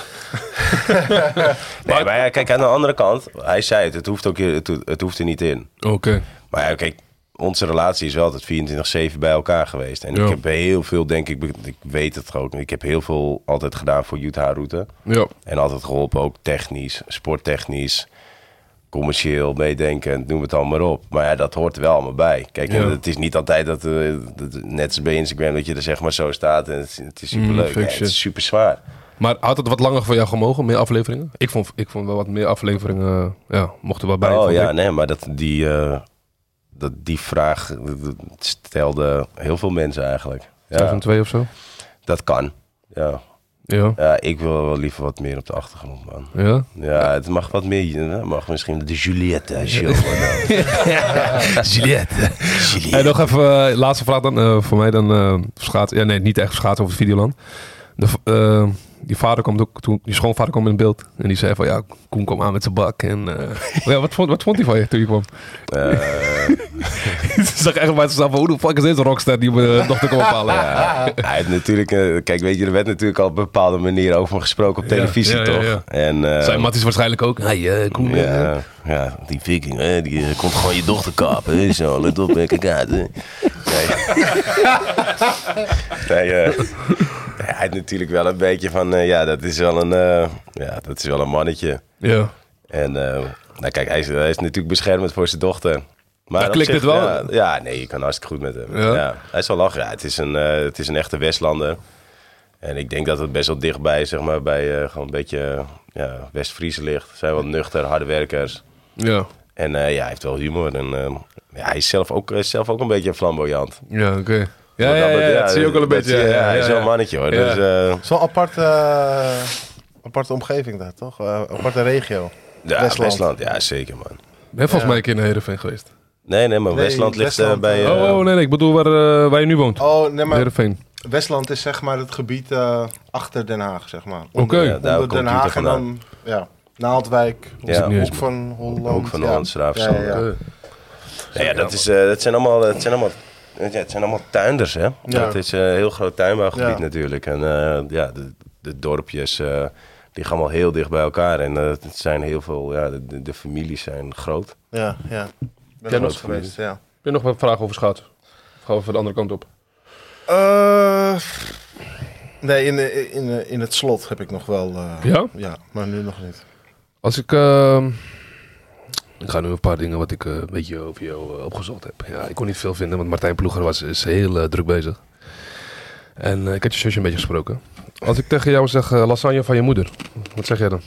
Speaker 3: nee, maar ja, kijk, aan de andere kant, hij zei het, het hoeft, ook, het, het hoeft er niet in.
Speaker 1: Oké.
Speaker 3: Maar ja, kijk, onze relatie is wel altijd 24-7 bij elkaar geweest. En
Speaker 1: Ja.
Speaker 3: ik heb heel veel, denk ik, be- ik weet het ook, ik heb heel veel altijd gedaan voor Utah Route.
Speaker 1: Ja.
Speaker 3: En altijd geholpen, ook technisch, sporttechnisch, commercieel, meedenken, noem het allemaal maar op. Maar ja, dat hoort er wel allemaal bij. Kijk, en
Speaker 1: Ja.
Speaker 3: het is niet altijd dat, eh, dat- net als bij Instagram, dat je er zeg maar zo staat en het, is- het is superleuk.
Speaker 1: fix
Speaker 3: Ja, het
Speaker 1: Mm, shit.
Speaker 3: is super zwaar.
Speaker 1: Maar had het wat langer voor jou gemogen, meer afleveringen? Ik vond, ik vond wel wat meer afleveringen, ja, mochten wel bij.
Speaker 3: Oh
Speaker 1: vond ik.
Speaker 3: ja, nee, maar dat, die, eh, dat, die vraag eh, stelde heel veel mensen eigenlijk. Ja.
Speaker 1: 2002 of zo?
Speaker 3: Dat kan. Ja.
Speaker 1: Ja.
Speaker 3: ja, ik wil wel liever wat meer op de achtergrond, man.
Speaker 1: Ja?
Speaker 3: Ja, het mag wat meer. Het mag misschien de Juliette show worden.
Speaker 1: Juliette.
Speaker 3: Juliette.
Speaker 1: Hey, nog even, eh, laatste vraag dan. eh, voor mij dan eh schaatsen. Ja, nee, niet echt schaatsen over het Videoland. De, v- eh, die vader kwam ook toen, die schoonvader kwam in beeld. En die zei van, ja, Koen kwam aan met zijn bak. En eh, ja, wat, vond, wat vond hij van je toen je kwam?
Speaker 3: Eh.
Speaker 1: Ze zag echt bij zichzelf van, hoe de fuck is deze rockster die mijn eh, dochter kwam ophalen?
Speaker 3: Ja, hij heeft natuurlijk, eh, kijk, weet je, er werd natuurlijk al op een bepaalde manier over me gesproken op
Speaker 1: Ja,
Speaker 3: televisie,
Speaker 1: ja, ja,
Speaker 3: toch?
Speaker 1: ja.
Speaker 3: En, eh,
Speaker 1: Zijn Matties waarschijnlijk ook. Hey, eh, Koen. eh,
Speaker 3: ja, ja, die viking, hè, die eh, komt gewoon je dochter kapen. hè, Zo, let op, hè, kijk uit. hè. Nee, nee eh, hij heeft natuurlijk wel een beetje van, eh, ja, dat is wel een, eh, ja, dat is wel een mannetje.
Speaker 1: ja.
Speaker 3: En eh, nou kijk, hij is, hij is natuurlijk beschermend voor zijn dochter. Maar
Speaker 1: Ja,
Speaker 3: op
Speaker 1: klikt
Speaker 3: zich,
Speaker 1: het wel?
Speaker 3: Ja, ja, nee, je kan hartstikke goed met hem.
Speaker 1: Ja?
Speaker 3: Ja. hij is wel lachen. Ja, het, is een, eh, het is een echte Westlander. En ik denk dat het best wel dichtbij, zeg maar, bij eh, gewoon een beetje eh, ja, West-Friese ligt. Zijn wel nuchter, harde werkers.
Speaker 1: Ja.
Speaker 3: En eh, ja, hij heeft wel humor. En eh, ja, hij is zelf ook, eh, zelf ook een beetje flamboyant.
Speaker 1: Ja, oké. Ja,
Speaker 3: Want
Speaker 1: ja,
Speaker 3: dat-
Speaker 1: ja, ja, dat zie je ook wel een
Speaker 3: dat
Speaker 1: beetje.
Speaker 3: zie je,
Speaker 1: ja, ja,
Speaker 3: hij is wel
Speaker 1: ja.
Speaker 3: een mannetje hoor.
Speaker 1: Ja.
Speaker 3: Dus, eh,
Speaker 2: Het is wel een aparte, eh, aparte omgeving daar, toch? Eh, aparte regio.
Speaker 3: Ja, Westland.
Speaker 2: Westland.
Speaker 3: Ja, zeker man.
Speaker 1: Ik ben volgens mij een keer naar Heerenveen geweest.
Speaker 3: Nee, nee, maar
Speaker 2: Nee,
Speaker 3: Westland ligt eh,
Speaker 2: Westland, eh,
Speaker 3: bij... eh,
Speaker 1: Oh, oh, nee, nee, ik bedoel waar, eh, waar je nu woont.
Speaker 2: Oh, nee, maar
Speaker 1: Heerenveen.
Speaker 2: Westland is zeg maar het gebied eh, achter Den Haag, zeg maar.
Speaker 1: Oké.
Speaker 3: ja, daar
Speaker 2: Onder
Speaker 3: komt
Speaker 2: Den
Speaker 3: Utrecht
Speaker 2: Haag en dan, ja, Naaldwijk,
Speaker 3: Ja.
Speaker 2: Hoek van Holland.
Speaker 3: Hoek van
Speaker 2: ja.
Speaker 3: Holland, Schraafstand,
Speaker 2: Ja, ja, ja.
Speaker 1: Eh,
Speaker 3: Ja, ja, dat, is, eh, dat zijn allemaal, dat zijn allemaal, ja, het zijn allemaal tuinders, hè? Dat is eh, een heel groot
Speaker 2: Ja.
Speaker 3: tuinbouwgebied natuurlijk. En eh, ja, de, de dorpjes eh liggen allemaal heel dicht bij elkaar. En eh, het zijn heel veel, ja, de, de, de families zijn groot.
Speaker 2: ja, ja. Ik ben
Speaker 1: Ken
Speaker 2: er wel
Speaker 1: ons
Speaker 2: eens geweest, ja.
Speaker 1: Heb je nog wat vragen over schaatsen? Of gaan we even de andere kant op?
Speaker 2: Eh, nee, in, de- in, de- in het slot heb ik nog wel... eh,
Speaker 1: Ja?
Speaker 2: Ja, maar nu nog niet.
Speaker 1: Als ik. ehm, ik ga nu een paar dingen wat ik eh, een beetje over jou eh, opgezocht heb. Ja, ik kon niet veel vinden, want Martijn Ploeger was, is heel eh, druk bezig. En eh, ik had je zusje een beetje gesproken. Als ik tegen jou zeg eh, lasagne van je moeder, wat zeg jij dan?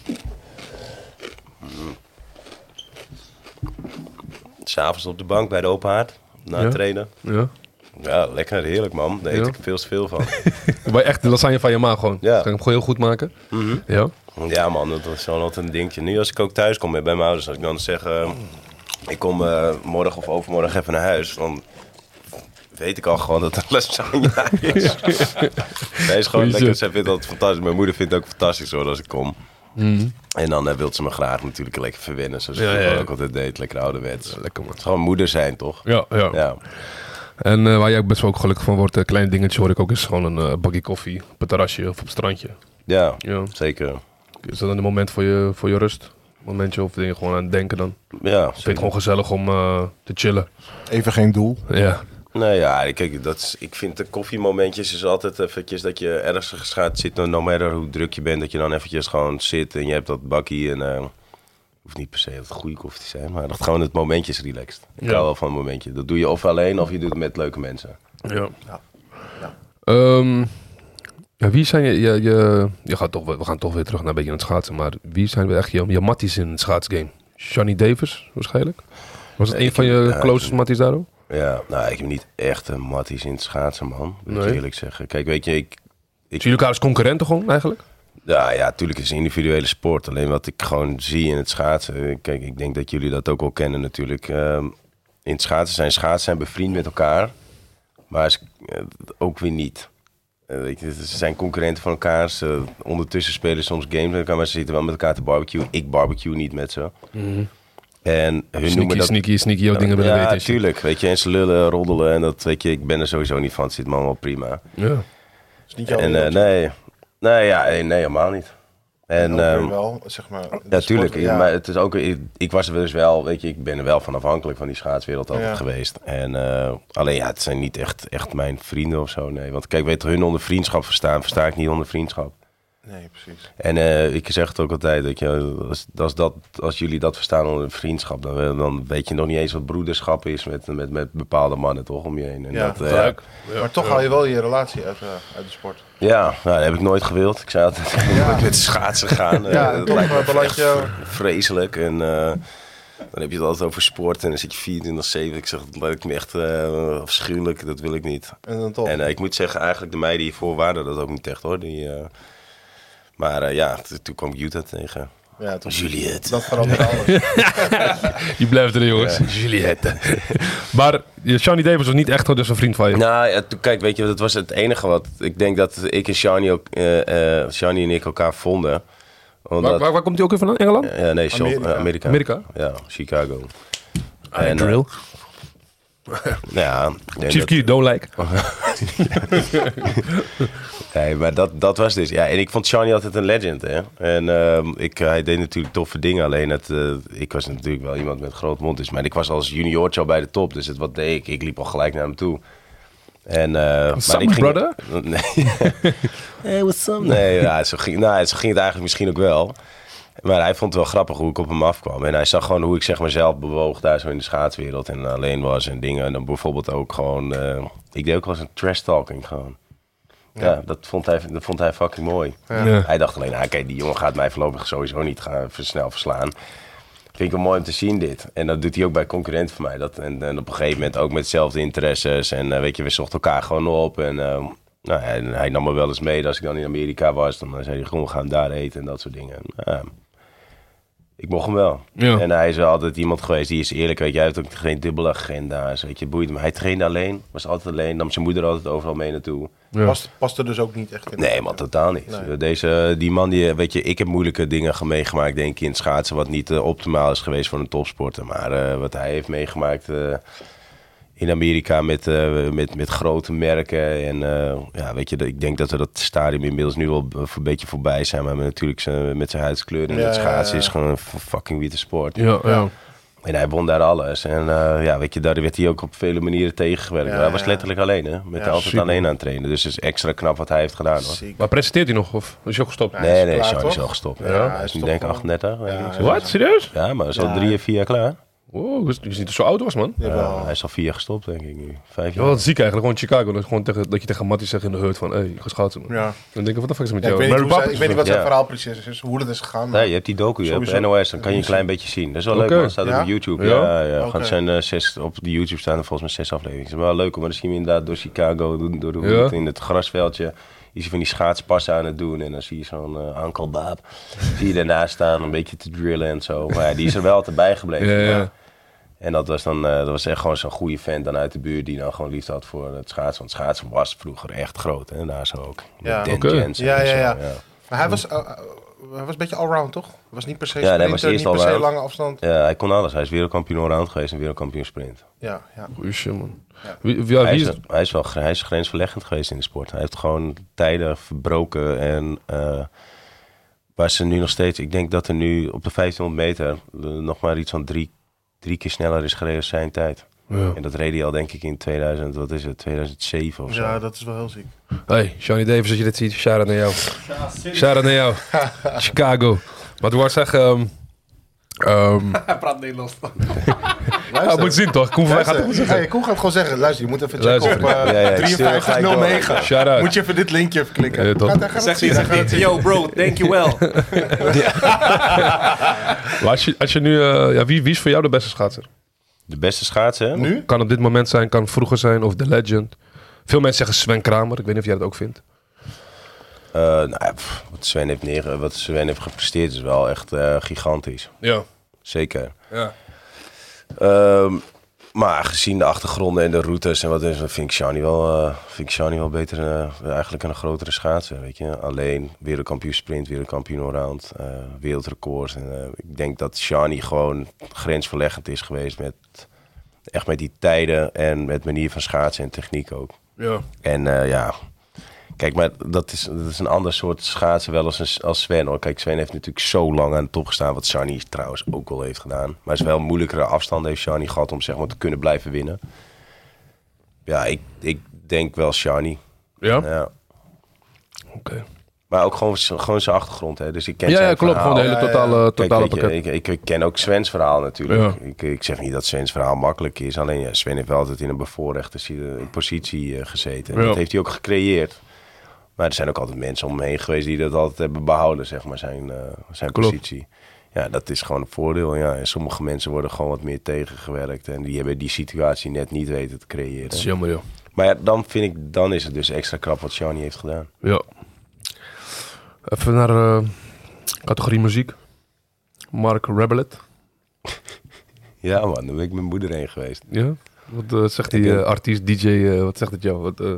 Speaker 3: S'avonds op de bank bij de open haard, na
Speaker 1: Ja.
Speaker 3: het trainen.
Speaker 1: Ja.
Speaker 3: Ja, lekker, heerlijk man. Daar eet
Speaker 1: Ja.
Speaker 3: ik veel te veel van.
Speaker 1: Maar echt de lasagne van je ma gewoon.
Speaker 3: Ja.
Speaker 1: Kan ik hem gewoon heel goed maken? Ja.
Speaker 3: Ja, man, dat was zo'n altijd een dingetje. Nu als ik ook thuis kom bij mijn ouders, als ik dan zeg... eh, ik kom eh, morgen of overmorgen even naar huis, dan weet ik al gewoon dat het lasagne is. Nee, is gewoon
Speaker 1: Goeie
Speaker 3: lekker.
Speaker 1: zin.
Speaker 3: Zij vindt dat fantastisch. Mijn moeder vindt het ook fantastisch hoor, als ik kom. En dan eh, wil ze me graag natuurlijk lekker verwennen, zoals ze
Speaker 1: Mhm. Ja, ja, ja.
Speaker 3: vroeger ook altijd deed. Lekker ouderwets. Het
Speaker 1: Lekker man.
Speaker 3: is gewoon moeder zijn, toch?
Speaker 1: Ja, ja.
Speaker 3: Ja,
Speaker 1: En eh, waar jij ook best wel ook gelukkig van wordt, een klein dingetje hoor ik ook, is gewoon een eh, bakje koffie op het terrasje of op het strandje.
Speaker 3: ja,
Speaker 1: Ja.
Speaker 3: zeker.
Speaker 1: Is dat dan een moment voor je, voor je rust? Momentje of dingen gewoon aan het denken dan?
Speaker 3: Ja,
Speaker 1: Ik vind het gewoon gezellig om eh, te chillen.
Speaker 2: Even geen doel.
Speaker 1: Ja.
Speaker 3: Nou ja, kijk, dat is, ik vind de koffiemomentjes is altijd eventjes dat je ergens gaat zitten, no matter hoe druk je bent, dat je dan eventjes gewoon zit en je hebt dat bakkie en eh hoeft niet per se dat het goede koffie te zijn, maar dat gewoon het momentje is relaxed. Ik
Speaker 1: Ja.
Speaker 3: hou wel van een momentje. Dat doe je of alleen of je doet het met leuke mensen.
Speaker 1: Ja. Ehm, ja, wie zijn je... je, je, je gaat toch, we gaan toch weer terug naar een beetje aan het schaatsen. Maar wie zijn echt je, je matties in het schaatsgame? Johnny Davis waarschijnlijk? Was het een van je
Speaker 3: ja,
Speaker 1: closest matties daarom?
Speaker 3: Ja, nou, ik heb niet echt een matties in het schaatsen, man. Moet ik
Speaker 1: Nee.
Speaker 3: eerlijk zeggen. Kijk, weet je, ik,
Speaker 1: Zien jullie elkaar als concurrenten gewoon eigenlijk?
Speaker 3: Ja, ja, natuurlijk is het een individuele sport. Alleen wat ik gewoon zie in het schaatsen. eh, Kijk, ik denk dat jullie dat ook wel kennen natuurlijk. Ehm, in het schaatsen zijn schaatsen zijn bevriend met elkaar. Maar ze- eh, ook weer niet. Eh, weet je, ze zijn concurrenten van elkaar. Ze, ondertussen spelen ze soms games met elkaar. Maar ze zitten wel met elkaar te barbecue. Ik barbecue niet met ze. En hun
Speaker 1: Mhm. Sneaky,
Speaker 3: noemen dat...
Speaker 1: sneaky, sneaky, jouw dingen willen
Speaker 3: ja,
Speaker 1: weten. is je.
Speaker 3: natuurlijk. Weet je, en ze lullen, roddelen. En dat, weet je, ik ben er sowieso niet van. Het zit me allemaal prima.
Speaker 1: Ja.
Speaker 2: Is niet jouw
Speaker 3: En eh,
Speaker 2: wereld.
Speaker 3: nee, nee, ja, nee, nee, helemaal niet. En
Speaker 2: Ook weer
Speaker 3: ehm,
Speaker 2: wel, zeg maar. de
Speaker 3: ja, tuurlijk.
Speaker 2: sport- ja.
Speaker 3: Maar het is ook, ik, ik was er dus wel, weet je, ik ben er wel van afhankelijk van die schaatswereld altijd
Speaker 2: Ja.
Speaker 3: geweest. En eh, alleen ja, het zijn niet echt, echt mijn vrienden of zo. Nee, want kijk, weet je, hun onder vriendschap verstaan, versta ik niet onder vriendschap.
Speaker 2: Nee, precies.
Speaker 3: En eh, ik zeg het ook altijd, dat je, als, als, dat, als jullie dat verstaan onder vriendschap, dan, eh, dan weet je nog niet eens wat broederschap is met, met, met bepaalde mannen toch om je heen. En
Speaker 2: Ja,
Speaker 3: dat, eh,
Speaker 1: Tuurlijk.
Speaker 2: maar toch haal je wel je relatie uit, eh, uit de sport.
Speaker 3: ja, nou, dat heb ik nooit gewild. Ik zei altijd, ik wil nooit met schaatsen gaan.
Speaker 2: Ja,
Speaker 3: Eh, dat
Speaker 2: toch,
Speaker 3: lijkt me
Speaker 2: maar dan
Speaker 3: echt
Speaker 2: laat je-
Speaker 3: v- vreselijk. En eh, dan heb je het altijd over sport en dan zit je 24 7. Ik zeg, dat lijkt me echt eh, afschuwelijk, dat wil ik niet.
Speaker 2: En dan toch.
Speaker 3: En eh, ik moet zeggen, eigenlijk de meiden hiervoor waren dat ook niet echt hoor. Die, eh, maar eh, ja, t- toen kwam ik Utah tegen.
Speaker 2: ja, toch.
Speaker 3: Juliet.
Speaker 2: Dat verandert alles.
Speaker 1: Je blijft erin,
Speaker 3: Eh,
Speaker 1: jongens. Juliette. maar eh, Johnny Davis was niet echt dus een vriend van je.
Speaker 3: Nou, ja, toen- kijk, weet je, dat was het enige wat... Ik denk dat ik en Shani, ook, eh, eh, Shani en ik elkaar vonden. Omdat,
Speaker 1: waar, waar, waar komt hij ook weer vandaan? Engeland?
Speaker 3: Ja, nee, Sean-
Speaker 2: Amerika.
Speaker 3: eh, Amerika.
Speaker 1: Amerika?
Speaker 3: Ja, Chicago.
Speaker 1: I
Speaker 3: En, eh,
Speaker 1: drill.
Speaker 3: Nou Ja, en
Speaker 1: Chief
Speaker 3: dat-
Speaker 1: Key, don't like.
Speaker 2: Oh.
Speaker 3: nee, maar dat, dat was dus. Ja, en ik vond Shani altijd een legend, hè. En ehm, ik, hij deed natuurlijk toffe dingen. Alleen het, eh, ik was natuurlijk wel iemand met groot mond. Dus, maar ik was als juniortje al bij de top. Dus het, wat deed ik? Ik liep al gelijk naar hem toe. En, eh, maar
Speaker 1: Some
Speaker 3: ik ging,
Speaker 1: brother?
Speaker 3: Nee. hey, what's up? Nee, ja, zo, ging, nou, zo ging het eigenlijk misschien ook wel. Maar hij vond het wel grappig hoe ik op hem afkwam. En hij zag gewoon hoe ik zeg maar zelf bewoog daar zo in de schaatswereld. En alleen was en dingen. En dan bijvoorbeeld ook gewoon... eh, ik deed ook wel eens een trash talking gewoon. Ja, dat, vond hij, dat vond hij fucking mooi.
Speaker 1: Ja.
Speaker 3: Hij dacht alleen, nou, kijk, die jongen gaat mij voorlopig sowieso niet gaan, snel verslaan. Vind ik wel mooi om te zien dit. En dat doet hij ook bij concurrenten van mij. Dat, en, en op een gegeven moment ook met dezelfde interesses. En eh, weet je, we zochten elkaar gewoon op. En, ehm, nou, en hij nam me wel eh, eens mee. dat Als ik dan in Amerika was, dan eh, zei hij gewoon, we gaan daar eten en dat soort dingen. En, ja, Ik mocht hem wel.
Speaker 1: Ja.
Speaker 3: En hij is wel altijd iemand geweest, die is eerlijk, weet je, hij heeft ook geen dubbele agenda's, weet je, boeit hem. Hij trainde alleen, was altijd alleen, nam zijn moeder altijd overal mee naartoe.
Speaker 2: Past, past er dus ook niet echt in.
Speaker 3: Nee, man, totaal niet.
Speaker 2: Nee.
Speaker 3: Deze, die man, die, eh, weet je, ik heb moeilijke dingen ge- meegemaakt, denk ik, in het schaatsen, wat niet eh, optimaal is geweest voor een topsporter. Maar eh, wat hij heeft meegemaakt eh, in Amerika met, eh, met, met grote merken. En eh, ja, weet je, dat- ik denk dat we dat stadium inmiddels nu wel b- een beetje voorbij zijn. Maar natuurlijk zijn, met zijn huidskleur en
Speaker 2: Ja,
Speaker 3: het
Speaker 2: ja,
Speaker 3: schaatsen
Speaker 2: ja.
Speaker 3: is gewoon een f- fucking witte sport.
Speaker 1: Ja, ja.
Speaker 3: En hij won daar alles. En eh, ja, weet je, daar werd hij ook op vele manieren tegengewerkt.
Speaker 2: Ja,
Speaker 3: Maar hij was
Speaker 2: ja.
Speaker 3: letterlijk alleen, hè. Met
Speaker 2: Ja,
Speaker 3: altijd
Speaker 1: super.
Speaker 3: alleen aan het trainen. Dus het is extra knap wat hij heeft gedaan, hoor.
Speaker 2: Ziek.
Speaker 1: Maar presenteert hij nog? Of is hij ook gestopt?
Speaker 2: Ja.
Speaker 3: Nee,
Speaker 2: is
Speaker 3: nee,
Speaker 2: klaar,
Speaker 3: Sean is
Speaker 2: toch?
Speaker 3: al gestopt.
Speaker 2: Ja,
Speaker 3: Ja,
Speaker 2: hij
Speaker 3: hij is
Speaker 2: is
Speaker 3: nu
Speaker 2: toch
Speaker 3: denk ik
Speaker 2: wel-
Speaker 3: 38. weet ik
Speaker 2: Ja,
Speaker 3: niet.
Speaker 1: Wat? Serieus?
Speaker 3: Ja, maar hij is al drie en vier jaar klaar.
Speaker 1: Wow, ik wist ik wist niet dat hij zo oud was, man.
Speaker 3: Ja,
Speaker 2: Jawel.
Speaker 3: hij is al vier jaar gestopt, denk ik nu. Vijf
Speaker 1: Ja,
Speaker 3: jaar.
Speaker 1: wat ziek eigenlijk. Gewoon Chicago. Dat, je gewoon tegen, dat je tegen Matty zegt in de hurt van... Hé, hey, ik ga schaatsen, man.
Speaker 2: Ja.
Speaker 1: Dan denk ik, wat de fuck is er met
Speaker 2: Ja, ik,
Speaker 1: jou?
Speaker 2: weet
Speaker 1: Mary
Speaker 2: niet hoe zij- ik
Speaker 1: Poppins
Speaker 2: weet niet wat zijn
Speaker 3: Ja.
Speaker 2: verhaal precies is, hoe dat is gegaan. maar-
Speaker 3: Nee, je hebt die docu hè, op
Speaker 2: Sowieso.
Speaker 3: NOS, dan kan je een klein beetje zien. Dat is wel
Speaker 1: Oké.
Speaker 3: leuk, man. staat
Speaker 2: Ja?
Speaker 3: op YouTube.
Speaker 1: Ja?
Speaker 3: Ja, ja, Gewoon
Speaker 2: Oké.
Speaker 3: zijn, eh, zes, op de YouTube staan er volgens mij zes afleveringen. Het is wel leuk, hoor, maar dan zien we inderdaad door Chicago, door, door de
Speaker 1: Ja?
Speaker 3: hoed, in het grasveldje. Je ziet van die schaatspassen aan het doen en dan zie je zo'n eh, Uncle Baap. zie je daarnaast staan, een beetje te drillen en zo. Maar ja, die is er wel altijd bij gebleven.
Speaker 1: Ja, ja.
Speaker 3: Maar- En dat was dan, eh, dat was echt gewoon zo'n goede vent dan uit de buurt die dan gewoon liefde had voor het schaatsen. Want schaatsen was vroeger echt groot en daar zo ook. Met
Speaker 2: Ja.
Speaker 3: Dan
Speaker 1: Oké.
Speaker 3: Jensen
Speaker 2: Ja,
Speaker 3: en
Speaker 2: ja,
Speaker 3: zo,
Speaker 2: ja. Maar hij was, eh, eh, hij was een beetje allround, toch? Hij was niet per se
Speaker 3: Ja, nee,
Speaker 2: sprinter,
Speaker 3: hij was eerst
Speaker 2: niet per se
Speaker 3: allround.
Speaker 2: lange afstand.
Speaker 3: Ja, Eh, hij kon alles. Hij is wereldkampioen allround geweest en wereldkampioen sprint.
Speaker 2: Ja, ja.
Speaker 1: Goeie shit, man. Wie, wie, ja,
Speaker 3: Hij
Speaker 1: wie
Speaker 3: is,
Speaker 1: is...
Speaker 3: hij is wel gr- hij is grensverleggend geweest in de sport. Hij heeft gewoon tijden verbroken en eh, waar ze nu nog steeds... Ik denk dat er nu op de 1500 meter eh, nog maar iets van drie, drie keer sneller is gereden als zijn tijd.
Speaker 1: Ja.
Speaker 3: En dat reed hij al denk ik in 2000, wat is het, 2007 of zo.
Speaker 2: ja, dat is wel heel ziek.
Speaker 1: Hey, Johnny Davis, als je dit ziet, shout-out naar jou. Shout-out naar jou. Chicago. Maar toen was zeggen... ehm, ehm,
Speaker 5: Hij praat Nederlands.
Speaker 1: ja, moet zien, toch? Koen van Wij gaat het goed
Speaker 2: Luister,
Speaker 1: zeggen.
Speaker 2: hey, Koen gaat gewoon zeggen, luister, je moet even checken
Speaker 1: Luister,
Speaker 2: op eh,
Speaker 3: Ja, ja, ik stuur hem gelijk door. Eh,
Speaker 2: 5309.
Speaker 1: Shout-out.
Speaker 2: Moet je even dit linkje even klikken.
Speaker 1: Ja, toch.
Speaker 2: Gaat hij- gaat het
Speaker 5: Zegt hij,
Speaker 2: zien,
Speaker 5: zegt
Speaker 2: hij gaat
Speaker 5: niet. Yo bro, thank you well.
Speaker 1: Maar als je, als je nu, eh, ja, wie, wie is voor jou de beste schaatser?
Speaker 3: De beste schaatsen, hè?
Speaker 2: het zien. Nu?
Speaker 1: Kan op dit moment zijn, kan vroeger zijn of The Legend. Veel mensen zeggen Sven Kramer. Ik weet niet of jij dat ook vindt.
Speaker 3: Eh, nou, ja, pff, wat, Sven heeft neer, wat Sven heeft gepresteerd is wel echt eh, gigantisch.
Speaker 1: Ja.
Speaker 3: Zeker.
Speaker 1: Ja.
Speaker 3: Ehm, maar gezien de achtergronden en de routes en wat is, dan vind ik Shani wel, eh, vind ik Shani wel beter, eh, eigenlijk een grotere schaatser, weet je. Alleen wereldkampioen sprint, wereldkampioen allround, eh wereldrecord. En, eh, ik denk dat Shani gewoon grensverleggend is geweest met, echt met die tijden en met manier van schaatsen en techniek ook.
Speaker 1: Ja.
Speaker 3: En eh, ja, kijk, maar dat is, dat is een ander soort schaatsen wel als, een, als Sven. Hoor. Kijk, Sven heeft natuurlijk zo lang aan de top gestaan, wat Shani trouwens ook al heeft gedaan. Maar het is wel een moeilijkere afstand heeft Shani gehad om zeg maar te kunnen blijven winnen. Ja, ik, ik denk wel Shani.
Speaker 1: Ja?
Speaker 3: Ja.
Speaker 1: Oké.
Speaker 3: Maar ook gewoon, z- gewoon zijn achtergrond, hè. Dus ik ken
Speaker 1: Ja,
Speaker 3: zijn
Speaker 1: ja, klopt.
Speaker 3: verhaal.
Speaker 1: Gewoon de hele
Speaker 2: Ja, ja.
Speaker 1: totale,
Speaker 3: Kijk,
Speaker 1: totale
Speaker 3: weet je,
Speaker 1: pakket.
Speaker 3: ik, ik ken ook Sven's verhaal natuurlijk.
Speaker 1: Ja.
Speaker 3: Ik, ik zeg niet dat Sven's verhaal makkelijk is. Alleen ja, Sven heeft wel altijd in een bevoorrechte si- eh, positie eh, gezeten.
Speaker 1: Ja.
Speaker 3: Dat heeft hij ook gecreëerd. Maar er zijn ook altijd mensen om hem heen geweest die dat altijd hebben behouden, zeg maar, zijn, eh, zijn
Speaker 1: Klopt.
Speaker 3: positie. Ja, dat is gewoon een voordeel. Ja. En sommige mensen worden gewoon wat meer tegengewerkt. En die hebben die situatie net niet weten te creëren.
Speaker 1: Dat is jammer, joh.
Speaker 3: Maar ja, dan vind ik, dan is het dus extra krap wat Shani heeft gedaan.
Speaker 1: Ja. Even naar eh, categorie muziek. Mark Rebelet.
Speaker 3: Ja man, daar ben ik met mijn moeder heen geweest.
Speaker 1: Ja? Wat eh, zegt die
Speaker 3: Ik, eh,
Speaker 1: eh, artiest, DJ, eh, wat zegt het jou? Wat, eh,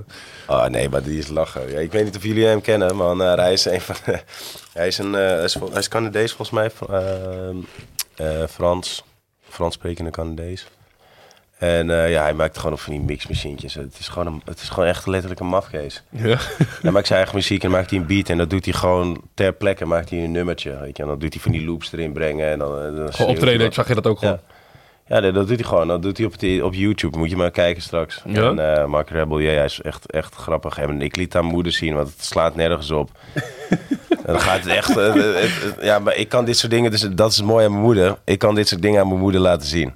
Speaker 3: Ah, nee, maar die is lachen. Ja, ik weet niet of jullie hem kennen, man. Eh, hij is een van. de- hij, is een, eh, hij, is, vol- hij is Canadees, volgens mij. Fr- ehm, eh, Frans. Frans sprekende Canadees. En eh, ja, hij maakt gewoon van die mixmachientjes. Het is gewoon, een, het is gewoon echt letterlijk een mafkees.
Speaker 1: ja.
Speaker 3: Hij maakt zijn eigen muziek en maakt hij een beat. En dat doet hij gewoon ter plekke, maakt hij een nummertje. Weet je. En dan doet hij van die loops erin brengen. En dan, eh, dan schreeuwt hij
Speaker 1: Gewoon optreden,
Speaker 3: wat.
Speaker 1: zag je dat ook gewoon?
Speaker 3: Ja. Ja, nee, dat doet hij gewoon. Dat doet hij op, het- op YouTube. Moet je maar kijken straks.
Speaker 1: Ja.
Speaker 3: En eh, Mark Rebel, ja, hij is echt, echt grappig. En ik liet haar moeder zien, want het slaat nergens op. en dan gaat het echt... eh, het- het- het- ja, maar ik kan dit soort dingen... Dus dat is mooi aan mijn moeder. Ik kan dit soort dingen aan mijn moeder laten zien.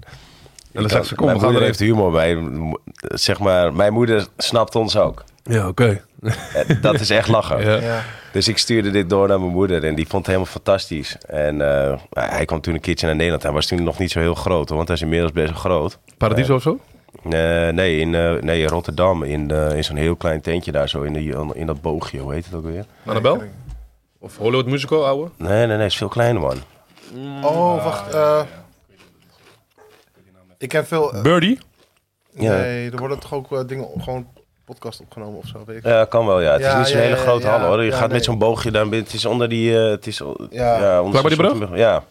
Speaker 1: En dan zegt ze, kom,
Speaker 3: mijn
Speaker 1: we gaan
Speaker 3: moeder
Speaker 1: er
Speaker 3: heeft humor bij. Zeg maar, mijn moeder snapt ons ook.
Speaker 1: Ja, oké.
Speaker 3: Eh, Dat is echt lachen.
Speaker 1: Ja.
Speaker 2: Ja.
Speaker 3: Dus ik stuurde dit door naar mijn moeder en die vond het helemaal fantastisch. En eh, hij kwam toen een keertje naar Nederland. Hij was toen nog niet zo heel groot, hoor, want hij is inmiddels best wel groot.
Speaker 1: Paradiso of zo?
Speaker 3: Eh, nee, in, eh, nee, in Rotterdam, in, eh, in zo'n heel klein tentje daar zo, in, die, in dat boogje, hoe heet het ook weer?
Speaker 1: Annabel? Of Hollywood Musical, ouwe?
Speaker 3: Nee, nee, nee, is veel kleiner, man.
Speaker 2: Oh, wacht. eh, ik heb veel... eh,
Speaker 1: Birdie?
Speaker 3: Ja.
Speaker 2: Nee, er worden toch ook eh, dingen... Gewoon podcast opgenomen of zo, weet ik.
Speaker 3: Ja, kan wel, ja. Het is
Speaker 2: Ja,
Speaker 3: niet zo'n
Speaker 2: ja,
Speaker 3: hele
Speaker 2: ja,
Speaker 3: grote
Speaker 2: ja.
Speaker 3: hal, hoor. Je
Speaker 2: Ja,
Speaker 3: gaat
Speaker 2: nee.
Speaker 3: met zo'n boogje daar binnen. Het is onder die... eh, het is, on-
Speaker 2: Ja.
Speaker 3: ja. onder
Speaker 1: Klaar bij
Speaker 3: zo'n
Speaker 1: die
Speaker 3: soort- Ja.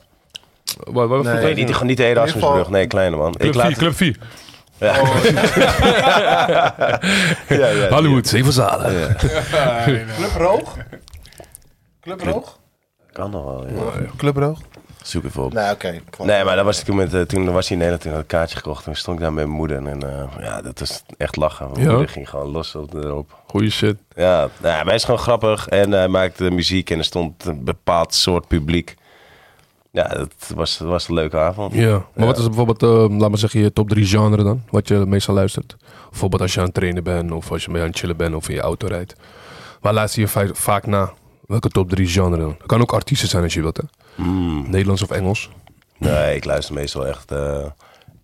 Speaker 1: Waar, waar,
Speaker 2: Nee.
Speaker 3: Ik weet niet, die- niet de
Speaker 2: In ieder
Speaker 3: Erasmusbrug.
Speaker 2: geval-
Speaker 3: Nee, kleine man.
Speaker 1: Club
Speaker 3: Ik laat
Speaker 1: 4, Club 4.
Speaker 3: Ja, ja,
Speaker 1: Hollywood, zeven zalen.
Speaker 2: Club Roog? Club Roog?
Speaker 3: Kan nog wel, ja.
Speaker 2: Club Roog?
Speaker 3: Zoek even op.
Speaker 2: Nee, oké. kwam.
Speaker 3: Nee, maar dat was ik toen, met, eh, toen was hij in Nederland, toen had ik een kaartje gekocht. Toen stond ik daar met mijn moeder en eh, ja, dat is echt lachen. Mijn
Speaker 1: Ja?
Speaker 3: moeder ging gewoon los op erop.
Speaker 1: Goeie shit.
Speaker 3: Ja, nou, ja, hij is gewoon grappig en hij maakte muziek en er stond een bepaald soort publiek. Ja, dat was, dat was een leuke avond.
Speaker 1: Ja, maar wat is bijvoorbeeld, eh, laat maar zeggen, je top 3 genre dan? Wat je meestal luistert? Bijvoorbeeld als je aan het trainen bent, of als je mee aan het chillen bent, of in je auto rijdt. Waar luister je va- vaak na? Welke top 3 genre dan? Het kan ook artiesten zijn als je wilt, hè? Nederlands of Engels.
Speaker 3: Mm. Nee, ik luister meestal echt eh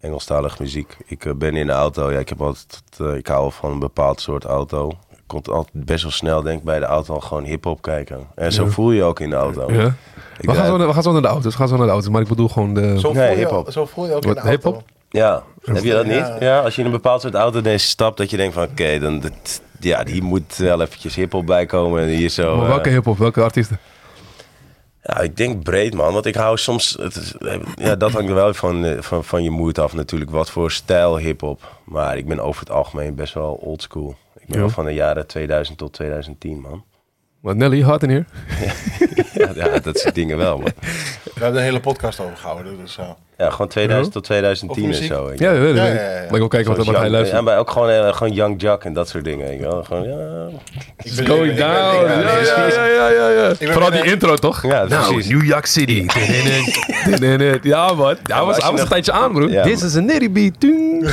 Speaker 3: Engelstalig muziek. Ik eh, ben in de auto. Ja, ik, heb altijd, eh, ik hou van een bepaald soort auto. Ik kon altijd best wel snel, denk ik, bij de auto al gewoon hip-hop kijken. En zo voel je je ook in de auto.
Speaker 1: Ja?
Speaker 3: Ik
Speaker 1: We, gaan
Speaker 3: draai-
Speaker 1: zo naar, we gaan zo naar de auto's, we gaan zo naar de auto's. Maar ik bedoel gewoon de...
Speaker 2: Zo voel,
Speaker 3: Nee,
Speaker 2: je,
Speaker 3: hiphop.
Speaker 2: zo voel je ook
Speaker 1: Wat,
Speaker 2: in de auto.
Speaker 1: hiphop?
Speaker 3: Ja, heb je dat niet?
Speaker 2: Ja.
Speaker 3: Ja. als je in een bepaald soort auto deze stapt, dat je denkt van oké, dan dit, ja, die moet wel eventjes hip-hop bijkomen en hier zo.
Speaker 1: Maar
Speaker 3: eh,
Speaker 1: welke hip-hop, welke artiesten?
Speaker 3: Ja, ik denk breed, man. Want ik hou soms... Het is, ja, dat hangt er wel van, eh, van, van je moed af natuurlijk. Wat voor stijl hiphop. Maar ik ben over het algemeen best wel oldschool. Ik ben
Speaker 1: Ja.
Speaker 3: wel van de jaren 2000 tot 2010, man.
Speaker 1: Want Nelly, hard in hier.
Speaker 3: Ja, ja, dat soort dingen wel, man.
Speaker 2: We hebben een hele podcast over gehouden, dus... eh,
Speaker 3: Ja, gewoon 2000
Speaker 1: Ja.
Speaker 3: tot
Speaker 2: Of
Speaker 3: 2010 en
Speaker 2: muziek.
Speaker 3: zo. weet je.
Speaker 1: Ja, dat weet ik.
Speaker 2: Ja,
Speaker 1: weet ik.
Speaker 2: ja, ja, ja.
Speaker 1: Maar ik wil kijken wat,
Speaker 3: Zoals
Speaker 1: wat hij
Speaker 3: Young-
Speaker 1: luistert.
Speaker 3: Ja, maar ook gewoon, eh, gewoon Young Jack en dat soort dingen. Weet je wel. Gewoon, ja,
Speaker 2: ik
Speaker 1: Going
Speaker 2: ben- ik ben- ik ben-
Speaker 1: down.
Speaker 2: ik ben-
Speaker 1: Ja, ja, ja, ja, ja, ja. Vooral die
Speaker 2: weer-
Speaker 1: intro, toch? Nou,
Speaker 3: ja precies.
Speaker 1: New York City. ja, man. Hij was,
Speaker 3: als je
Speaker 1: hij was een
Speaker 3: nog-
Speaker 1: tijdje aan, broer.
Speaker 3: Ja,
Speaker 1: This
Speaker 3: maar-
Speaker 1: is a nitty beat. Toen.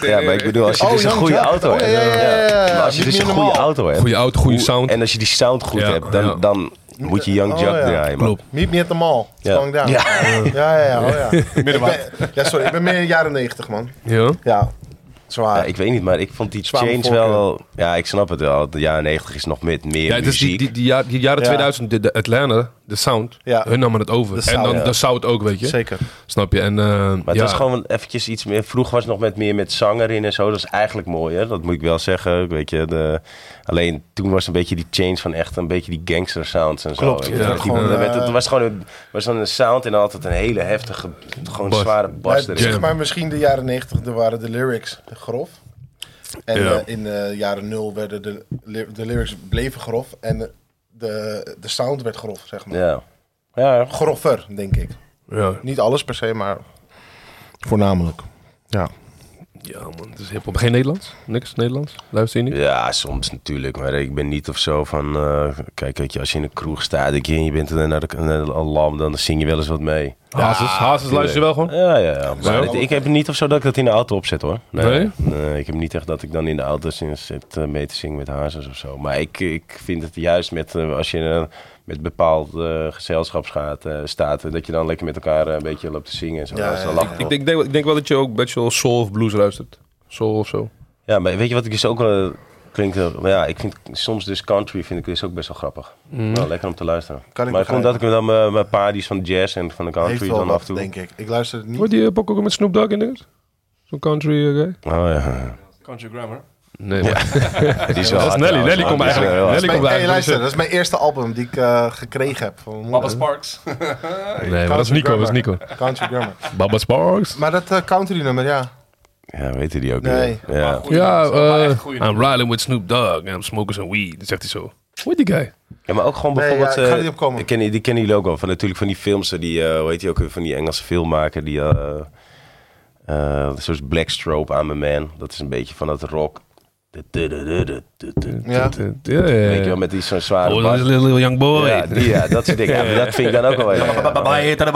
Speaker 3: Ja, maar ik bedoel, als je
Speaker 2: Oh,
Speaker 3: dus een
Speaker 2: Young
Speaker 3: goede
Speaker 2: Jack.
Speaker 3: auto
Speaker 2: Oh,
Speaker 3: hebt.
Speaker 2: ja, ja, ja, ja, ja.
Speaker 3: Maar als je
Speaker 2: Niet
Speaker 3: dus een
Speaker 2: meer
Speaker 3: goede
Speaker 2: normaal.
Speaker 3: auto hebt.
Speaker 1: Goeie auto, goede
Speaker 3: hoe-
Speaker 1: sound.
Speaker 3: En als je die sound goed
Speaker 1: Ja,
Speaker 3: hebt, dan,
Speaker 1: ja.
Speaker 3: dan moet je Young
Speaker 2: Oh,
Speaker 3: Jack
Speaker 2: ja.
Speaker 3: draaien, man.
Speaker 1: Klopt.
Speaker 2: Meet me at the mall. It's
Speaker 3: Ja.
Speaker 2: going down.
Speaker 3: Ja.
Speaker 2: Ja, ja, ja. Oh, ja. Ik ben- ja, sorry. Ik ben meer jaren negentig, man.
Speaker 1: Ja.
Speaker 2: Ja. Zwaar.
Speaker 3: Ja, ik weet niet, maar ik vond die
Speaker 2: Zwaar
Speaker 3: change
Speaker 2: bevolken.
Speaker 3: wel... Ja, ik snap het wel. De jaren 90 is nog met meer
Speaker 1: Ja, het is
Speaker 3: muziek.
Speaker 1: die, die, die, jaar- die jaren
Speaker 2: Ja.
Speaker 1: 2000, de, de Atlanta, de sound,
Speaker 2: Ja.
Speaker 1: hun namen het over.
Speaker 2: De
Speaker 1: en
Speaker 2: sound,
Speaker 1: dan
Speaker 2: ja.
Speaker 1: de sound ook, weet je.
Speaker 2: Zeker.
Speaker 1: Snap je? En, eh,
Speaker 3: Maar
Speaker 1: ja.
Speaker 3: het was gewoon eventjes iets meer... Vroeger was het nog met meer met zanger in en zo. Dat is eigenlijk mooi, hè? Dat moet ik wel zeggen. Ik Weet je, de, alleen toen was een beetje die change van echt een beetje die gangster sounds en zo.
Speaker 2: Klopt,
Speaker 3: Weet je,
Speaker 1: ja.
Speaker 3: dat die-
Speaker 2: Gewoon,
Speaker 3: dat werd-
Speaker 2: eh,
Speaker 3: Het was gewoon een, was dan een sound en altijd een hele heftige, gewoon
Speaker 1: Bas.
Speaker 3: zware bas
Speaker 2: Maar,
Speaker 3: erin.
Speaker 2: zeg maar, misschien de jaren negentig er waren de lyrics grof. En
Speaker 1: Ja.
Speaker 2: eh, in de jaren nul werden de, ly- de lyrics bleven grof. En de, de, de sound werd grof, zeg maar.
Speaker 3: Ja. Ja,
Speaker 2: Groffer, denk ik.
Speaker 1: Ja.
Speaker 2: Niet alles per se, maar voornamelijk. Ja.
Speaker 1: ja, man. Het is hiphop. Geen Nederlands? Niks Nederlands? Luister je niet?
Speaker 3: Ja, soms natuurlijk. Maar ik ben niet of zo van... eh, kijk, weet je, als je in een kroeg staat denk je, en je bent er naar de, naar de alarm, dan zing je wel eens wat mee.
Speaker 1: Hazes, Hazes luister je wel gewoon?
Speaker 3: Ja, ja, ja. Maar
Speaker 1: Zo.
Speaker 3: het- ik heb niet of zo dat ik dat in de auto opzet, hoor.
Speaker 1: Nee?
Speaker 3: ik heb niet echt dat ik dan in de auto zin- zit eh, mee te zingen met hazes of zo. Maar ik, ik vind het juist met, eh, als je eh, met bepaald eh, gezelschap gaat, eh, staat... eh, dat je dan lekker met elkaar eh, een beetje loopt te zingen en zo.
Speaker 2: Ja,
Speaker 3: dat is wel
Speaker 2: ja,
Speaker 3: lachen,
Speaker 2: ja.
Speaker 1: Ik denk, denk, ik denk wel dat je ook best wel soul of blues luistert. Soul of zo.
Speaker 3: Ja, maar weet je wat ik dus ook wel klinkt? eh, Maar ja, ik vind soms dus country vind ik dus ook best wel grappig.
Speaker 1: Mhm.
Speaker 3: Wel lekker om te luisteren.
Speaker 2: Kan ik
Speaker 3: maar ik
Speaker 2: begrijpen.
Speaker 3: omdat ik me dan mijn, mijn paar die is van jazz en van de
Speaker 2: Heeft
Speaker 3: country
Speaker 2: wel
Speaker 3: dan af en
Speaker 2: wat,
Speaker 3: toe.
Speaker 2: denk ik. Ik luister het niet.
Speaker 1: Wordt die uh, ook met Snoop Dogg in de Zo'n country eh, guy?
Speaker 3: Oh ja,
Speaker 5: Country Grammar.
Speaker 1: Nee, maar-
Speaker 3: die is wel
Speaker 1: dat is Nelly.
Speaker 3: hard trouwens,
Speaker 1: Nelly
Speaker 3: man.
Speaker 1: komt
Speaker 3: Die is
Speaker 1: eigenlijk-
Speaker 3: wel heel hard.
Speaker 1: Nelly-
Speaker 2: Dat
Speaker 1: komt
Speaker 2: is mijn-
Speaker 1: bij-
Speaker 2: hey, luister, dat is mijn eerste album die ik eh, gekregen heb. Van mijn
Speaker 5: Papa
Speaker 2: moeder.
Speaker 5: Sparks.
Speaker 1: nee maar dat is Nico, dat is Nico.
Speaker 2: Country Grammar.
Speaker 1: Baba Sparks.
Speaker 2: Maar dat eh, country nummer, ja.
Speaker 3: Ja, weten die ook
Speaker 2: Nee.
Speaker 3: niet. Ja.
Speaker 1: Ja, eh,
Speaker 5: goede
Speaker 1: I'm riding with Snoop Dogg and I'm smoking some weed. Dan zegt hij zo. Hoe heet die guy?
Speaker 3: ja, maar ook gewoon
Speaker 2: Nee,
Speaker 3: bijvoorbeeld...
Speaker 2: ja, ik ga
Speaker 3: eh,
Speaker 2: niet opkomen.
Speaker 3: ik ken, die die kennen jullie ook wel. Van, natuurlijk van die films, eh, die, eh hoe heet die ook weer, van die Engelse filmmaker. Die, eh eh zoals Black Strobe, I'm a Man. Dat is een beetje van dat rock.
Speaker 2: Ja.
Speaker 1: Ja, ja,
Speaker 3: Weet je
Speaker 1: ja.
Speaker 3: wel, met die zo'n zware
Speaker 1: Oh, dat
Speaker 3: bas.
Speaker 1: is Little Little Young Boy.
Speaker 3: Ja, die, ja, dat soort dingen. Ja, Dat vind ik dan ook wel heel erg.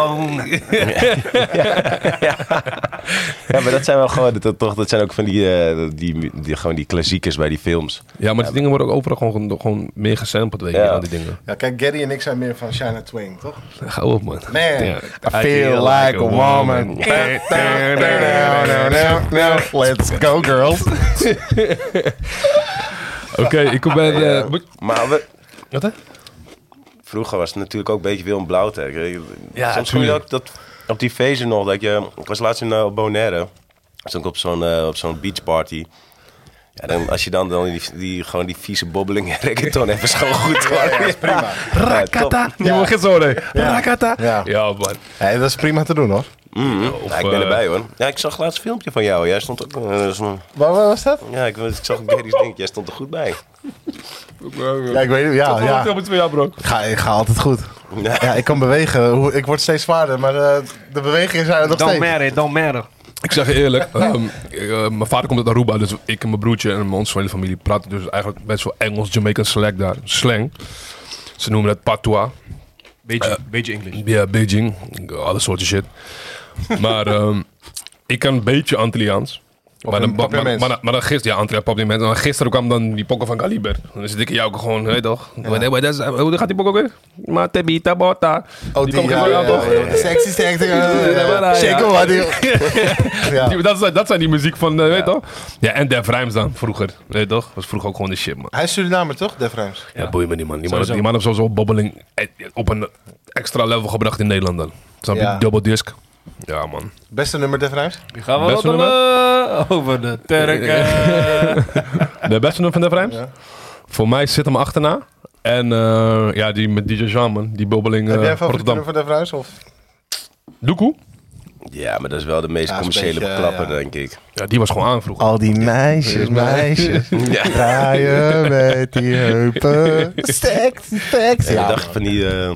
Speaker 3: Ja, maar dat zijn wel gewoon, dat, toch, dat zijn ook van die, eh, die, die, gewoon die klassiekers bij die films.
Speaker 1: Ja, maar die dingen worden ook overal gewoon, gewoon meer gesampled, weet je,
Speaker 3: Ja.
Speaker 1: aan die dingen.
Speaker 2: Ja, kijk, Gary en ik zijn meer van Shania Twain, toch?
Speaker 1: Ga op, man.
Speaker 2: Man,
Speaker 1: Ja.
Speaker 2: I feel like a woman. Let's go, girls.
Speaker 1: Oké, ik kom bij... eh, moet-
Speaker 3: Maar we,
Speaker 1: Wat, hè?
Speaker 3: vroeger was het natuurlijk ook een beetje Willem Blauwtek. hè.
Speaker 1: Ja,
Speaker 3: Soms kon je
Speaker 1: tuurlijk.
Speaker 3: ook dat, op die feesten nog. Dat je, ik was laatst in eh, Bonaire. Stond ik op zo'n eh, op zo'n beachparty. Ja, dan, als je dan, dan die, die, gewoon die vieze bobbeling en reggaeton even schoon goed hoor. Ja, prima.
Speaker 1: Rakata. Nieuwe gezonde. Rakata.
Speaker 2: Ja.
Speaker 1: Ja, man.
Speaker 2: Hé, dat is prima te doen hoor.
Speaker 1: Of,
Speaker 3: Mm-hmm. ja, ik ben
Speaker 1: eh,
Speaker 3: erbij hoor. Ja, ik zag laatst een filmpje van jou. Jij stond ook... eh, zo'n-
Speaker 2: Waar, waar was dat?
Speaker 3: ja, ik, ik zag Gary's ding. Jij stond er goed bij.
Speaker 2: Ja, ik weet het. Ja, ja.
Speaker 1: Wat is voor jou, bro?
Speaker 2: Ik ga, ik ga altijd goed. Ja, ik kan bewegen. Hoe- Ik word steeds zwaarder, maar eh, de bewegingen zijn er nog
Speaker 6: Don't
Speaker 2: steeds.
Speaker 6: matter, don't matter.
Speaker 1: Ik zeg je eerlijk, ehm, ik, eh, mijn vader komt uit Aruba, dus ik en mijn broertje en ons hele familie praten dus eigenlijk best wel Engels, Jamaican slang daar, slang. Ze noemen het patois, Eh,
Speaker 6: Beetje, beetje Engels.
Speaker 1: ja, Beijing, alle soorten shit. Maar ehm, ik kan een beetje Antilliaans. Maar dan, maar, maar,
Speaker 2: Papiaments.
Speaker 1: maar, maar dan gisteren, ja, Antilliaans, Papiaments. En dan gisteren kwam dan die pokken van Kaliber. En dan zit ik in jou gewoon, hé toch? Wat- wat- dat is- Hoe gaat die pok ook weer? Matebita bota.
Speaker 2: Oh,
Speaker 1: komt
Speaker 2: ja,
Speaker 1: gewoon
Speaker 2: ja,
Speaker 1: aan,
Speaker 2: ja,
Speaker 1: toch?
Speaker 2: ja, ja. Sexy, sexy. eh,
Speaker 1: Ja, maar, eh,
Speaker 2: Shake
Speaker 1: ja.
Speaker 2: on, buddy. Ja.
Speaker 1: Die- Dat, zijn, dat zijn die muziek van, eh, weet toch? Ja, en Def Rijms dan, vroeger. Weet toch? Was vroeger ook gewoon de shit, man.
Speaker 2: Hij is Surinamer toch, Def Rijms?
Speaker 1: Ja, boeien me niet, man. Die man, die man heeft sowieso bobbeling eh, op een extra level gebracht in Nederland dan. Snap je?
Speaker 2: Ja.
Speaker 1: Double disc. Ja, man.
Speaker 2: Beste nummer Def Rijms?
Speaker 5: Gaan we
Speaker 1: Beste
Speaker 5: roddelen eh, over de Turken.
Speaker 1: De beste nummer van Def Rijms? Voor mij zit hem achterna. En eh, ja, die met DJ Jean, man. Die bobbeling eh,
Speaker 2: Heb jij een favoriete
Speaker 1: Rotterdam.
Speaker 2: nummer van Def Rijms? Of?
Speaker 1: Doekoe?
Speaker 3: Ja, maar dat is wel de meest
Speaker 2: Ja, dat is
Speaker 3: commerciële
Speaker 2: een beetje,
Speaker 3: klapper,
Speaker 2: ja.
Speaker 3: denk ik.
Speaker 1: Ja, die was gewoon aan vroeger.
Speaker 2: Al die meisjes, meisjes, draaien met die heupen. Sexy, sexy.
Speaker 3: En ik
Speaker 2: Ja,
Speaker 3: dacht van die... eh,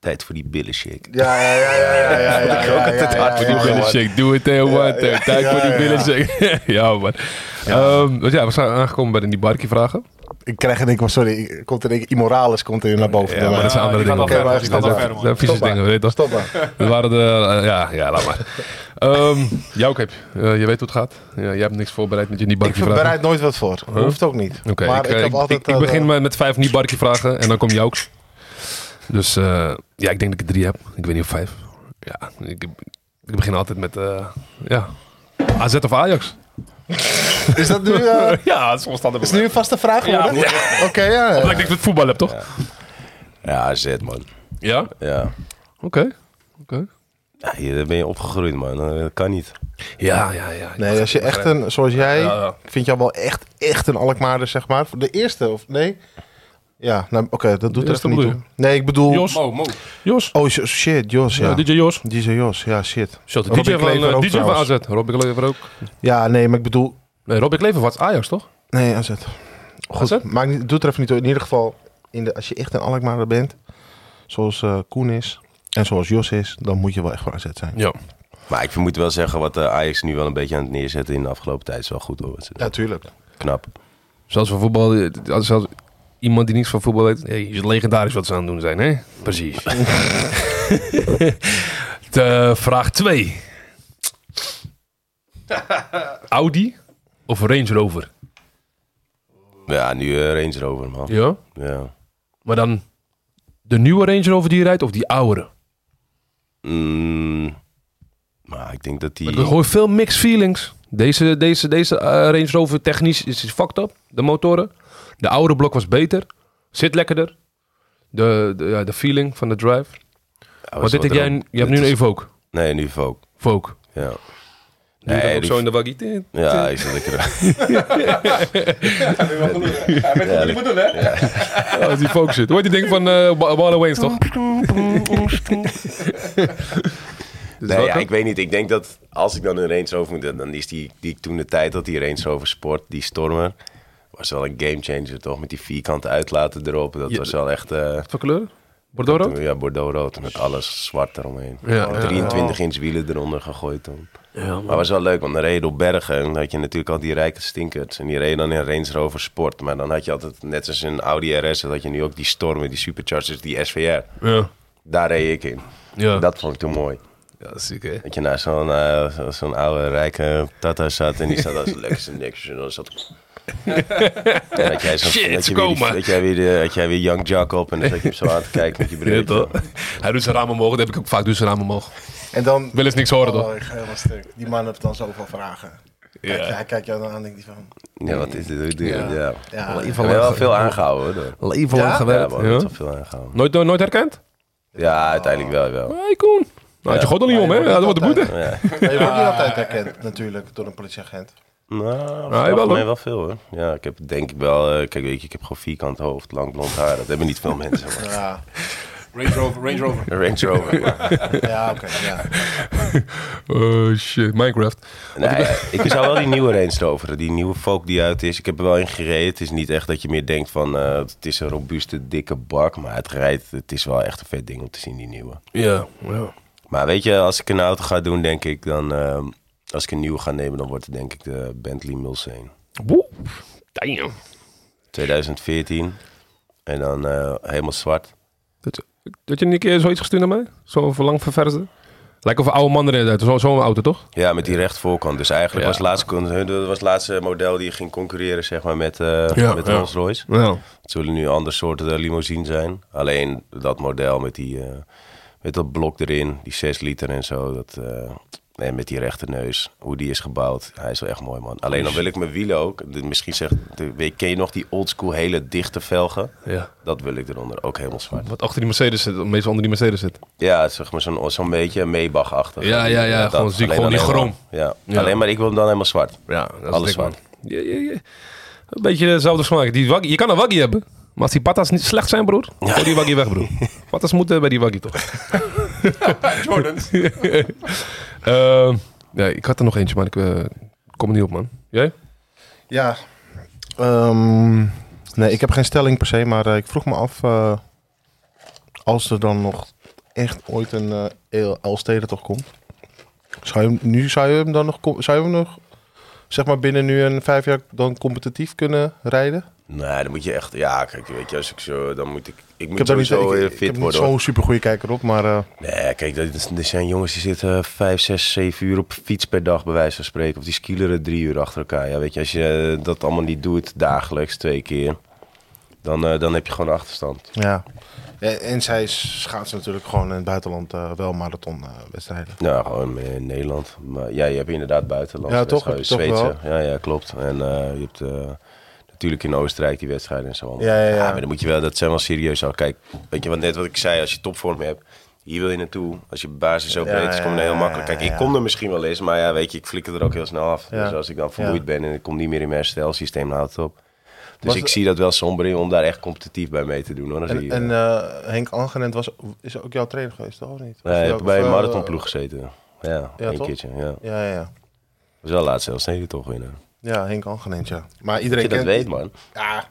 Speaker 3: tijd voor die billen shake.
Speaker 2: ja, ja, ja, ja, ja, ja.
Speaker 3: ik ook
Speaker 2: ja,
Speaker 3: altijd
Speaker 2: ja,
Speaker 3: hard
Speaker 1: Voor
Speaker 2: ja,
Speaker 1: die
Speaker 2: ja,
Speaker 1: billen shake, doe het heel wat. eh, Tijd voor die
Speaker 2: ja,
Speaker 1: billen
Speaker 2: ja.
Speaker 1: shake. Ja, man. Ehm, dus ja, we zijn aangekomen bij de Nibarki vragen.
Speaker 2: Ik krijg in één keer, sorry, ik- komt er in één keer immorales komt er naar boven.
Speaker 1: Ja, maar dat zijn
Speaker 5: Ja,
Speaker 1: andere
Speaker 5: die
Speaker 1: dingen.
Speaker 5: gaat
Speaker 1: man.
Speaker 5: wel
Speaker 2: Oké,
Speaker 5: verder,
Speaker 2: maar
Speaker 5: die gaat wel
Speaker 1: dat
Speaker 5: verder,
Speaker 1: dat zijn
Speaker 5: man.
Speaker 1: vieze
Speaker 2: Stop maar.
Speaker 1: dingen, weet je toch?
Speaker 2: Stop maar.
Speaker 1: Dat waren de... eh, ja, ja, laat maar. Ehm jouw cape. Eh, je weet hoe het gaat. Ja, jij hebt niks voorbereid met je
Speaker 2: Ik
Speaker 1: niet-barkie vragen.
Speaker 2: bereid nooit wat voor. Hoeft ook niet.
Speaker 1: Oké,
Speaker 2: maar
Speaker 1: ik, eh, ik, ik- ik
Speaker 2: eh,
Speaker 1: begin met, met vijf niet-barkie vragen en dan kom jouw. Dus eh, ja, ik denk dat ik er drie heb. Ik weet niet of vijf. Ja, ik, ik begin altijd met... eh, ja. AZ of Ajax?
Speaker 2: Is dat nu, eh,
Speaker 1: Ja, soms staat er
Speaker 2: is nu een vaste vraag geworden? Oké, ja.
Speaker 1: Omdat ik niks met voetbal heb, toch? Ja?
Speaker 3: Ja, zet man.
Speaker 1: Oké.
Speaker 3: Ja.
Speaker 1: Oké.
Speaker 3: Ja, hier daar ben je opgegroeid, man. Eh, Dat kan niet.
Speaker 1: Ja, ja, ja.
Speaker 2: Nee, als je echt eh, een, zoals jij,
Speaker 1: Ja, ja.
Speaker 2: ik vind jou wel echt, echt een Alkmaarder, zeg maar. De eerste, of nee? Ja, nou, oké, dat doet
Speaker 1: De
Speaker 2: er echt
Speaker 1: eerste
Speaker 2: niet toe.
Speaker 1: bedoel
Speaker 2: Nee, ik bedoel...
Speaker 1: Jos.
Speaker 5: Mo, Mo.
Speaker 1: Jos.
Speaker 2: Oh, sh- shit, Jos, ja.
Speaker 1: Ja,
Speaker 2: DJ,
Speaker 1: DJ Jos.
Speaker 2: Jos, ja, shit.
Speaker 1: Shot,
Speaker 2: Robin
Speaker 1: DJ, van,
Speaker 2: Klever
Speaker 1: eh,
Speaker 2: ook
Speaker 1: DJ van
Speaker 2: trouwens.
Speaker 1: AZ. Robbie Klever ook.
Speaker 2: Ja, nee, maar ik bedoel...
Speaker 1: Nee, Robbie Klever was Ajax, toch?
Speaker 2: Nee, AZ. Goed,
Speaker 1: AZ?
Speaker 2: maakt niet, doet er even niet toe. In ieder geval, in de, als je echt een Alkmaarder bent, zoals eh, Koen is en zoals Jos is, dan moet je wel echt voor AZ zijn.
Speaker 1: Ja.
Speaker 3: Maar ik moet wel zeggen, wat eh, Ajax nu wel een beetje aan het neerzetten in de afgelopen tijd is wel goed hoor. Wat ze doen.
Speaker 2: tuurlijk.
Speaker 3: Knap.
Speaker 1: Zelfs van voetbal, eh, als zelfs iemand die niks van voetbal weet, hey, is het legendarisch wat ze aan het doen zijn, hè? Precies. De vraag 2. Audi of Range Rover?
Speaker 3: Ja, nu eh, Range Rover, man. Ja.
Speaker 1: Ja. Maar dan de nieuwe Range Rover die je rijdt of die oudere?
Speaker 3: Mm, maar ik denk dat
Speaker 1: Ik
Speaker 3: die...
Speaker 1: hoor veel mixed feelings. Deze, deze, deze eh, Range Rover technisch is is fucked up. De motoren. De oude blok was beter. Zit lekkerder. De, de, ja, de feeling van de drive.
Speaker 3: Ja,
Speaker 1: Maar
Speaker 3: was
Speaker 1: dit
Speaker 3: wat
Speaker 1: heb jij,
Speaker 3: er-
Speaker 1: je hebt
Speaker 3: dit
Speaker 1: nu een
Speaker 3: is-
Speaker 1: Evoque.
Speaker 3: Nee, nu ook.
Speaker 1: Vogue.
Speaker 3: Ja.
Speaker 1: Die
Speaker 3: Nee,
Speaker 1: nee, ook
Speaker 3: die-
Speaker 1: zo in de waggie.
Speaker 3: Ja, ik zat lekker. eh.
Speaker 1: Ja, als Oh, die Vogue zit. Hoor je die ding van eh Ba- Baller Wayne's toch?
Speaker 3: Nee, ja,
Speaker 1: welke?
Speaker 3: ik weet niet. Ik denk dat als ik dan een Range Rover moet, dan is die, die toen de tijd dat die Range Rover Sport, die Stormer, was wel een gamechanger toch? Met die vierkante uitlaten erop. Dat
Speaker 1: Ja.
Speaker 3: was wel echt. eh,
Speaker 1: Wat voor kleur? Bordeaux rood?
Speaker 3: Ja, Bordeaux rood met alles zwart eromheen.
Speaker 1: Ja, ja.
Speaker 3: 23 inch wielen eronder gegooid toen. maar was wel leuk, want dan reed je door bergen. En dan had je natuurlijk al die rijke stinkers. En die reden dan in Range Rover Sport. Maar dan had je altijd, net als een Audi RS, dat had je nu ook die Stormen, die Superchargers, die SVR.
Speaker 1: Ja.
Speaker 3: Daar reed ik in.
Speaker 1: Ja.
Speaker 3: Dat vond ik toen mooi.
Speaker 1: Ja, ziek hè.
Speaker 3: Dat je naast zo'n eh, zo- zo'n oude rijke tata zat en die zat als lekker zijn niks. En dan zat... En dat jij zo,
Speaker 1: Shit,
Speaker 3: dat
Speaker 1: ze
Speaker 3: je weer die-
Speaker 1: komen.
Speaker 3: dat jij weer, de- dat jij weer Young Jack op en dan zat je hem zo aan te kijken met je
Speaker 1: Ja,
Speaker 3: bril.
Speaker 1: toch? Hij doet zijn raam omhoog. Dat heb ik ook vaak. Doet zijn raam omhoog.
Speaker 2: En dan...
Speaker 1: Wil eens niks horen toch?
Speaker 2: Oh, ik ga helemaal stuk. Die man heeft dan zoveel vragen. Kijk,
Speaker 1: Oh, Ja.
Speaker 2: Hij kijkt jou dan aan denkt hij van...
Speaker 3: Ja, wat is dit? Ja. ja. Ik
Speaker 2: Ja,
Speaker 1: Leven
Speaker 3: heb
Speaker 1: lang
Speaker 3: wel
Speaker 1: ge-
Speaker 3: veel aangehouden hoor. door.
Speaker 1: Leven
Speaker 2: Ja?
Speaker 1: lang
Speaker 3: Ja,
Speaker 1: gewerkt.
Speaker 3: man, ik heb
Speaker 1: Ja.
Speaker 3: wel veel aangehouden.
Speaker 1: Nooit, nooit, nooit herkend?
Speaker 3: Ja, uiteindelijk wel. wel.
Speaker 1: Hé, Koen. Nou, had je god al niet om, hè? Ja, dat wordt de boete.
Speaker 3: Ja.
Speaker 2: maar je wordt niet altijd herkend natuurlijk door een politieagent.
Speaker 3: Nou,
Speaker 1: Ja,
Speaker 3: nou
Speaker 1: wel,
Speaker 3: wel,
Speaker 1: hoor.
Speaker 3: wel veel hoor. Ja, ik heb denk ik wel, eh, kijk weet je, ik heb gewoon vierkant hoofd, lang blond haar. Dat hebben niet veel mensen. Maar.
Speaker 2: Ja,
Speaker 6: Range Rover, Range Rover.
Speaker 3: Een Range Rover. maar-
Speaker 2: ja oké. ja.
Speaker 1: Oh shit, Minecraft.
Speaker 3: Nee, ik zou wel die nieuwe Range Rover, die nieuwe Folk die uit is. Ik heb er wel in gereden. Het is niet echt dat je meer denkt van, eh, het is een robuuste, dikke bak. Maar het rijdt, het is wel echt een vet ding om te zien, die nieuwe.
Speaker 1: Ja, ja.
Speaker 3: Maar weet je, als ik een auto ga doen, denk ik dan, ehm, als ik een nieuwe ga nemen, dan wordt het denk ik de Bentley Mulsanne.
Speaker 1: Woe. Damn.
Speaker 3: 2014. En dan eh, helemaal zwart.
Speaker 1: Dat, dat je een keer zoiets gestuurd naar mij? Zo'n verlang ververste? Lijkt of een oude man erin uit. Zo- Zo'n auto, toch?
Speaker 3: Ja, met die rechtervoorkant. Dus eigenlijk
Speaker 1: Ja.
Speaker 3: was het laatste, con- dat was het laatste model die ging concurreren zeg maar, met, eh,
Speaker 1: Ja,
Speaker 3: met
Speaker 1: ja.
Speaker 3: Rolls Royce.
Speaker 1: Ja.
Speaker 3: Het zullen nu andere soorten eh, limousine zijn. Alleen dat model met, die, eh, met dat blok erin, die 6 liter en zo. Dat, eh, en met die rechte neus, hoe die is gebouwd. Hij is wel echt mooi, man. Alleen dan wil ik mijn wielen ook. de- Misschien zegt, de- weet- ken je nog die oldschool hele dichte velgen?
Speaker 1: ja.
Speaker 3: Dat wil ik eronder, ook helemaal zwart.
Speaker 1: Wat achter die Mercedes zit, wat meestal onder die Mercedes zit.
Speaker 3: Ja, zeg maar zo'n zo'n beetje meebagachtig.
Speaker 1: Ja, ja, ja, gewoon ziek, gewoon die groom.
Speaker 3: Ja.
Speaker 1: Ja.
Speaker 3: alleen maar ik wil hem dan helemaal zwart.
Speaker 1: Ja, dat
Speaker 3: Alles
Speaker 1: dik, man.
Speaker 3: zwart.
Speaker 1: Ja, ja, ja. Een beetje dezelfde smaak. Die waggie, je kan een waggie hebben. Maar als die patas niet slecht zijn, broer, gooi die waggie weg, broer. Patas moeten bij die waggie, toch?
Speaker 5: Jordans.
Speaker 1: Ehm, ja, ik had er nog eentje, maar ik eh, kom er niet op, man. Jij?
Speaker 2: Ja. Ehm, nee, ik heb geen stelling per se, maar eh, ik vroeg me af... eh, als er dan nog echt ooit een eh El- Elstede toch komt... Zou je, hem- nu zou je hem dan nog... kom- Zou je hem nog... Zeg maar binnen nu een vijf jaar dan competitief kunnen rijden?
Speaker 3: Nee, dan moet je echt... Ja, kijk, weet je, als ik zo... Dan moet ik... Ik
Speaker 2: Ik
Speaker 3: moet
Speaker 2: heb daar niet,
Speaker 3: sowieso
Speaker 2: ik,
Speaker 3: weer
Speaker 2: ik
Speaker 3: fit
Speaker 2: heb niet
Speaker 3: worden. hoor.
Speaker 2: zo'n super goede kijker op, maar eh,
Speaker 3: Nee, kijk, dat is- er zijn jongens die zitten eh, vijf, zes, zeven uur op fiets per dag, bij wijze van spreken. Of die skileren drie uur achter elkaar. Ja, weet je, als je eh, dat allemaal niet doet, dagelijks, twee keer... Dan, eh, dan heb je gewoon een achterstand.
Speaker 2: ja. ja. En zij schaats natuurlijk gewoon in het buitenland eh, wel marathonwedstrijden.
Speaker 3: Nou, gewoon eh, in Nederland. Maar ja, je hebt inderdaad eh, buitenlandse
Speaker 2: Ja, toch,
Speaker 3: wedstrijden.
Speaker 2: heb je toch
Speaker 3: Zweedse. Ja, ja, klopt. En eh, je hebt eh, natuurlijk in Oostenrijk die wedstrijden en zo. Ah,
Speaker 2: Ja, ja, ja.
Speaker 3: maar dan moet je wel, dat zijn wel serieus. al. Kijk, weet je, want net wat ik zei, als je topvorm hebt, hier wil je naartoe. Als je basis zo
Speaker 2: Ja,
Speaker 3: breed is, kom je
Speaker 2: ja,
Speaker 3: er heel
Speaker 2: ja,
Speaker 3: makkelijk. Kijk, ik
Speaker 2: ja.
Speaker 3: kom er misschien wel eens, maar ja, weet je, ik flikker er ook heel snel af.
Speaker 2: Ja.
Speaker 3: Dus als ik dan vermoeid
Speaker 2: Ja.
Speaker 3: ben en ik kom niet meer in mijn herstelsysteem, dan houdt het op. Dus
Speaker 2: Was
Speaker 3: ik
Speaker 2: het-
Speaker 3: zie dat wel somber in om daar echt competitief bij mee te doen. Hoor. Dan zie
Speaker 2: En,
Speaker 3: je-
Speaker 2: en eh, Henk Angenent was, is ook jouw trainer geweest, toch? Of niet?
Speaker 3: Nee,
Speaker 2: Of
Speaker 3: ik
Speaker 2: jou-
Speaker 3: heb bij
Speaker 2: of,
Speaker 3: een
Speaker 2: eh,
Speaker 3: marathonploeg gezeten. Ja,
Speaker 2: Ja,
Speaker 3: een
Speaker 2: toch?
Speaker 3: keertje. Ja.
Speaker 2: Ja, ja, ja.
Speaker 3: Dat is wel laatst zelfs nee, toch winnen.
Speaker 2: Ja, Henk Angenent, ja. Maar iedereen
Speaker 3: Dat je dat
Speaker 2: kent...
Speaker 3: weet, man.
Speaker 2: Ja,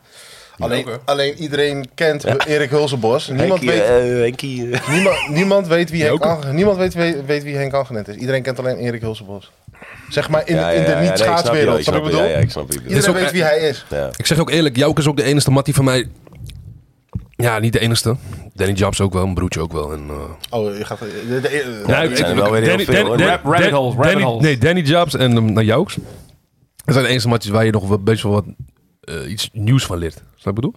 Speaker 2: alleen, alleen iedereen kent Erik Hulsenbos. Niemand,
Speaker 3: Henkie,
Speaker 2: weet,
Speaker 3: eh, Henkie, eh.
Speaker 2: niemand, niemand weet wie Henk,
Speaker 1: ook.
Speaker 2: Ange- niemand weet, weet, weet wie Henk Angenent is. Iedereen kent alleen Erik Hulsenbos. Zeg maar in,
Speaker 3: Ja, ja,
Speaker 2: in de
Speaker 3: ja, nee, ik snap je wel,
Speaker 2: niet-schaatswereld,
Speaker 3: ik
Speaker 2: snap je
Speaker 3: snap
Speaker 2: wat ik
Speaker 3: je,
Speaker 2: bedoel?
Speaker 3: Ja, ja, ik snap je. bedoel.
Speaker 2: Iedereen
Speaker 1: ook
Speaker 2: weet
Speaker 1: echt-
Speaker 2: wie hij is.
Speaker 3: Ja.
Speaker 1: Ik zeg ook eerlijk, Jouk is ook de enige mattie van mij. Ja, niet de enige. Danny Jobs ook wel, mijn broertje ook wel. En, eh,
Speaker 2: Oh, je gaat... de- de- de-
Speaker 1: Ja,
Speaker 3: die zijn er wel weer heel veel, hoor.
Speaker 6: Rabbit holes, rabbit
Speaker 1: Danny-
Speaker 6: holes.
Speaker 1: Nee, Danny Jobs en ehm, nou, Jouks. Dat zijn de enige matjes waar je nog wel best wel wat eh, iets nieuws van leert. Snap je wat ik bedoel?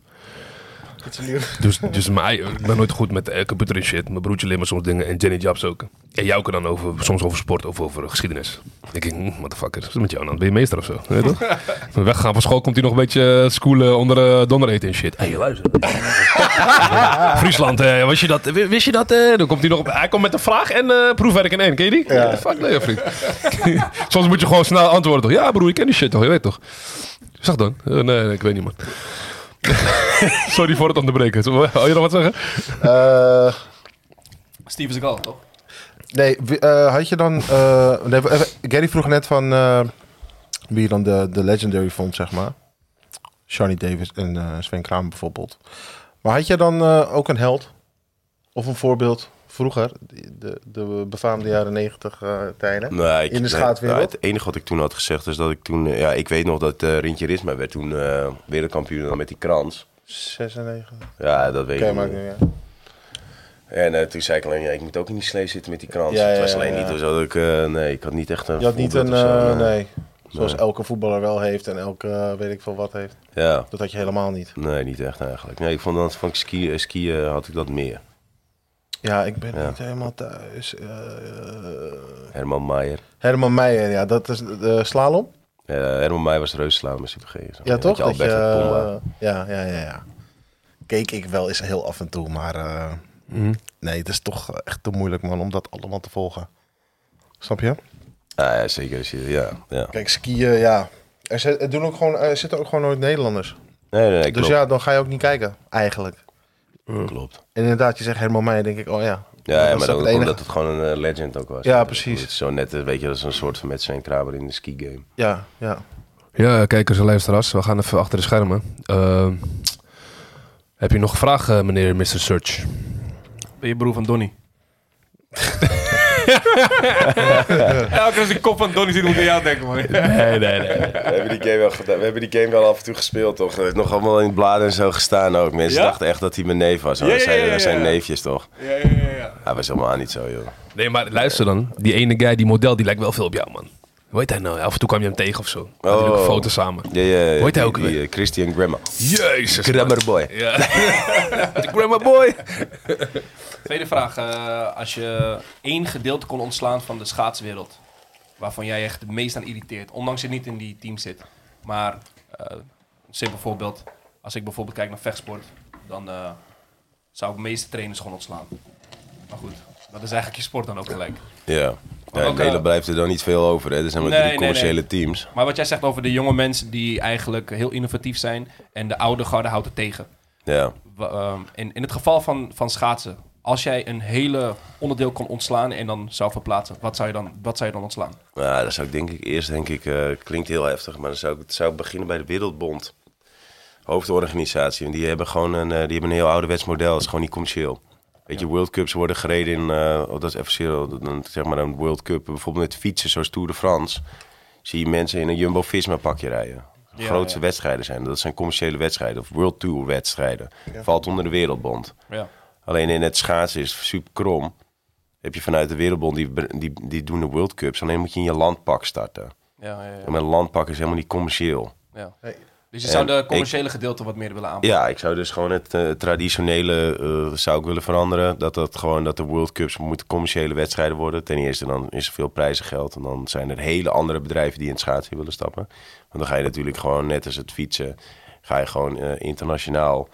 Speaker 2: iets nieuws.
Speaker 1: Dus, dus maar, hij- ik ben nooit goed met eh, computer en shit. Mijn broertje leert me soms dingen en Jenny Jobs ook. En Jouke dan over, soms over sport of over geschiedenis. Dan denk ik, hm, motherfucker, wat is er met jou dan? Ben je meester of zo? Weet je toch? Van Weggaan van school komt hij nog een beetje eh, schoolen onder eh, donder eten en shit. Hé, hey, luister. Friesland, eh, wist je dat? Wi- Wist je dat? eh? dan komt hij nog op. Hij komt met een vraag en eh, proefwerk in één. Ken je die? Ja. Fuck nee, vriend. soms moet je gewoon snel antwoorden toch? Ja broer, ik ken die shit toch? Je weet toch? Zeg dan. Eh, nee, nee, ik weet niet man. Sorry voor het onderbreken. Wil je nog wat zeggen?
Speaker 2: Eh,
Speaker 6: Steven Seagal, toch?
Speaker 2: Nee, wie- eh, had je dan... eh, nee, even- Gary vroeg net van eh, wie je dan de, de legendary vond, zeg maar. Charlie Davis en eh, Sven Kramer bijvoorbeeld. Maar had je dan eh, ook een held? Of een voorbeeld vroeger? De, de, de befaamde jaren negentig eh, tijden?
Speaker 3: Nee, ik-
Speaker 2: In de
Speaker 3: nee,
Speaker 2: schaatswereld?
Speaker 3: nou, het enige wat ik toen had gezegd is dat ik toen... eh, Ja, ik weet nog dat eh Rintje Risma werd toen eh, wereldkampioen dan met die krans.
Speaker 2: Zes en negen.
Speaker 3: Ja, dat weet
Speaker 2: Oké,
Speaker 3: ik
Speaker 2: maar
Speaker 3: nog.
Speaker 2: ik nu, ja.
Speaker 3: En eh, toen zei ik alleen, ja, ik moet ook in die slee zitten met die krans.
Speaker 2: Ja,
Speaker 3: het was
Speaker 2: ja,
Speaker 3: alleen
Speaker 2: ja.
Speaker 3: niet zo dat ik... eh, nee, ik had niet echt een
Speaker 2: Je had niet een...
Speaker 3: voorbeeld of zo,
Speaker 2: eh, nee. Zoals
Speaker 3: Nee.
Speaker 2: elke voetballer wel heeft en elke eh, weet ik veel wat heeft.
Speaker 3: Ja,
Speaker 2: Dat had je helemaal niet.
Speaker 3: nee, niet echt eigenlijk. Nee, ik vond dat van skiën, skiën had ik dat meer.
Speaker 2: Ja, ik ben
Speaker 3: Ja.
Speaker 2: niet helemaal thuis. Eh,
Speaker 3: Herman Maier.
Speaker 2: Herman Meijer, ja, dat is de, de slalom.
Speaker 3: Eh Herman Meij was Reuslaan met Super G. en zo.
Speaker 2: Ja,
Speaker 3: Weet
Speaker 2: toch?
Speaker 3: Je,
Speaker 2: Dat je,
Speaker 3: Albert en Pomba.
Speaker 2: eh, ja, ja, ja, ja. Keek ik wel eens heel af en toe, maar eh, nee, het is toch echt te moeilijk, man, om dat allemaal te volgen. Snap je?
Speaker 3: Ah, ja, zeker. Als je, ja, ja.
Speaker 2: Kijk, skiën, ja. Er, zit- er doen ook gewoon, er zitten ook gewoon nooit Nederlanders.
Speaker 3: Nee, nee, nee,
Speaker 2: dus
Speaker 3: klopt.
Speaker 2: ja, dan ga je ook niet kijken, eigenlijk.
Speaker 3: klopt.
Speaker 2: En inderdaad, je zegt helemaal mij, denk ik, oh ja.
Speaker 3: Ja,
Speaker 2: dat is
Speaker 3: maar
Speaker 2: ook
Speaker 3: ook
Speaker 2: het enige.
Speaker 3: omdat het gewoon een eh, legend ook was.
Speaker 2: Ja, precies.
Speaker 3: Het is Zo net, eh, weet je, dat is een soort van met zijn kraber in de ski game.
Speaker 2: Ja, ja.
Speaker 1: Ja, kijkers en luisteraars, we gaan even achter de schermen. Ehm, heb je nog vragen, meneer Mr. Search?
Speaker 6: Ben je broer van Donny? Elke keer als ik kop van Donny ziet, moet ik aan jou denken, man.
Speaker 1: Nee, nee, nee.
Speaker 3: We hebben, die game wel gedaan. we hebben die game wel af en toe gespeeld, toch? Het heeft nog allemaal in het bladen en zo gestaan ook. Mensen
Speaker 6: Ja?
Speaker 3: dachten echt dat hij mijn neef was. hoor.
Speaker 6: Ja,
Speaker 3: Dat
Speaker 6: ja,
Speaker 3: zijn,
Speaker 6: ja,
Speaker 3: dat zijn
Speaker 6: ja.
Speaker 3: neefjes, toch?
Speaker 6: Ja, ja, ja, ja.
Speaker 3: Hij was helemaal niet zo, joh.
Speaker 1: Nee, maar luister dan. Die ene guy, die model, die lijkt wel veel op jou, man. Hoe heet hij nou? Af en toe kwam je hem tegen of zo. Had jullie ook een
Speaker 3: Oh.
Speaker 1: foto samen.
Speaker 3: Ja, ja, ja.
Speaker 1: Hoe heet hij
Speaker 3: Die-
Speaker 1: ook
Speaker 3: die,
Speaker 1: weer?
Speaker 3: eh, Christian Grammar.
Speaker 1: Jezus.
Speaker 3: Grammar boy.
Speaker 1: Ja. De grandma boy.
Speaker 6: Tweede vraag. eh, als je één gedeelte kon ontslaan van de schaatswereld, waarvan jij echt het meest aan irriteert, ondanks je niet in die team zit. Maar, eh, een simpel voorbeeld. Als ik bijvoorbeeld kijk naar vechtsport, dan eh, zou ik de meeste trainers gewoon ontslaan. Maar goed, dat is eigenlijk je sport dan ook gelijk.
Speaker 3: Ja.
Speaker 6: Maar
Speaker 3: ja in
Speaker 6: ook,
Speaker 3: Nederland
Speaker 6: eh,
Speaker 3: blijft er dan niet veel over, hè? Er zijn maar
Speaker 6: Nee,
Speaker 3: drie
Speaker 6: nee,
Speaker 3: commerciële
Speaker 6: nee.
Speaker 3: teams.
Speaker 6: Maar wat jij zegt over de jonge mensen die eigenlijk heel innovatief zijn en de oude garde houdt het tegen.
Speaker 3: Ja.
Speaker 6: Wa- ehm, in, in het geval van, van schaatsen, als jij een hele onderdeel kon ontslaan en dan zou verplaatsen, wat zou je dan, wat zou je dan ontslaan?
Speaker 3: Ja, Nou, dan zou ik denk ik eerst, denk ik, eh, klinkt heel heftig, maar dan zou ik, zou ik beginnen bij de Wereldbond. Hoofdorganisatie. En die hebben gewoon een, eh, die hebben een heel ouderwets model. Het is gewoon niet commercieel. Weet je, World Cups worden gereden in, eh, oh, dat is even serieus, dan zeg maar een World Cup. Bijvoorbeeld met fietsen, zoals Tour de France. Zie je mensen in een Jumbo-Visma pakje rijden. De
Speaker 6: Ja,
Speaker 3: grootste
Speaker 6: ja.
Speaker 3: wedstrijden zijn. Dat zijn commerciële wedstrijden of World Tour wedstrijden. Valt onder de Wereldbond.
Speaker 6: Ja.
Speaker 3: Alleen in het schaatsen is het super krom. Heb je vanuit de Wereldbond, die, die, die doen de World Cups. Alleen moet je in je landpak starten.
Speaker 6: Ja, ja, ja.
Speaker 3: En mijn landpak is helemaal niet commercieel.
Speaker 6: ja.
Speaker 2: Hey.
Speaker 6: Dus je zou
Speaker 3: En
Speaker 6: de
Speaker 3: ik-
Speaker 6: commerciële gedeelte wat meer willen aanpakken.
Speaker 3: Ja, ik zou dus gewoon het eh, traditionele eh, zou ik willen veranderen. Dat, dat, gewoon, dat de World Cups moeten commerciële wedstrijden worden. Ten eerste dan is er veel prijzengeld. En dan zijn er hele andere bedrijven die in het schaatsen willen stappen. Want dan ga je natuurlijk gewoon, net als het fietsen, ga je gewoon eh, internationaal...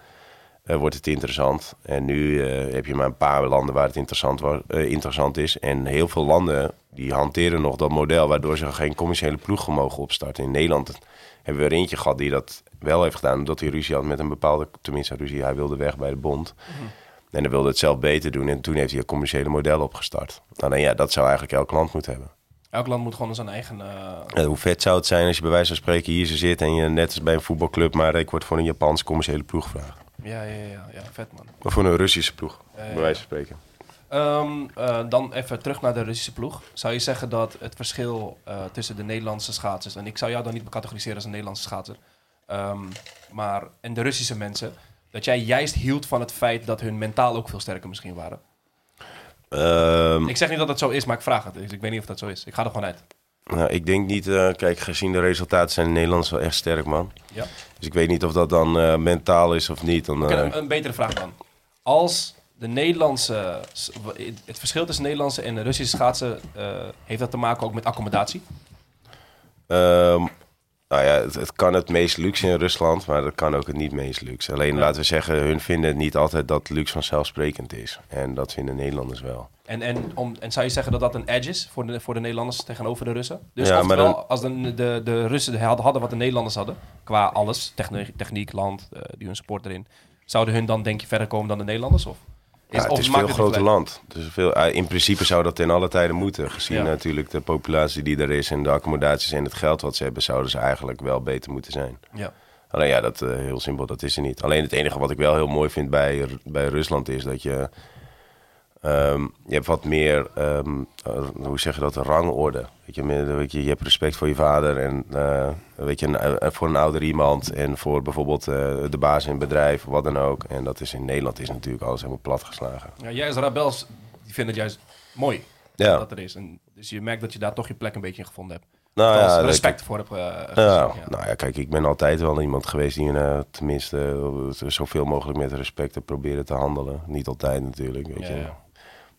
Speaker 3: eh, wordt het interessant. En nu eh, heb je maar een paar landen waar het interessant, wa- eh, interessant is. En heel veel landen die hanteren nog dat model... waardoor ze geen commerciële ploeg mogen opstarten. In Nederland hebben we er eentje gehad die dat wel heeft gedaan... omdat hij ruzie had met een bepaalde... tenminste ruzie, hij wilde weg bij de bond...
Speaker 6: Mhm.
Speaker 3: En hij wilde het zelf beter doen. En toen heeft hij een commerciële model opgestart. Nou, dan ja, dat zou eigenlijk elk land moeten hebben.
Speaker 6: Elk land moet gewoon zijn eigen... eh,
Speaker 3: Eh, hoe vet zou het zijn als je bij wijze van spreken hier zo zit... en je net als bij een voetbalclub... maar ik word voor een Japanse commerciële ploeg gevraagd.
Speaker 6: ja, ja, ja, ja, vet man.
Speaker 3: Of voor een Russische ploeg,
Speaker 6: Ja, ja.
Speaker 3: bij wijze van spreken.
Speaker 6: Ehm, eh, dan even terug naar de Russische ploeg. Zou je zeggen dat het verschil eh, tussen de Nederlandse schaatsers... en ik zou jou dan niet categoriseren als een Nederlandse schaatser... ehm, maar, en de Russische mensen... dat jij juist hield van het feit dat hun mentaal ook veel sterker misschien waren?
Speaker 3: Ehm,
Speaker 6: Ik zeg niet dat dat zo is, maar ik vraag het. Dus ik weet niet of dat zo is. Ik ga er gewoon uit.
Speaker 3: nou, ik denk niet, eh, kijk, gezien de resultaten zijn de Nederlanders wel echt sterk, man.
Speaker 6: Ja.
Speaker 3: Dus ik weet niet of dat dan eh, mentaal is of niet. Dan,
Speaker 6: Oké,
Speaker 3: eh,
Speaker 6: een, een betere vraag dan. Als de Nederlandse... s- w- Het verschil tussen Nederlandse en de Russische schaatsen... eh, heeft dat te maken ook met accommodatie?
Speaker 3: ehm, nou ja, het, het kan het meest luxe in Rusland, maar dat kan ook het niet meest luxe. Alleen laten we zeggen, hun vinden het niet altijd dat luxe vanzelfsprekend is. En dat vinden Nederlanders wel.
Speaker 6: En, en, om, en zou je zeggen dat dat een edge is voor de, voor de Nederlanders tegenover de Russen? Dus
Speaker 3: Ja, maar
Speaker 6: oftewel,
Speaker 3: dan-
Speaker 6: als de, de, de Russen hadden, hadden wat de Nederlanders hadden... qua alles, techniek, techniek land, eh, die hun sport erin... zouden hun dan denk je verder komen dan de Nederlanders? Of,
Speaker 3: Ja, het
Speaker 6: of
Speaker 3: is
Speaker 6: maakt
Speaker 3: veel
Speaker 6: niet
Speaker 3: groter
Speaker 6: uit?
Speaker 3: land. Dus veel, eh, in principe zou dat in alle tijden moeten. Gezien
Speaker 6: Ja.
Speaker 3: natuurlijk de populatie die er is en de accommodaties en het geld wat ze hebben, zouden ze eigenlijk wel beter moeten zijn.
Speaker 6: Ja.
Speaker 3: Alleen ja, dat eh, heel simpel, dat is er niet. Alleen het enige wat ik wel heel mooi vind bij, Ru- bij Rusland is dat je. ehm, je hebt wat meer, ehm, eh, hoe zeg je dat, rangorde. Weet je, meer- weet je, je hebt respect voor je vader en eh, weet je, een- eh, voor een ouder iemand en voor bijvoorbeeld eh, de baas in het bedrijf, wat dan ook. En dat is in Nederland is natuurlijk alles helemaal platgeslagen.
Speaker 6: Ja, jij als rebels die vinden het juist mooi
Speaker 3: Ja.
Speaker 6: dat er is. En dus je merkt dat je daar toch je plek een beetje in gevonden hebt.
Speaker 3: Nou
Speaker 6: Althans,
Speaker 3: ja, dat-
Speaker 6: respect voor hebt. eh,
Speaker 3: Ja,
Speaker 6: gezien, ja.
Speaker 3: nou ja, kijk, ik ben altijd wel iemand geweest die eh, tenminste eh, zoveel mogelijk met respect te proberen te handelen. Niet altijd natuurlijk,
Speaker 6: Ja,
Speaker 3: weet je.
Speaker 6: ja.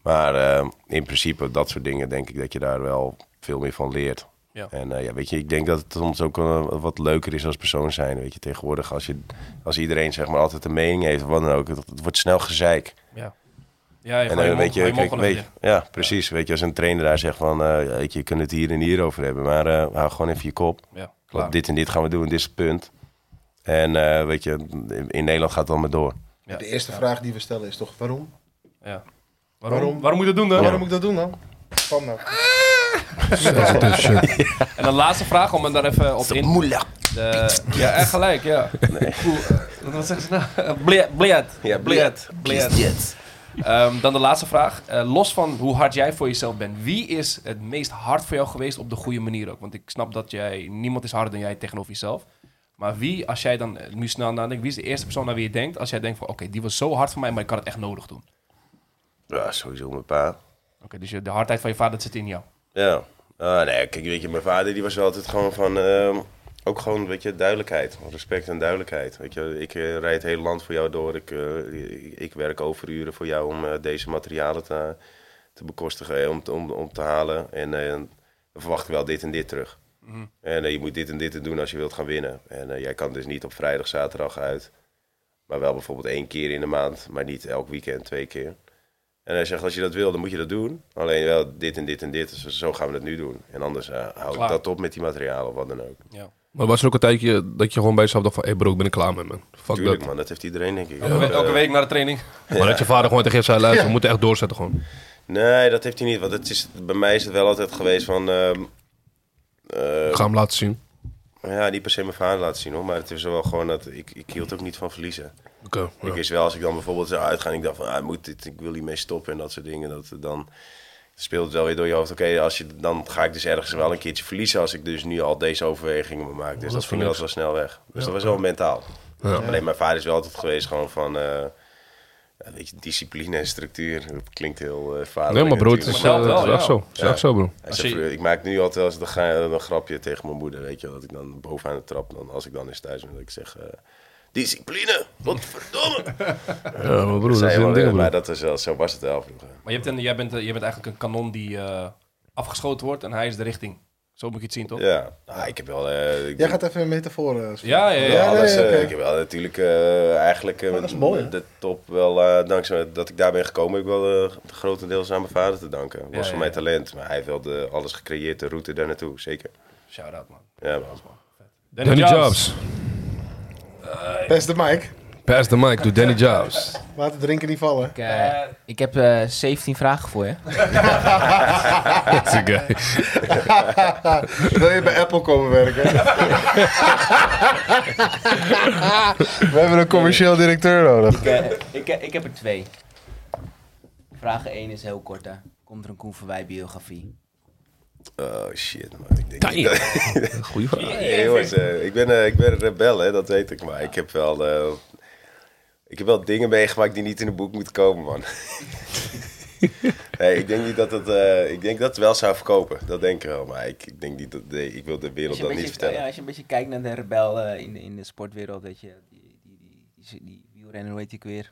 Speaker 3: Maar eh, in principe, dat soort dingen denk ik dat je daar wel veel meer van leert.
Speaker 6: Ja.
Speaker 3: En eh, ja, weet je, ik denk dat het soms ook eh, wat leuker is als persoon zijn. Weet je, tegenwoordig als, je, als iedereen zeg maar altijd een mening heeft, of wat dan ook, het, het wordt snel gezeik.
Speaker 6: Ja, je
Speaker 3: En
Speaker 6: gooi je
Speaker 3: dan
Speaker 6: mond-
Speaker 3: weet
Speaker 6: gooi
Speaker 3: je,
Speaker 6: je mond
Speaker 3: kijk,
Speaker 6: gewoon
Speaker 3: weet,
Speaker 6: even
Speaker 3: ja, precies. Weet je, als een trainer daar zegt van, eh, weet je, je kunt het hier en hier over hebben, maar eh, hou gewoon even je kop.
Speaker 6: dicht. Ja,
Speaker 3: Want
Speaker 6: klaar.
Speaker 3: dit en dit gaan we doen, dit is het punt. En eh, weet je, in- in Nederland gaat het allemaal door.
Speaker 6: Ja.
Speaker 2: De eerste vraag die we stellen is toch waarom?
Speaker 6: Ja. Waarom?
Speaker 2: Waarom?
Speaker 6: Waarom? moet je dat doen dan?
Speaker 2: Waarom moet ik dat doen dan? Spam nou.
Speaker 6: En de laatste vraag om hem daar even op in. De, ja, echt gelijk, ja. Cool. Wat- Wat zeggen ze nou? Bliet, bliet.
Speaker 3: Ja,
Speaker 6: bliet, bliet. Ehm, dan de laatste vraag. Eh, los van hoe hard jij voor jezelf bent, wie is het meest hard voor jou geweest op de goede manier ook? Want ik snap dat jij, niemand is harder dan jij tegenover jezelf. Maar wie, als jij dan eh, nu snel nadenkt, wie is de eerste persoon naar wie je denkt? Als jij denkt van, oké, die was zo hard voor mij, maar ik had het echt nodig doen.
Speaker 3: Ja, sowieso mijn pa.
Speaker 6: Oké, dus je- de hardheid van je vader dat zit in jou.
Speaker 3: Ja. Ah, nee, kijk, weet je, mijn vader die was wel altijd gewoon van... ehm, ook gewoon, weet je, duidelijkheid. Respect en duidelijkheid. Weet je, ik eh, rijd het hele land voor jou door. Ik, eh, ik, ik werk overuren voor jou om eh, deze materialen te, te bekostigen. eh, Om, te- om, om te halen. En eh, dan verwacht ik wel dit en dit terug. En eh, je moet dit en dit doen als je wilt gaan winnen. En eh, jij kan dus niet op vrijdag, zaterdag uit. Maar wel bijvoorbeeld één keer in de maand. Maar niet elk weekend twee keer. En hij zegt, als je dat wil, dan moet je dat doen. Alleen wel dit en dit en dit. Dus zo gaan we dat nu doen. En anders eh, hou ik
Speaker 6: Klaar.
Speaker 3: dat op met die materialen of wat dan ook.
Speaker 1: Maar was er ook een tijdje dat je gewoon bij jezelf dacht van... Hé bro, ik ben er klaar mee, man. Fuck
Speaker 3: Tuurlijk
Speaker 1: dat.
Speaker 3: man, dat heeft iedereen denk ik.
Speaker 6: Elke,
Speaker 3: Maar, eh,
Speaker 6: elke week naar de training.
Speaker 1: Maar dat je vader gewoon tegen je zei... Luister, we moeten echt doorzetten gewoon.
Speaker 3: Nee, dat heeft hij niet. Want het is, bij mij is het wel altijd geweest van... ehm, eh,
Speaker 1: Ik ga hem laten zien.
Speaker 3: Nou ja, niet per se mijn vader laten zien hoor. Maar het is wel gewoon dat ik, ik hield ook niet van verliezen.
Speaker 1: Oké. ja.
Speaker 3: Ik wist wel, als ik dan bijvoorbeeld zou uitgaan... en ik dacht van, ah, ik moet dit, ik wil hiermee stoppen en dat soort dingen. Dat, dan speelt het wel weer door je hoofd. Oké, als je dan ga ik dus ergens wel een keertje verliezen... als ik dus nu al deze overwegingen maak. Dus dat,
Speaker 1: is
Speaker 3: ging
Speaker 1: voor
Speaker 3: wel zo snel weg. Dus dat was wel mentaal.
Speaker 1: Ja.
Speaker 3: Alleen mijn vader is wel altijd geweest gewoon van... eh, ja, weet je, discipline en structuur. Dat klinkt heel eh vaderlijk.
Speaker 1: Nee, maar bro, het is,
Speaker 3: natuurlijk,
Speaker 6: Maar
Speaker 1: eh,
Speaker 6: dat wel,
Speaker 1: het is echt
Speaker 6: ja.
Speaker 1: zo. Het is echt zo, bro.
Speaker 3: hij
Speaker 6: Als
Speaker 3: zei
Speaker 6: je-
Speaker 3: vroeger, ik maak nu altijd wel eens een, gra- een grapje tegen mijn moeder, weet je. wel, Dat ik dan bovenaan de trap, dan, als ik dan eens thuis ben, dat ik zeg... eh, discipline! Wat verdomme!
Speaker 1: Ja, maar bro, dat
Speaker 3: Zei
Speaker 1: is
Speaker 3: hij wel
Speaker 1: een
Speaker 3: weer,
Speaker 1: ding, bro.
Speaker 3: maar dat is wel, zo was het wel vroeger.
Speaker 6: Maar je hebt een, jij, bent, eh, jij bent eigenlijk een kanon die eh, afgeschoten wordt en hij is de richting. Zo moet je het zien, toch?
Speaker 3: Ja, nou, ik heb wel... eh, ik
Speaker 2: Jij
Speaker 3: denk-
Speaker 2: gaat even een metafoor. eh, spelen.
Speaker 6: Ja, ja,
Speaker 3: wel
Speaker 6: ja.
Speaker 2: Ja, nee,
Speaker 3: alles, eh,
Speaker 2: oké.
Speaker 3: Ik heb wel natuurlijk eh, eigenlijk eh,
Speaker 2: dat is mooi, hè?
Speaker 3: de top wel, eh, dankzij dat ik daar ben gekomen, heb ik wel eh grotendeels aan mijn vader te danken. Was
Speaker 6: Ja,
Speaker 3: van
Speaker 6: ja,
Speaker 3: mijn
Speaker 6: ja.
Speaker 3: talent, maar hij heeft wel de, alles gecreëerd, de route daar naartoe, zeker.
Speaker 6: Shout-out, man.
Speaker 3: Ja, man.
Speaker 6: Danny,
Speaker 1: Danny
Speaker 6: Jobs.
Speaker 1: Jobs.
Speaker 2: Beste Mike,
Speaker 1: Pass the mic, doe Danny Jobs.
Speaker 2: laat het drinken niet vallen.
Speaker 4: Ik, eh, ik heb eh, 17 vragen voor je.
Speaker 1: That's a guy.
Speaker 2: Wil je bij Apple komen werken? We hebben een commercieel directeur nodig.
Speaker 4: ik, eh, ik, eh, ik heb er twee. Vraag 1 is heel kort. Hè. Komt er een Koen Verwij biografie?
Speaker 3: Oh shit, man. Ik denk
Speaker 1: Goeie vraag.
Speaker 3: Hey, jongens, eh, ik, ben, eh, ik ben een rebel, hè, dat weet ik. Maar ik heb wel... eh, ik heb wel dingen meegemaakt die niet in een boek moeten komen, man. nee, ik denk niet dat het... eh, ik denk dat het wel zou verkopen. Dat denk ik wel. Maar ik, ik denk niet dat... nee, ik wil de wereld
Speaker 4: Als je,
Speaker 3: dat
Speaker 4: een
Speaker 3: niet
Speaker 4: beetje,
Speaker 3: vertellen.
Speaker 4: ja, als je een beetje kijkt naar de rebel eh, in, de, in de sportwereld, dat je die, die, die, die, die wielrenner, hoe heet die ook weer?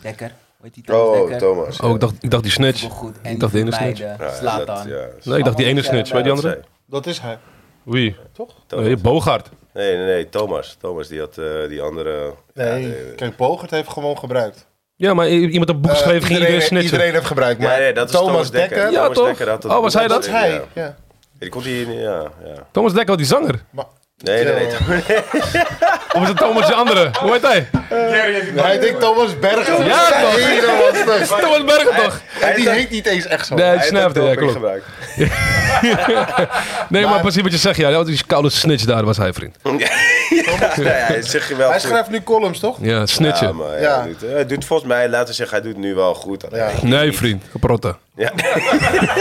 Speaker 4: Dekker. Hoe heet die Thomas
Speaker 3: Oh,
Speaker 4: Dekker?
Speaker 3: Thomas.
Speaker 1: Oh, ik dacht, ik dacht die
Speaker 4: Voetbal
Speaker 1: snitch.
Speaker 4: Goed.
Speaker 1: Ik
Speaker 4: En
Speaker 1: dacht de
Speaker 4: die
Speaker 1: ene snitch.
Speaker 4: beide
Speaker 3: Ja,
Speaker 4: slaat
Speaker 3: dat-
Speaker 4: dan.
Speaker 3: ja, dat
Speaker 1: Nee, ik dacht die ene snitch. Weet je die
Speaker 3: zei-
Speaker 1: andere?
Speaker 2: Dat is hij.
Speaker 1: Wie?
Speaker 3: Thomas.
Speaker 1: Nee, Bogart.
Speaker 3: Nee, nee, nee, Thomas. Thomas, die had eh, die andere...
Speaker 2: Nee,
Speaker 3: Ja, nee.
Speaker 2: kijk, Bogert heeft gewoon gebruikt.
Speaker 1: Ja, maar i- iemand had een boek geschreven, ging je weer
Speaker 2: iedereen,
Speaker 1: snitchen.
Speaker 2: iedereen heeft gebruikt,
Speaker 3: Ja,
Speaker 2: maar
Speaker 3: nee, dat is
Speaker 2: Thomas, Dekker,
Speaker 3: Dekker.
Speaker 1: Ja,
Speaker 3: Thomas
Speaker 1: toch?
Speaker 3: Dekker had dat
Speaker 1: Oh, was
Speaker 3: boek
Speaker 1: hij dat?
Speaker 2: dat is hij.
Speaker 3: Ja.
Speaker 2: Ja.
Speaker 3: Die komt hier... Ja, ja.
Speaker 1: Thomas Dekker, die zanger.
Speaker 3: Nee, nee, nee.
Speaker 2: Ja.
Speaker 3: Thomas-
Speaker 1: Of is het Thomas die andere? Hoe heet hij?
Speaker 2: Hij denkt Thomas Bergen.
Speaker 1: Ja, toch?
Speaker 2: Nee, Thomas
Speaker 1: Is
Speaker 2: Bergen.
Speaker 1: het Thomas Berg toch?
Speaker 2: En die heet niet eens echt zo.
Speaker 1: Nee, ik
Speaker 3: Oh, Hij heeft
Speaker 1: snapte.
Speaker 3: dat
Speaker 1: Ja,
Speaker 3: ook
Speaker 1: klopt.
Speaker 3: niet gebruikt.
Speaker 1: Nee, maar precies wat je zegt. Ja, dat is koude snitch daar was hij, vriend.
Speaker 3: Ja, ja, zeg je wel
Speaker 2: Hij
Speaker 3: goed.
Speaker 2: schrijft nu columns, toch?
Speaker 1: Ja,
Speaker 3: Ja,
Speaker 1: snitchen.
Speaker 3: maar hij,
Speaker 2: Ja.
Speaker 3: Doet, hij doet volgens mij, laten we zeggen, hij doet nu wel goed.
Speaker 2: Ja.
Speaker 1: Nee, vriend. Geprotten.
Speaker 3: Ja.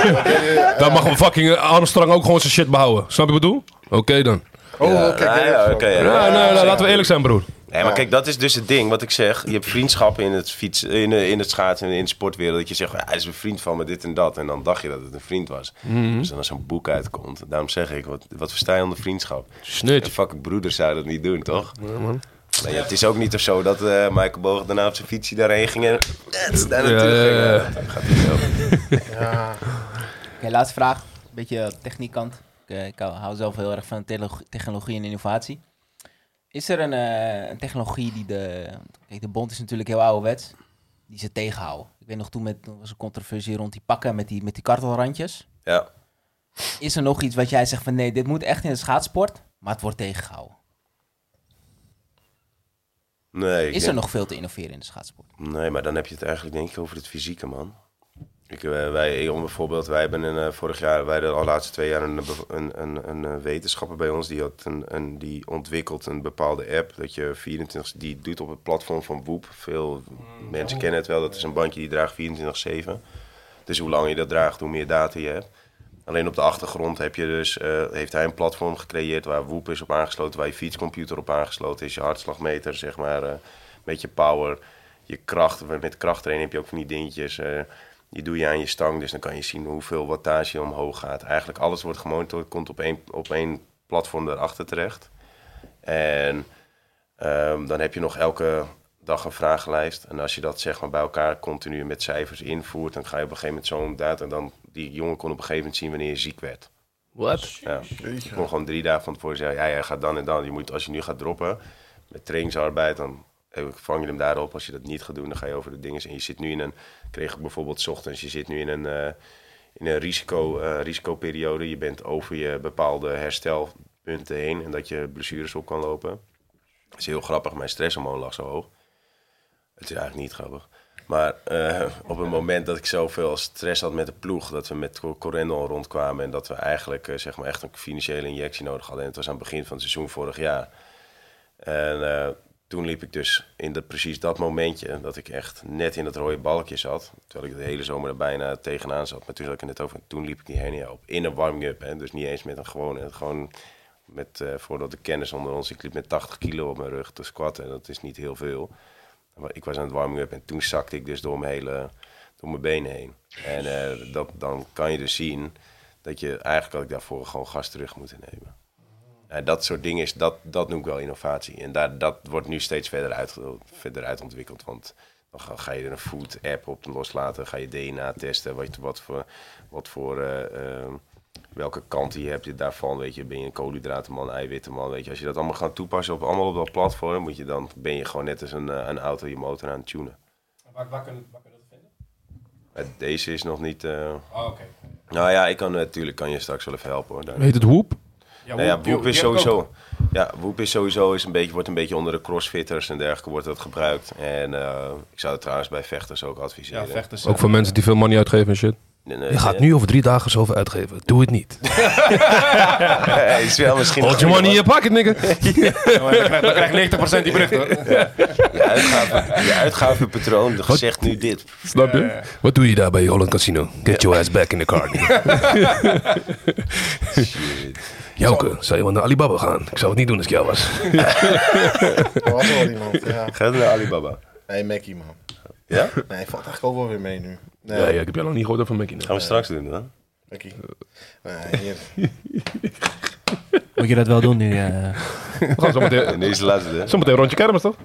Speaker 1: Dan mag een fucking eh, Armstrong ook gewoon zijn shit behouden. Snap je wat ik bedoel? Oké dan.
Speaker 2: Oh,
Speaker 3: Ja,
Speaker 2: kijk,
Speaker 3: ja,
Speaker 2: daar is
Speaker 3: oké,
Speaker 2: hij.
Speaker 3: ja.
Speaker 1: Ja, nee, nee, laten we eerlijk zijn, broer.
Speaker 3: Nee, maar kijk, dat is dus het ding wat ik zeg. Je hebt vriendschappen in het, fiets, in, eh, in het schaatsen en in de sportwereld. Dat je zegt, ja, hij is een vriend van me, dit en dat. En dan dacht je dat het een vriend was. Dus dan als zo'n boek uitkomt, daarom zeg ik, wat, wat versta je onder vriendschap? Een
Speaker 1: Snitch.
Speaker 3: fucking broeder zou dat niet doen, toch? Nee, het is ook niet of zo dat eh, Michael Boog daarna op zijn fietsje daarheen ging en... eh, daar
Speaker 1: ja,
Speaker 3: naartoe ging.
Speaker 1: ja.
Speaker 3: Ja, dat gaat niet zo.
Speaker 4: Oké, laatste vraag. Een beetje techniekkant. Oké, eh, ik hou hou zelf heel erg van technologie- technologie en innovatie. Is er een, eh, een technologie die de... Kijk, de bond is natuurlijk heel ouderwets. Die ze tegenhouden. Ik weet nog, toen, met, toen was er controversie rond die pakken met die, met die kartelrandjes.
Speaker 3: Ja.
Speaker 4: Is er nog iets wat jij zegt van nee, dit moet echt in de schaatsport, maar het wordt tegengehouden?
Speaker 3: Nee, ik
Speaker 4: Is er
Speaker 3: denk-
Speaker 4: nog veel te innoveren in de schaatsport?
Speaker 3: Nee, maar dan heb je het eigenlijk denk ik over het fysieke, man. Ik, eh, wij, ik, om bijvoorbeeld, wij hebben een, eh, vorig jaar, wij de al laatste twee jaar een, eh, bev- een, een, een eh, wetenschapper bij ons die, had een, een, die ontwikkelt een bepaalde app. Dat je 24, die doet op het platform van Woep. Veel mensen kennen het wel, dat is een bandje die draagt 24-7. Dus hoe langer je dat draagt, hoe meer data je hebt. Alleen op de achtergrond heb je dus, eh, heeft hij een platform gecreëerd waar Woep is op aangesloten, waar je fietscomputer op aangesloten is, je hartslagmeter, zeg maar, eh, met je power, je kracht. Met krachttraining heb je ook van die dingetjes. eh, die doe je aan je stang, dus dan kan je zien hoeveel wattage je omhoog gaat. Eigenlijk alles wordt gemonitord, komt op één, op één platform daarachter terecht. En ehm, dan heb je nog elke dag een vragenlijst. En als je dat zeg maar bij elkaar continu met cijfers invoert, dan ga je op een gegeven moment zo'n data. Dan, die jongen kon op een gegeven moment zien wanneer je ziek werd. Dus,
Speaker 1: Wat?
Speaker 3: Ja. Je kon gewoon drie dagen van tevoren zeggen, ja, jij gaat dan en dan. Je moet, als je nu gaat droppen met trainingsarbeid, dan eh, vang je hem daarop. Als je dat niet gaat doen, dan ga je over de dingen. En je zit nu in een, kreeg ik bijvoorbeeld 's ochtends, je zit nu in een, eh, in een risico, eh, risicoperiode. Je bent over je bepaalde herstelpunten heen en dat je blessures op kan lopen. Dat is heel grappig, mijn stresshormoon lag zo hoog. Het is eigenlijk niet grappig. Maar eh, op het moment dat ik zoveel stress had met de ploeg, dat we met Cor- Corendon rondkwamen en dat we eigenlijk eh, zeg maar echt een financiële injectie nodig hadden. En het was aan het begin van het seizoen vorig jaar. En eh, toen liep ik dus in dat, precies dat momentje dat ik echt net in dat rode balkje zat. Terwijl ik de hele zomer er bijna tegenaan zat. Maar toen zat ik er net over en toen liep ik die hernia op. In een warming-up, hè. dus niet eens met een gewone. Gewoon met, eh, voordat de kennis onder ons, ik liep met 80 kilo op mijn rug te squatten. En dat is niet heel veel. Maar Ik was aan het warming-up en toen zakte ik dus door mijn, hele, door mijn benen heen. En eh, dat, dan kan je dus zien dat je eigenlijk had ik daarvoor gewoon gas terug moeten nemen. En Nou, dat soort dingen, is, dat, dat noem ik wel innovatie. En daar, dat wordt nu steeds verder, uit, verder uitontwikkeld. Want dan ga, ga je er een food-app op loslaten. Ga je DNA testen, wat, wat voor... Wat voor eh, eh, welke kant je hebt je daarvan, weet je, ben je een koolhydratenman, eiwittenman, weet je. Als je dat allemaal gaat toepassen op allemaal op dat platform, moet je dan ben je gewoon net als een, eh, een auto je motor aan het tunen.
Speaker 6: Waar, waar, kunnen, waar kunnen we dat vinden?
Speaker 3: Eh, Deze is nog niet. eh,
Speaker 6: Oh, oké.
Speaker 3: Nou ja, ik kan natuurlijk kan je straks wel even helpen hoor. Daar-
Speaker 1: Heet het Hoep?
Speaker 6: Ja,
Speaker 3: Nou ja,
Speaker 6: Woep, die-
Speaker 3: Woep is
Speaker 6: die heb ik ook.
Speaker 3: sowieso. Ja, Woep is sowieso is een beetje, wordt een beetje onder de crossfitters en dergelijke wordt dat gebruikt. En eh, ik zou het trouwens bij vechters ook adviseren.
Speaker 6: Ja, vechters.
Speaker 1: Ook voor mensen die veel money uitgeven en shit.
Speaker 3: Nee, nee,
Speaker 1: Je gaat
Speaker 3: nee.
Speaker 1: nu over drie dagen zoveel uitgeven. Doe het niet.
Speaker 3: Eh, is wel misschien.
Speaker 1: Hold your money in je pocket, nigga.
Speaker 6: Dan krijg 90% die brug, hoor.
Speaker 3: Je uitgaven- je uitgavenpatroon zegt nu dit.
Speaker 1: Snap je? Wat doe je daar bij Holland Casino? Get your ass back in the car. nigga. Jouke, zou je wel naar Alibaba gaan? Ik zou het niet doen als ik jou was.
Speaker 2: Er was Oh, wel iemand. Ja.
Speaker 3: Ga naar Alibaba.
Speaker 2: Nee, Mackie, man.
Speaker 3: Ja?
Speaker 2: Nee, valt eigenlijk ook wel weer mee nu. Nee,
Speaker 1: Ja, ja, ik heb jou nog niet gehoord over Mackie.
Speaker 3: Gaan we straks doen dan?
Speaker 2: Mackie. Nee, hier.
Speaker 4: Moet je dat wel doen nu?
Speaker 1: We gaan zometeen,
Speaker 3: En deze is de laatste. hè?
Speaker 1: zometeen rondje kermis, toch?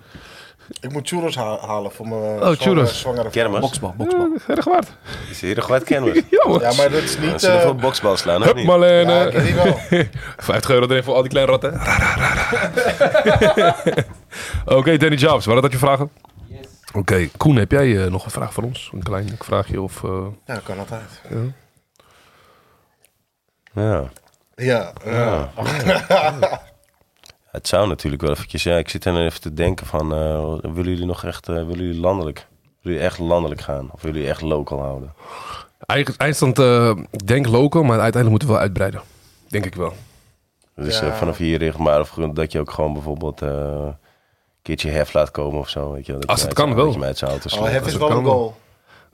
Speaker 2: Ik moet churros ha- halen voor mijn
Speaker 1: Oh, churros.
Speaker 2: zwangere vrouw.
Speaker 3: Kermis.
Speaker 4: Boksbal, boksbal.
Speaker 1: Erg waard.
Speaker 3: Is hier nog wat kermis?
Speaker 1: Ja, man.
Speaker 2: Ja, maar dat is
Speaker 3: Ze
Speaker 2: niet...
Speaker 3: zullen
Speaker 2: eh,
Speaker 3: veel boksbal slaan, of
Speaker 1: Hup,
Speaker 3: niet?
Speaker 1: Marlene.
Speaker 2: ja, ik weet niet wel.
Speaker 1: 50 euro erin voor al die kleine ratten. Ra, ra, ra, ra. Oké, Danny Jobs, waren dat je vragen? Oké, Koen, heb jij eh, nog een vraag voor ons? Een klein vraagje of... eh,
Speaker 2: Ja, kan altijd.
Speaker 3: Ja.
Speaker 2: Ja, eh,
Speaker 3: Het zou natuurlijk wel eventjes... Ja, ik zit er even te denken van... eh, willen jullie nog echt... eh, willen jullie landelijk? Willen jullie echt landelijk gaan? Of willen jullie echt local houden?
Speaker 1: eigen- Eindstand, eh, ik denk local, maar uiteindelijk moeten we wel uitbreiden. Denk ik wel.
Speaker 3: Dus
Speaker 2: Ja.
Speaker 3: eh, vanaf hier richtbaar of gewoon dat je ook gewoon bijvoorbeeld... eh, een keertje hef laat komen of zo, weet je. wel. Dat
Speaker 1: Als
Speaker 3: je
Speaker 1: het
Speaker 3: uit-
Speaker 1: kan wel.
Speaker 3: dat je hem uit zijn auto
Speaker 2: al
Speaker 3: sleept.
Speaker 2: heeft
Speaker 1: als
Speaker 2: het
Speaker 1: het
Speaker 2: wel
Speaker 1: kan
Speaker 2: een
Speaker 1: wel.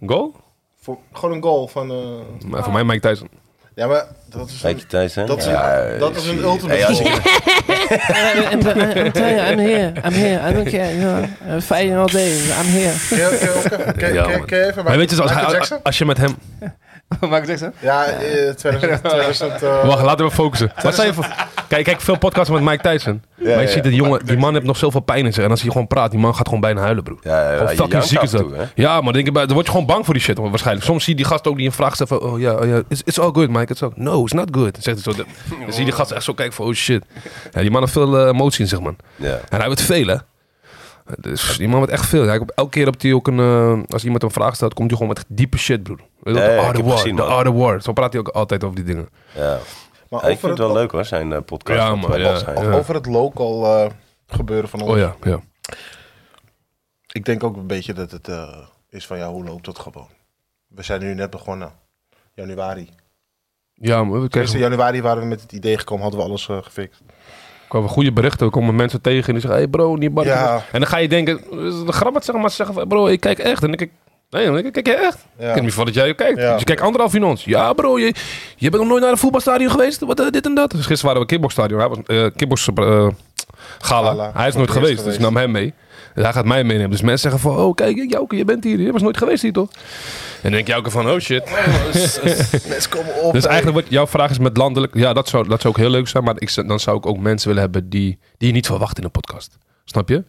Speaker 2: goal.
Speaker 1: Goal?
Speaker 2: Voor, gewoon een goal van... eh,
Speaker 1: Maar voor mij Mike Tyson.
Speaker 2: ja, maar dat is
Speaker 3: Weet
Speaker 2: een...
Speaker 3: je thuis zijn?
Speaker 2: Dat is een,
Speaker 3: Ja,
Speaker 2: dat is een
Speaker 3: zie-
Speaker 2: ultimate
Speaker 3: Hey, als
Speaker 2: goal.
Speaker 3: je-
Speaker 8: I'm, I'm telling you, I'm here. I'm here. I don't care. You know, I'm fighting all day. I'm here.
Speaker 2: Ken je- ken je
Speaker 1: Ja,
Speaker 2: ook even- ken- ken-
Speaker 1: man.
Speaker 2: ken je even
Speaker 1: Maar weet je, als,
Speaker 2: Michael
Speaker 1: hij,
Speaker 2: Jackson?
Speaker 1: als je met hem...
Speaker 6: Michael Jackson?
Speaker 2: Ja, eh, 2000... 2000 eh,
Speaker 1: Wacht, laten we focussen. Wat zijn je voor... Kijk, kijk, veel podcasts met Mike Tyson. maar ik
Speaker 3: ja.
Speaker 1: zie dat die jongen, die man heeft nog zoveel pijn in zich. En als hij gewoon praat, die man gaat gewoon bijna huilen, broer.
Speaker 3: Ja, ja,
Speaker 1: Gewoon
Speaker 3: je
Speaker 1: fucking
Speaker 3: jankt
Speaker 1: ziek
Speaker 3: af
Speaker 1: is
Speaker 3: en
Speaker 1: dat.
Speaker 3: toe, hè?
Speaker 1: Ja, maar denk ik, bij- dan word je gewoon bang voor die shit hoor, waarschijnlijk. Soms zie je die gast ook die een vraag stelt van, oh ja, oh, ja it's, it's all good, Mike. ik het zo. No, it's not good. Zegt hij zo. Dan dan zie je die gast echt zo kijken van, oh shit. Ja, die man had veel eh, emotie in zich, man.
Speaker 3: Ja.
Speaker 1: En hij wordt veel, hè. Dus die man wordt echt veel. Hij, elke keer op die ook een, eh, als iemand een vraag stelt, komt hij gewoon met diepe shit, broer. Weet je
Speaker 3: Ja,
Speaker 1: wel,
Speaker 3: ja,
Speaker 1: de
Speaker 3: ik
Speaker 1: art of
Speaker 3: heb
Speaker 1: war,
Speaker 3: gezien,
Speaker 1: de
Speaker 3: man.
Speaker 1: art of war. Zo praat hij ook altijd over die dingen.
Speaker 3: ja.
Speaker 2: Maar
Speaker 3: Ja, ik vind het wel
Speaker 2: lo-
Speaker 3: leuk hoor, zijn eh, podcast.
Speaker 1: Ja,
Speaker 3: Dat
Speaker 1: man,
Speaker 3: wel
Speaker 1: ja.
Speaker 3: tof zijn.
Speaker 1: Ja.
Speaker 2: Over het local eh, gebeuren van ons.
Speaker 1: Oh ja, ja.
Speaker 2: Ik denk ook een beetje dat het eh, is van ja, hoe loopt dat gewoon? We zijn nu net begonnen. Januari.
Speaker 1: Ja, maar we
Speaker 2: Eerste
Speaker 1: kregen
Speaker 2: januari waren we met het idee gekomen, hadden we alles eh, gefixt.
Speaker 1: kwamen goede berichten. Er komen mensen tegen en die zeggen, hey bro, niet bang.
Speaker 2: Ja.
Speaker 1: En dan ga je denken, dus is het een grap wat ze zeggen, maar ze zeggen, van, bro, ik kijk echt. En ik kijk, nee, man, ik kijk jij echt. Ik ken niet van dat jij ook kijkt.
Speaker 2: Ja.
Speaker 1: Dus je kijkt anderhalf uur naar ons. Ja bro, je, je bent nog nooit naar een voetbalstadion geweest? Wat eh, dit en dat? Dus gisteren waren we kickboxstadion. Hij was eh kickbox eh, gala.
Speaker 2: Gala.
Speaker 1: Hij is
Speaker 2: Voor
Speaker 1: nooit
Speaker 2: het
Speaker 1: geweest,
Speaker 2: eerst
Speaker 1: dus ik
Speaker 2: geweest.
Speaker 1: nam hem mee. Dus hij gaat mij meenemen. Dus mensen zeggen van, oh kijk, Jouke, je bent hier. Je was nooit geweest hier toch? En dan denk Jouke van, oh shit.
Speaker 2: Mensen komen op.
Speaker 1: Dus eigenlijk wat jouw vraag is met landelijk. Ja, dat zou, dat zou ook heel leuk zijn. Maar ik, zou- dan zou ik ook mensen willen hebben die, die je niet verwacht in een podcast. Snap je?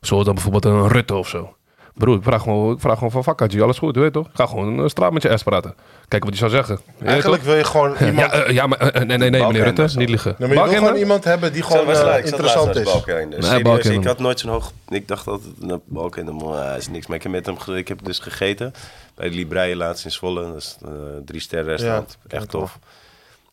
Speaker 1: Zo dan bijvoorbeeld een Rutte of zo. Broer, ik vraag gewoon, ik vraag gewoon van vakantje. Alles goed, weet je toch? Ik ga gewoon een eh, straat met je S praten. Kijken wat hij zou zeggen. Je weet
Speaker 2: Eigenlijk wil je gewoon
Speaker 1: toch?
Speaker 2: iemand...
Speaker 1: Ja, eh, ja, maar eh, nee, nee, nee, meneer
Speaker 3: Balkenende
Speaker 1: Rutte,
Speaker 3: zo.
Speaker 1: niet liegen.
Speaker 2: Nee, maar je wil
Speaker 1: Balkenende?
Speaker 2: gewoon iemand hebben die
Speaker 3: Ik zat
Speaker 2: gewoon
Speaker 3: laatst-
Speaker 2: eh,
Speaker 3: ik zat laatst
Speaker 2: interessant
Speaker 3: naast
Speaker 2: is.
Speaker 3: Balkenende.
Speaker 1: Nee,
Speaker 3: Serieus,
Speaker 1: Balkenende.
Speaker 3: Ik had nooit zo'n hoog... Ik dacht altijd, nou, Balkenende, maar hij is niks. Maar ik heb met hem ge- ik heb dus gegeten bij de Libreien laatst in Zwolle. Dat is een drie sterren restaurant.
Speaker 2: Ja, ken
Speaker 3: echt
Speaker 2: ik wel.
Speaker 3: tof.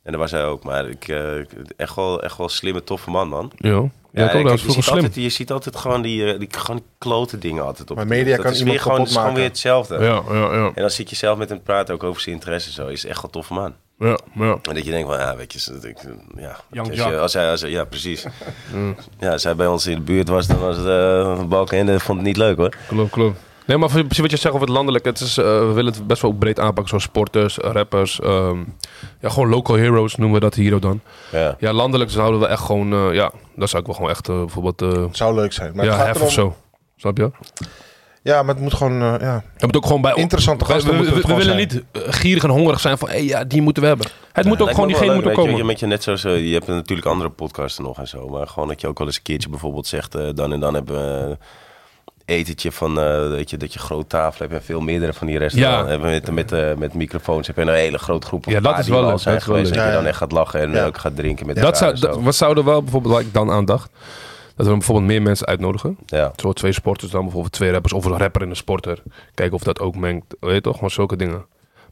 Speaker 3: En daar was hij ook. Maar ik, eh, echt, wel, echt wel een slimme, toffe man, man.
Speaker 1: Ja, ja, ik ook,
Speaker 3: kijk,
Speaker 1: dat is
Speaker 3: je,
Speaker 1: vroeger
Speaker 3: ziet
Speaker 1: slim.
Speaker 3: altijd, je ziet altijd gewoon die, eh, die, gewoon die klote dingen altijd op.
Speaker 2: Maar
Speaker 3: het nieuws.
Speaker 2: media
Speaker 3: dat
Speaker 2: kan
Speaker 3: is
Speaker 2: iemand
Speaker 3: weer gewoon,
Speaker 2: kapot
Speaker 3: is gewoon weer
Speaker 2: maken.
Speaker 3: hetzelfde.
Speaker 1: Ja, ja, ja,
Speaker 3: En dan zit je zelf met hem praten, ook over zijn interesse en zo. Is echt wel een toffe man.
Speaker 1: ja, ja.
Speaker 3: En dat je denkt van, ja, weet je, ze- ik, ja,
Speaker 6: Young
Speaker 3: als,
Speaker 6: Jack.
Speaker 3: je, als hij, als hij- ja, precies.
Speaker 1: Mm.
Speaker 3: ja, als hij bij ons in de buurt was, dan was het eh Balkenende vond het niet leuk, hoor.
Speaker 1: Klopt, klopt. Nee, maar precies wat je zegt over het landelijk. Het is, eh, we willen het best wel breed aanpakken. Zoals sporters, rappers. ehm, ja, gewoon local heroes noemen we dat hier dan.
Speaker 3: Ja.
Speaker 1: Ja, landelijk zouden we echt gewoon... eh, ja, daar zou ik wel gewoon echt eh, bijvoorbeeld... eh,
Speaker 2: Het zou leuk zijn. Maar
Speaker 1: ja,
Speaker 2: het gaat
Speaker 1: hef
Speaker 2: erom-
Speaker 1: of zo. Snap je?
Speaker 2: Ja, maar het moet gewoon... eh, ja.
Speaker 1: Je moet ook gewoon bij...
Speaker 2: Interessante
Speaker 1: we, we,
Speaker 2: gasten
Speaker 1: we-
Speaker 2: moeten het
Speaker 1: we willen
Speaker 2: gewoon
Speaker 1: niet eh, gierig en hongerig zijn van... hey, ja, die moeten we hebben. Het moet ook
Speaker 3: Lijkt
Speaker 1: gewoon
Speaker 3: me wel
Speaker 1: diegene
Speaker 3: leuk,
Speaker 1: moeten
Speaker 3: weet je,
Speaker 1: komen.
Speaker 3: Je, met je, net zoals, eh, je hebt natuurlijk andere podcasten nog en zo. Maar gewoon dat je ook wel eens een keertje bijvoorbeeld zegt... eh, dan en dan hebben we een etentje van... eh, weet je, dat je groot tafel hebt en veel meerdere van die restaurants.
Speaker 1: Ja.
Speaker 3: Hebben Met, met, eh, met microfoons heb je een hele grote groep. of
Speaker 1: Ja, dat
Speaker 3: paar
Speaker 1: is
Speaker 3: die
Speaker 1: wel
Speaker 3: al
Speaker 1: leuk,
Speaker 3: zijn
Speaker 1: dat is wel
Speaker 3: geweest,
Speaker 1: leuk.
Speaker 3: Dat je
Speaker 2: Ja,
Speaker 3: dan echt gaat lachen en
Speaker 2: Ja.
Speaker 3: ook gaat drinken met
Speaker 1: dat
Speaker 3: elkaar
Speaker 1: zou,
Speaker 3: en zo.
Speaker 1: dat, we zouden wel bijvoorbeeld, waar ik dan aan dacht... Dat we bijvoorbeeld meer mensen uitnodigen.
Speaker 3: ja.
Speaker 1: Zo twee sporters dan, bijvoorbeeld twee rappers of een rapper en een sporter. Kijken of dat ook mengt. Oh, Weet je toch, gewoon zulke dingen.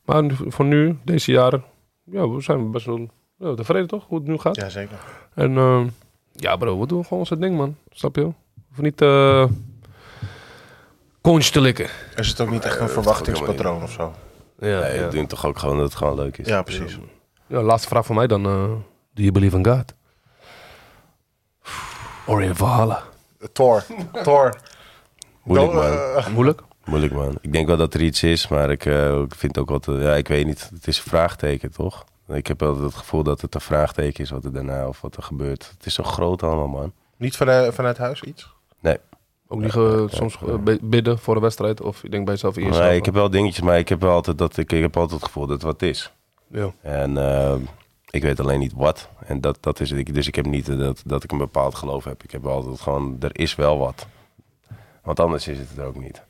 Speaker 1: Maar nu- voor nu, deze jaren, ja, we zijn best wel ja, tevreden toch, hoe het nu gaat.
Speaker 2: Ja, zeker.
Speaker 1: En ehm, ja bro, we doen gewoon ons ding man, snap je? Of niet eh kontje te likken.
Speaker 2: Er zit ook niet echt een verwachtingspatroon of zo.
Speaker 1: Ja,
Speaker 3: Nee,
Speaker 1: ja.
Speaker 3: ik denk toch ook gewoon dat het gewoon leuk is.
Speaker 2: Ja, precies.
Speaker 1: Ja, laatste vraag van mij dan. eh do you believe in God? Or in Valhalla?
Speaker 2: Thor. Thor.
Speaker 3: Moeilijk,
Speaker 2: Dan,
Speaker 3: man.
Speaker 2: eh,
Speaker 1: Moeilijk?
Speaker 3: Moeilijk, man. Ik denk wel dat er iets is, maar ik eh, ik vind ook wat... eh, ja, ik weet niet. Het is een vraagteken, toch? Ik heb wel het gevoel dat het een vraagteken is wat er daarna of wat er gebeurt. Het is zo groot allemaal, man.
Speaker 2: niet vanuit, vanuit huis iets?
Speaker 1: Ook niet eh, soms eh, bi- bidden voor een wedstrijd? Of ik denk bij jezelf eerst.
Speaker 3: Nee, ik heb wel dingetjes, maar ik heb wel altijd, dat, ik, ik heb altijd het gevoel dat het wat is.
Speaker 1: Ja.
Speaker 3: En eh, ik weet alleen niet wat. En dat, dat is het. Ik- Dus ik heb niet eh, dat, dat ik een bepaald geloof heb. Ik heb wel altijd gewoon, er is wel wat. Want anders is het er ook niet.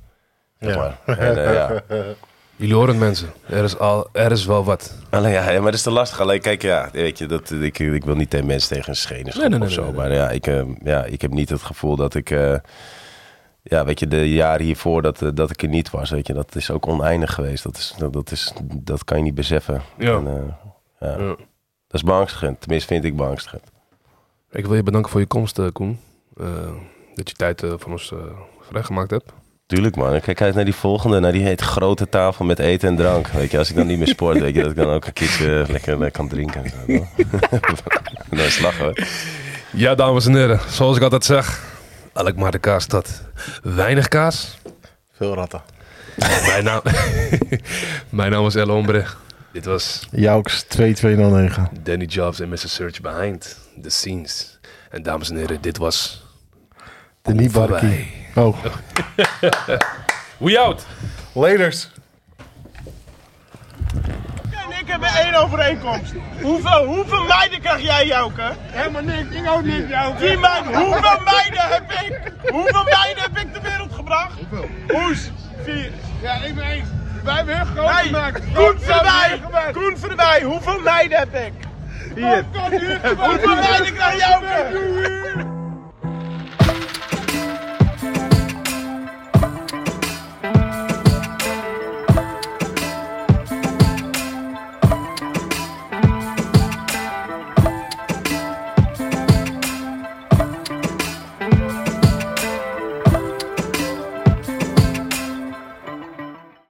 Speaker 3: Zeg maar. En, eh, ja.
Speaker 1: Jullie horen het, mensen. Er is, al, er is wel wat.
Speaker 3: Alleen Nou, ja, ja, maar dat is te lastig. Alleen kijk, ja, weet je, dat, ik, ik wil niet tegen mensen tegen een schenen schoppen
Speaker 1: nee,
Speaker 3: of
Speaker 1: nee,
Speaker 3: zo.
Speaker 1: nee,
Speaker 3: maar ja ik, eh, ja, ik heb niet het gevoel dat ik... eh, ja, weet je, de jaren hiervoor dat, eh, dat ik er niet was, weet je, dat is ook oneindig geweest. Dat, is, dat, dat is, dat kan je niet beseffen.
Speaker 1: Ja.
Speaker 3: En, eh, ja.
Speaker 1: Ja.
Speaker 3: Dat is beangstigend. Tenminste, vind ik beangstigend.
Speaker 1: Ik wil je bedanken voor je komst, eh, Koen. Eh, dat je tijd eh, van ons eh, vrijgemaakt hebt.
Speaker 3: Tuurlijk man, ik kijk uit naar die volgende, naar die heet grote tafel met eten en drank. Weet je, als ik dan niet meer sport, weet je, dat ik dan ook een keertje eh, lekker, lekker kan drinken. en zo. dat is lachen hoor.
Speaker 1: Ja, dames en heren. Zoals ik altijd zeg. Elk maar de kaas dat. Weinig kaas.
Speaker 2: Veel ratten.
Speaker 1: Mijn naam, Mijn naam is El Hombre. Dit was
Speaker 2: Jouks 2209.
Speaker 1: Danny Jobs en Mr. Search Behind the Scenes. En dames en heren, dit was...
Speaker 2: De
Speaker 1: Voorbij.
Speaker 2: Nibarki. Oh.
Speaker 1: We out!
Speaker 2: Laters.
Speaker 9: en ik hebben één overeenkomst. Hoeveel, hoeveel meiden krijg jij, Jouke? Helemaal niks. Ik ook niet, Jouke. Die meiden, hoeveel meiden heb ik? Hoeveel meiden heb ik de wereld gebracht? Hoeveel? Hoes. Vier. Ja, ik ben één. Wij hebben heel groot
Speaker 7: Hey,
Speaker 9: gemaakt.
Speaker 7: Koen
Speaker 9: Groot
Speaker 7: erbij.
Speaker 9: gemaakt.
Speaker 7: Koen van erbij, hoeveel meiden heb ik?
Speaker 9: Popcorn hier gemaakt.
Speaker 7: Hoeveel meiden krijg jij ook?
Speaker 9: Popcorn hier.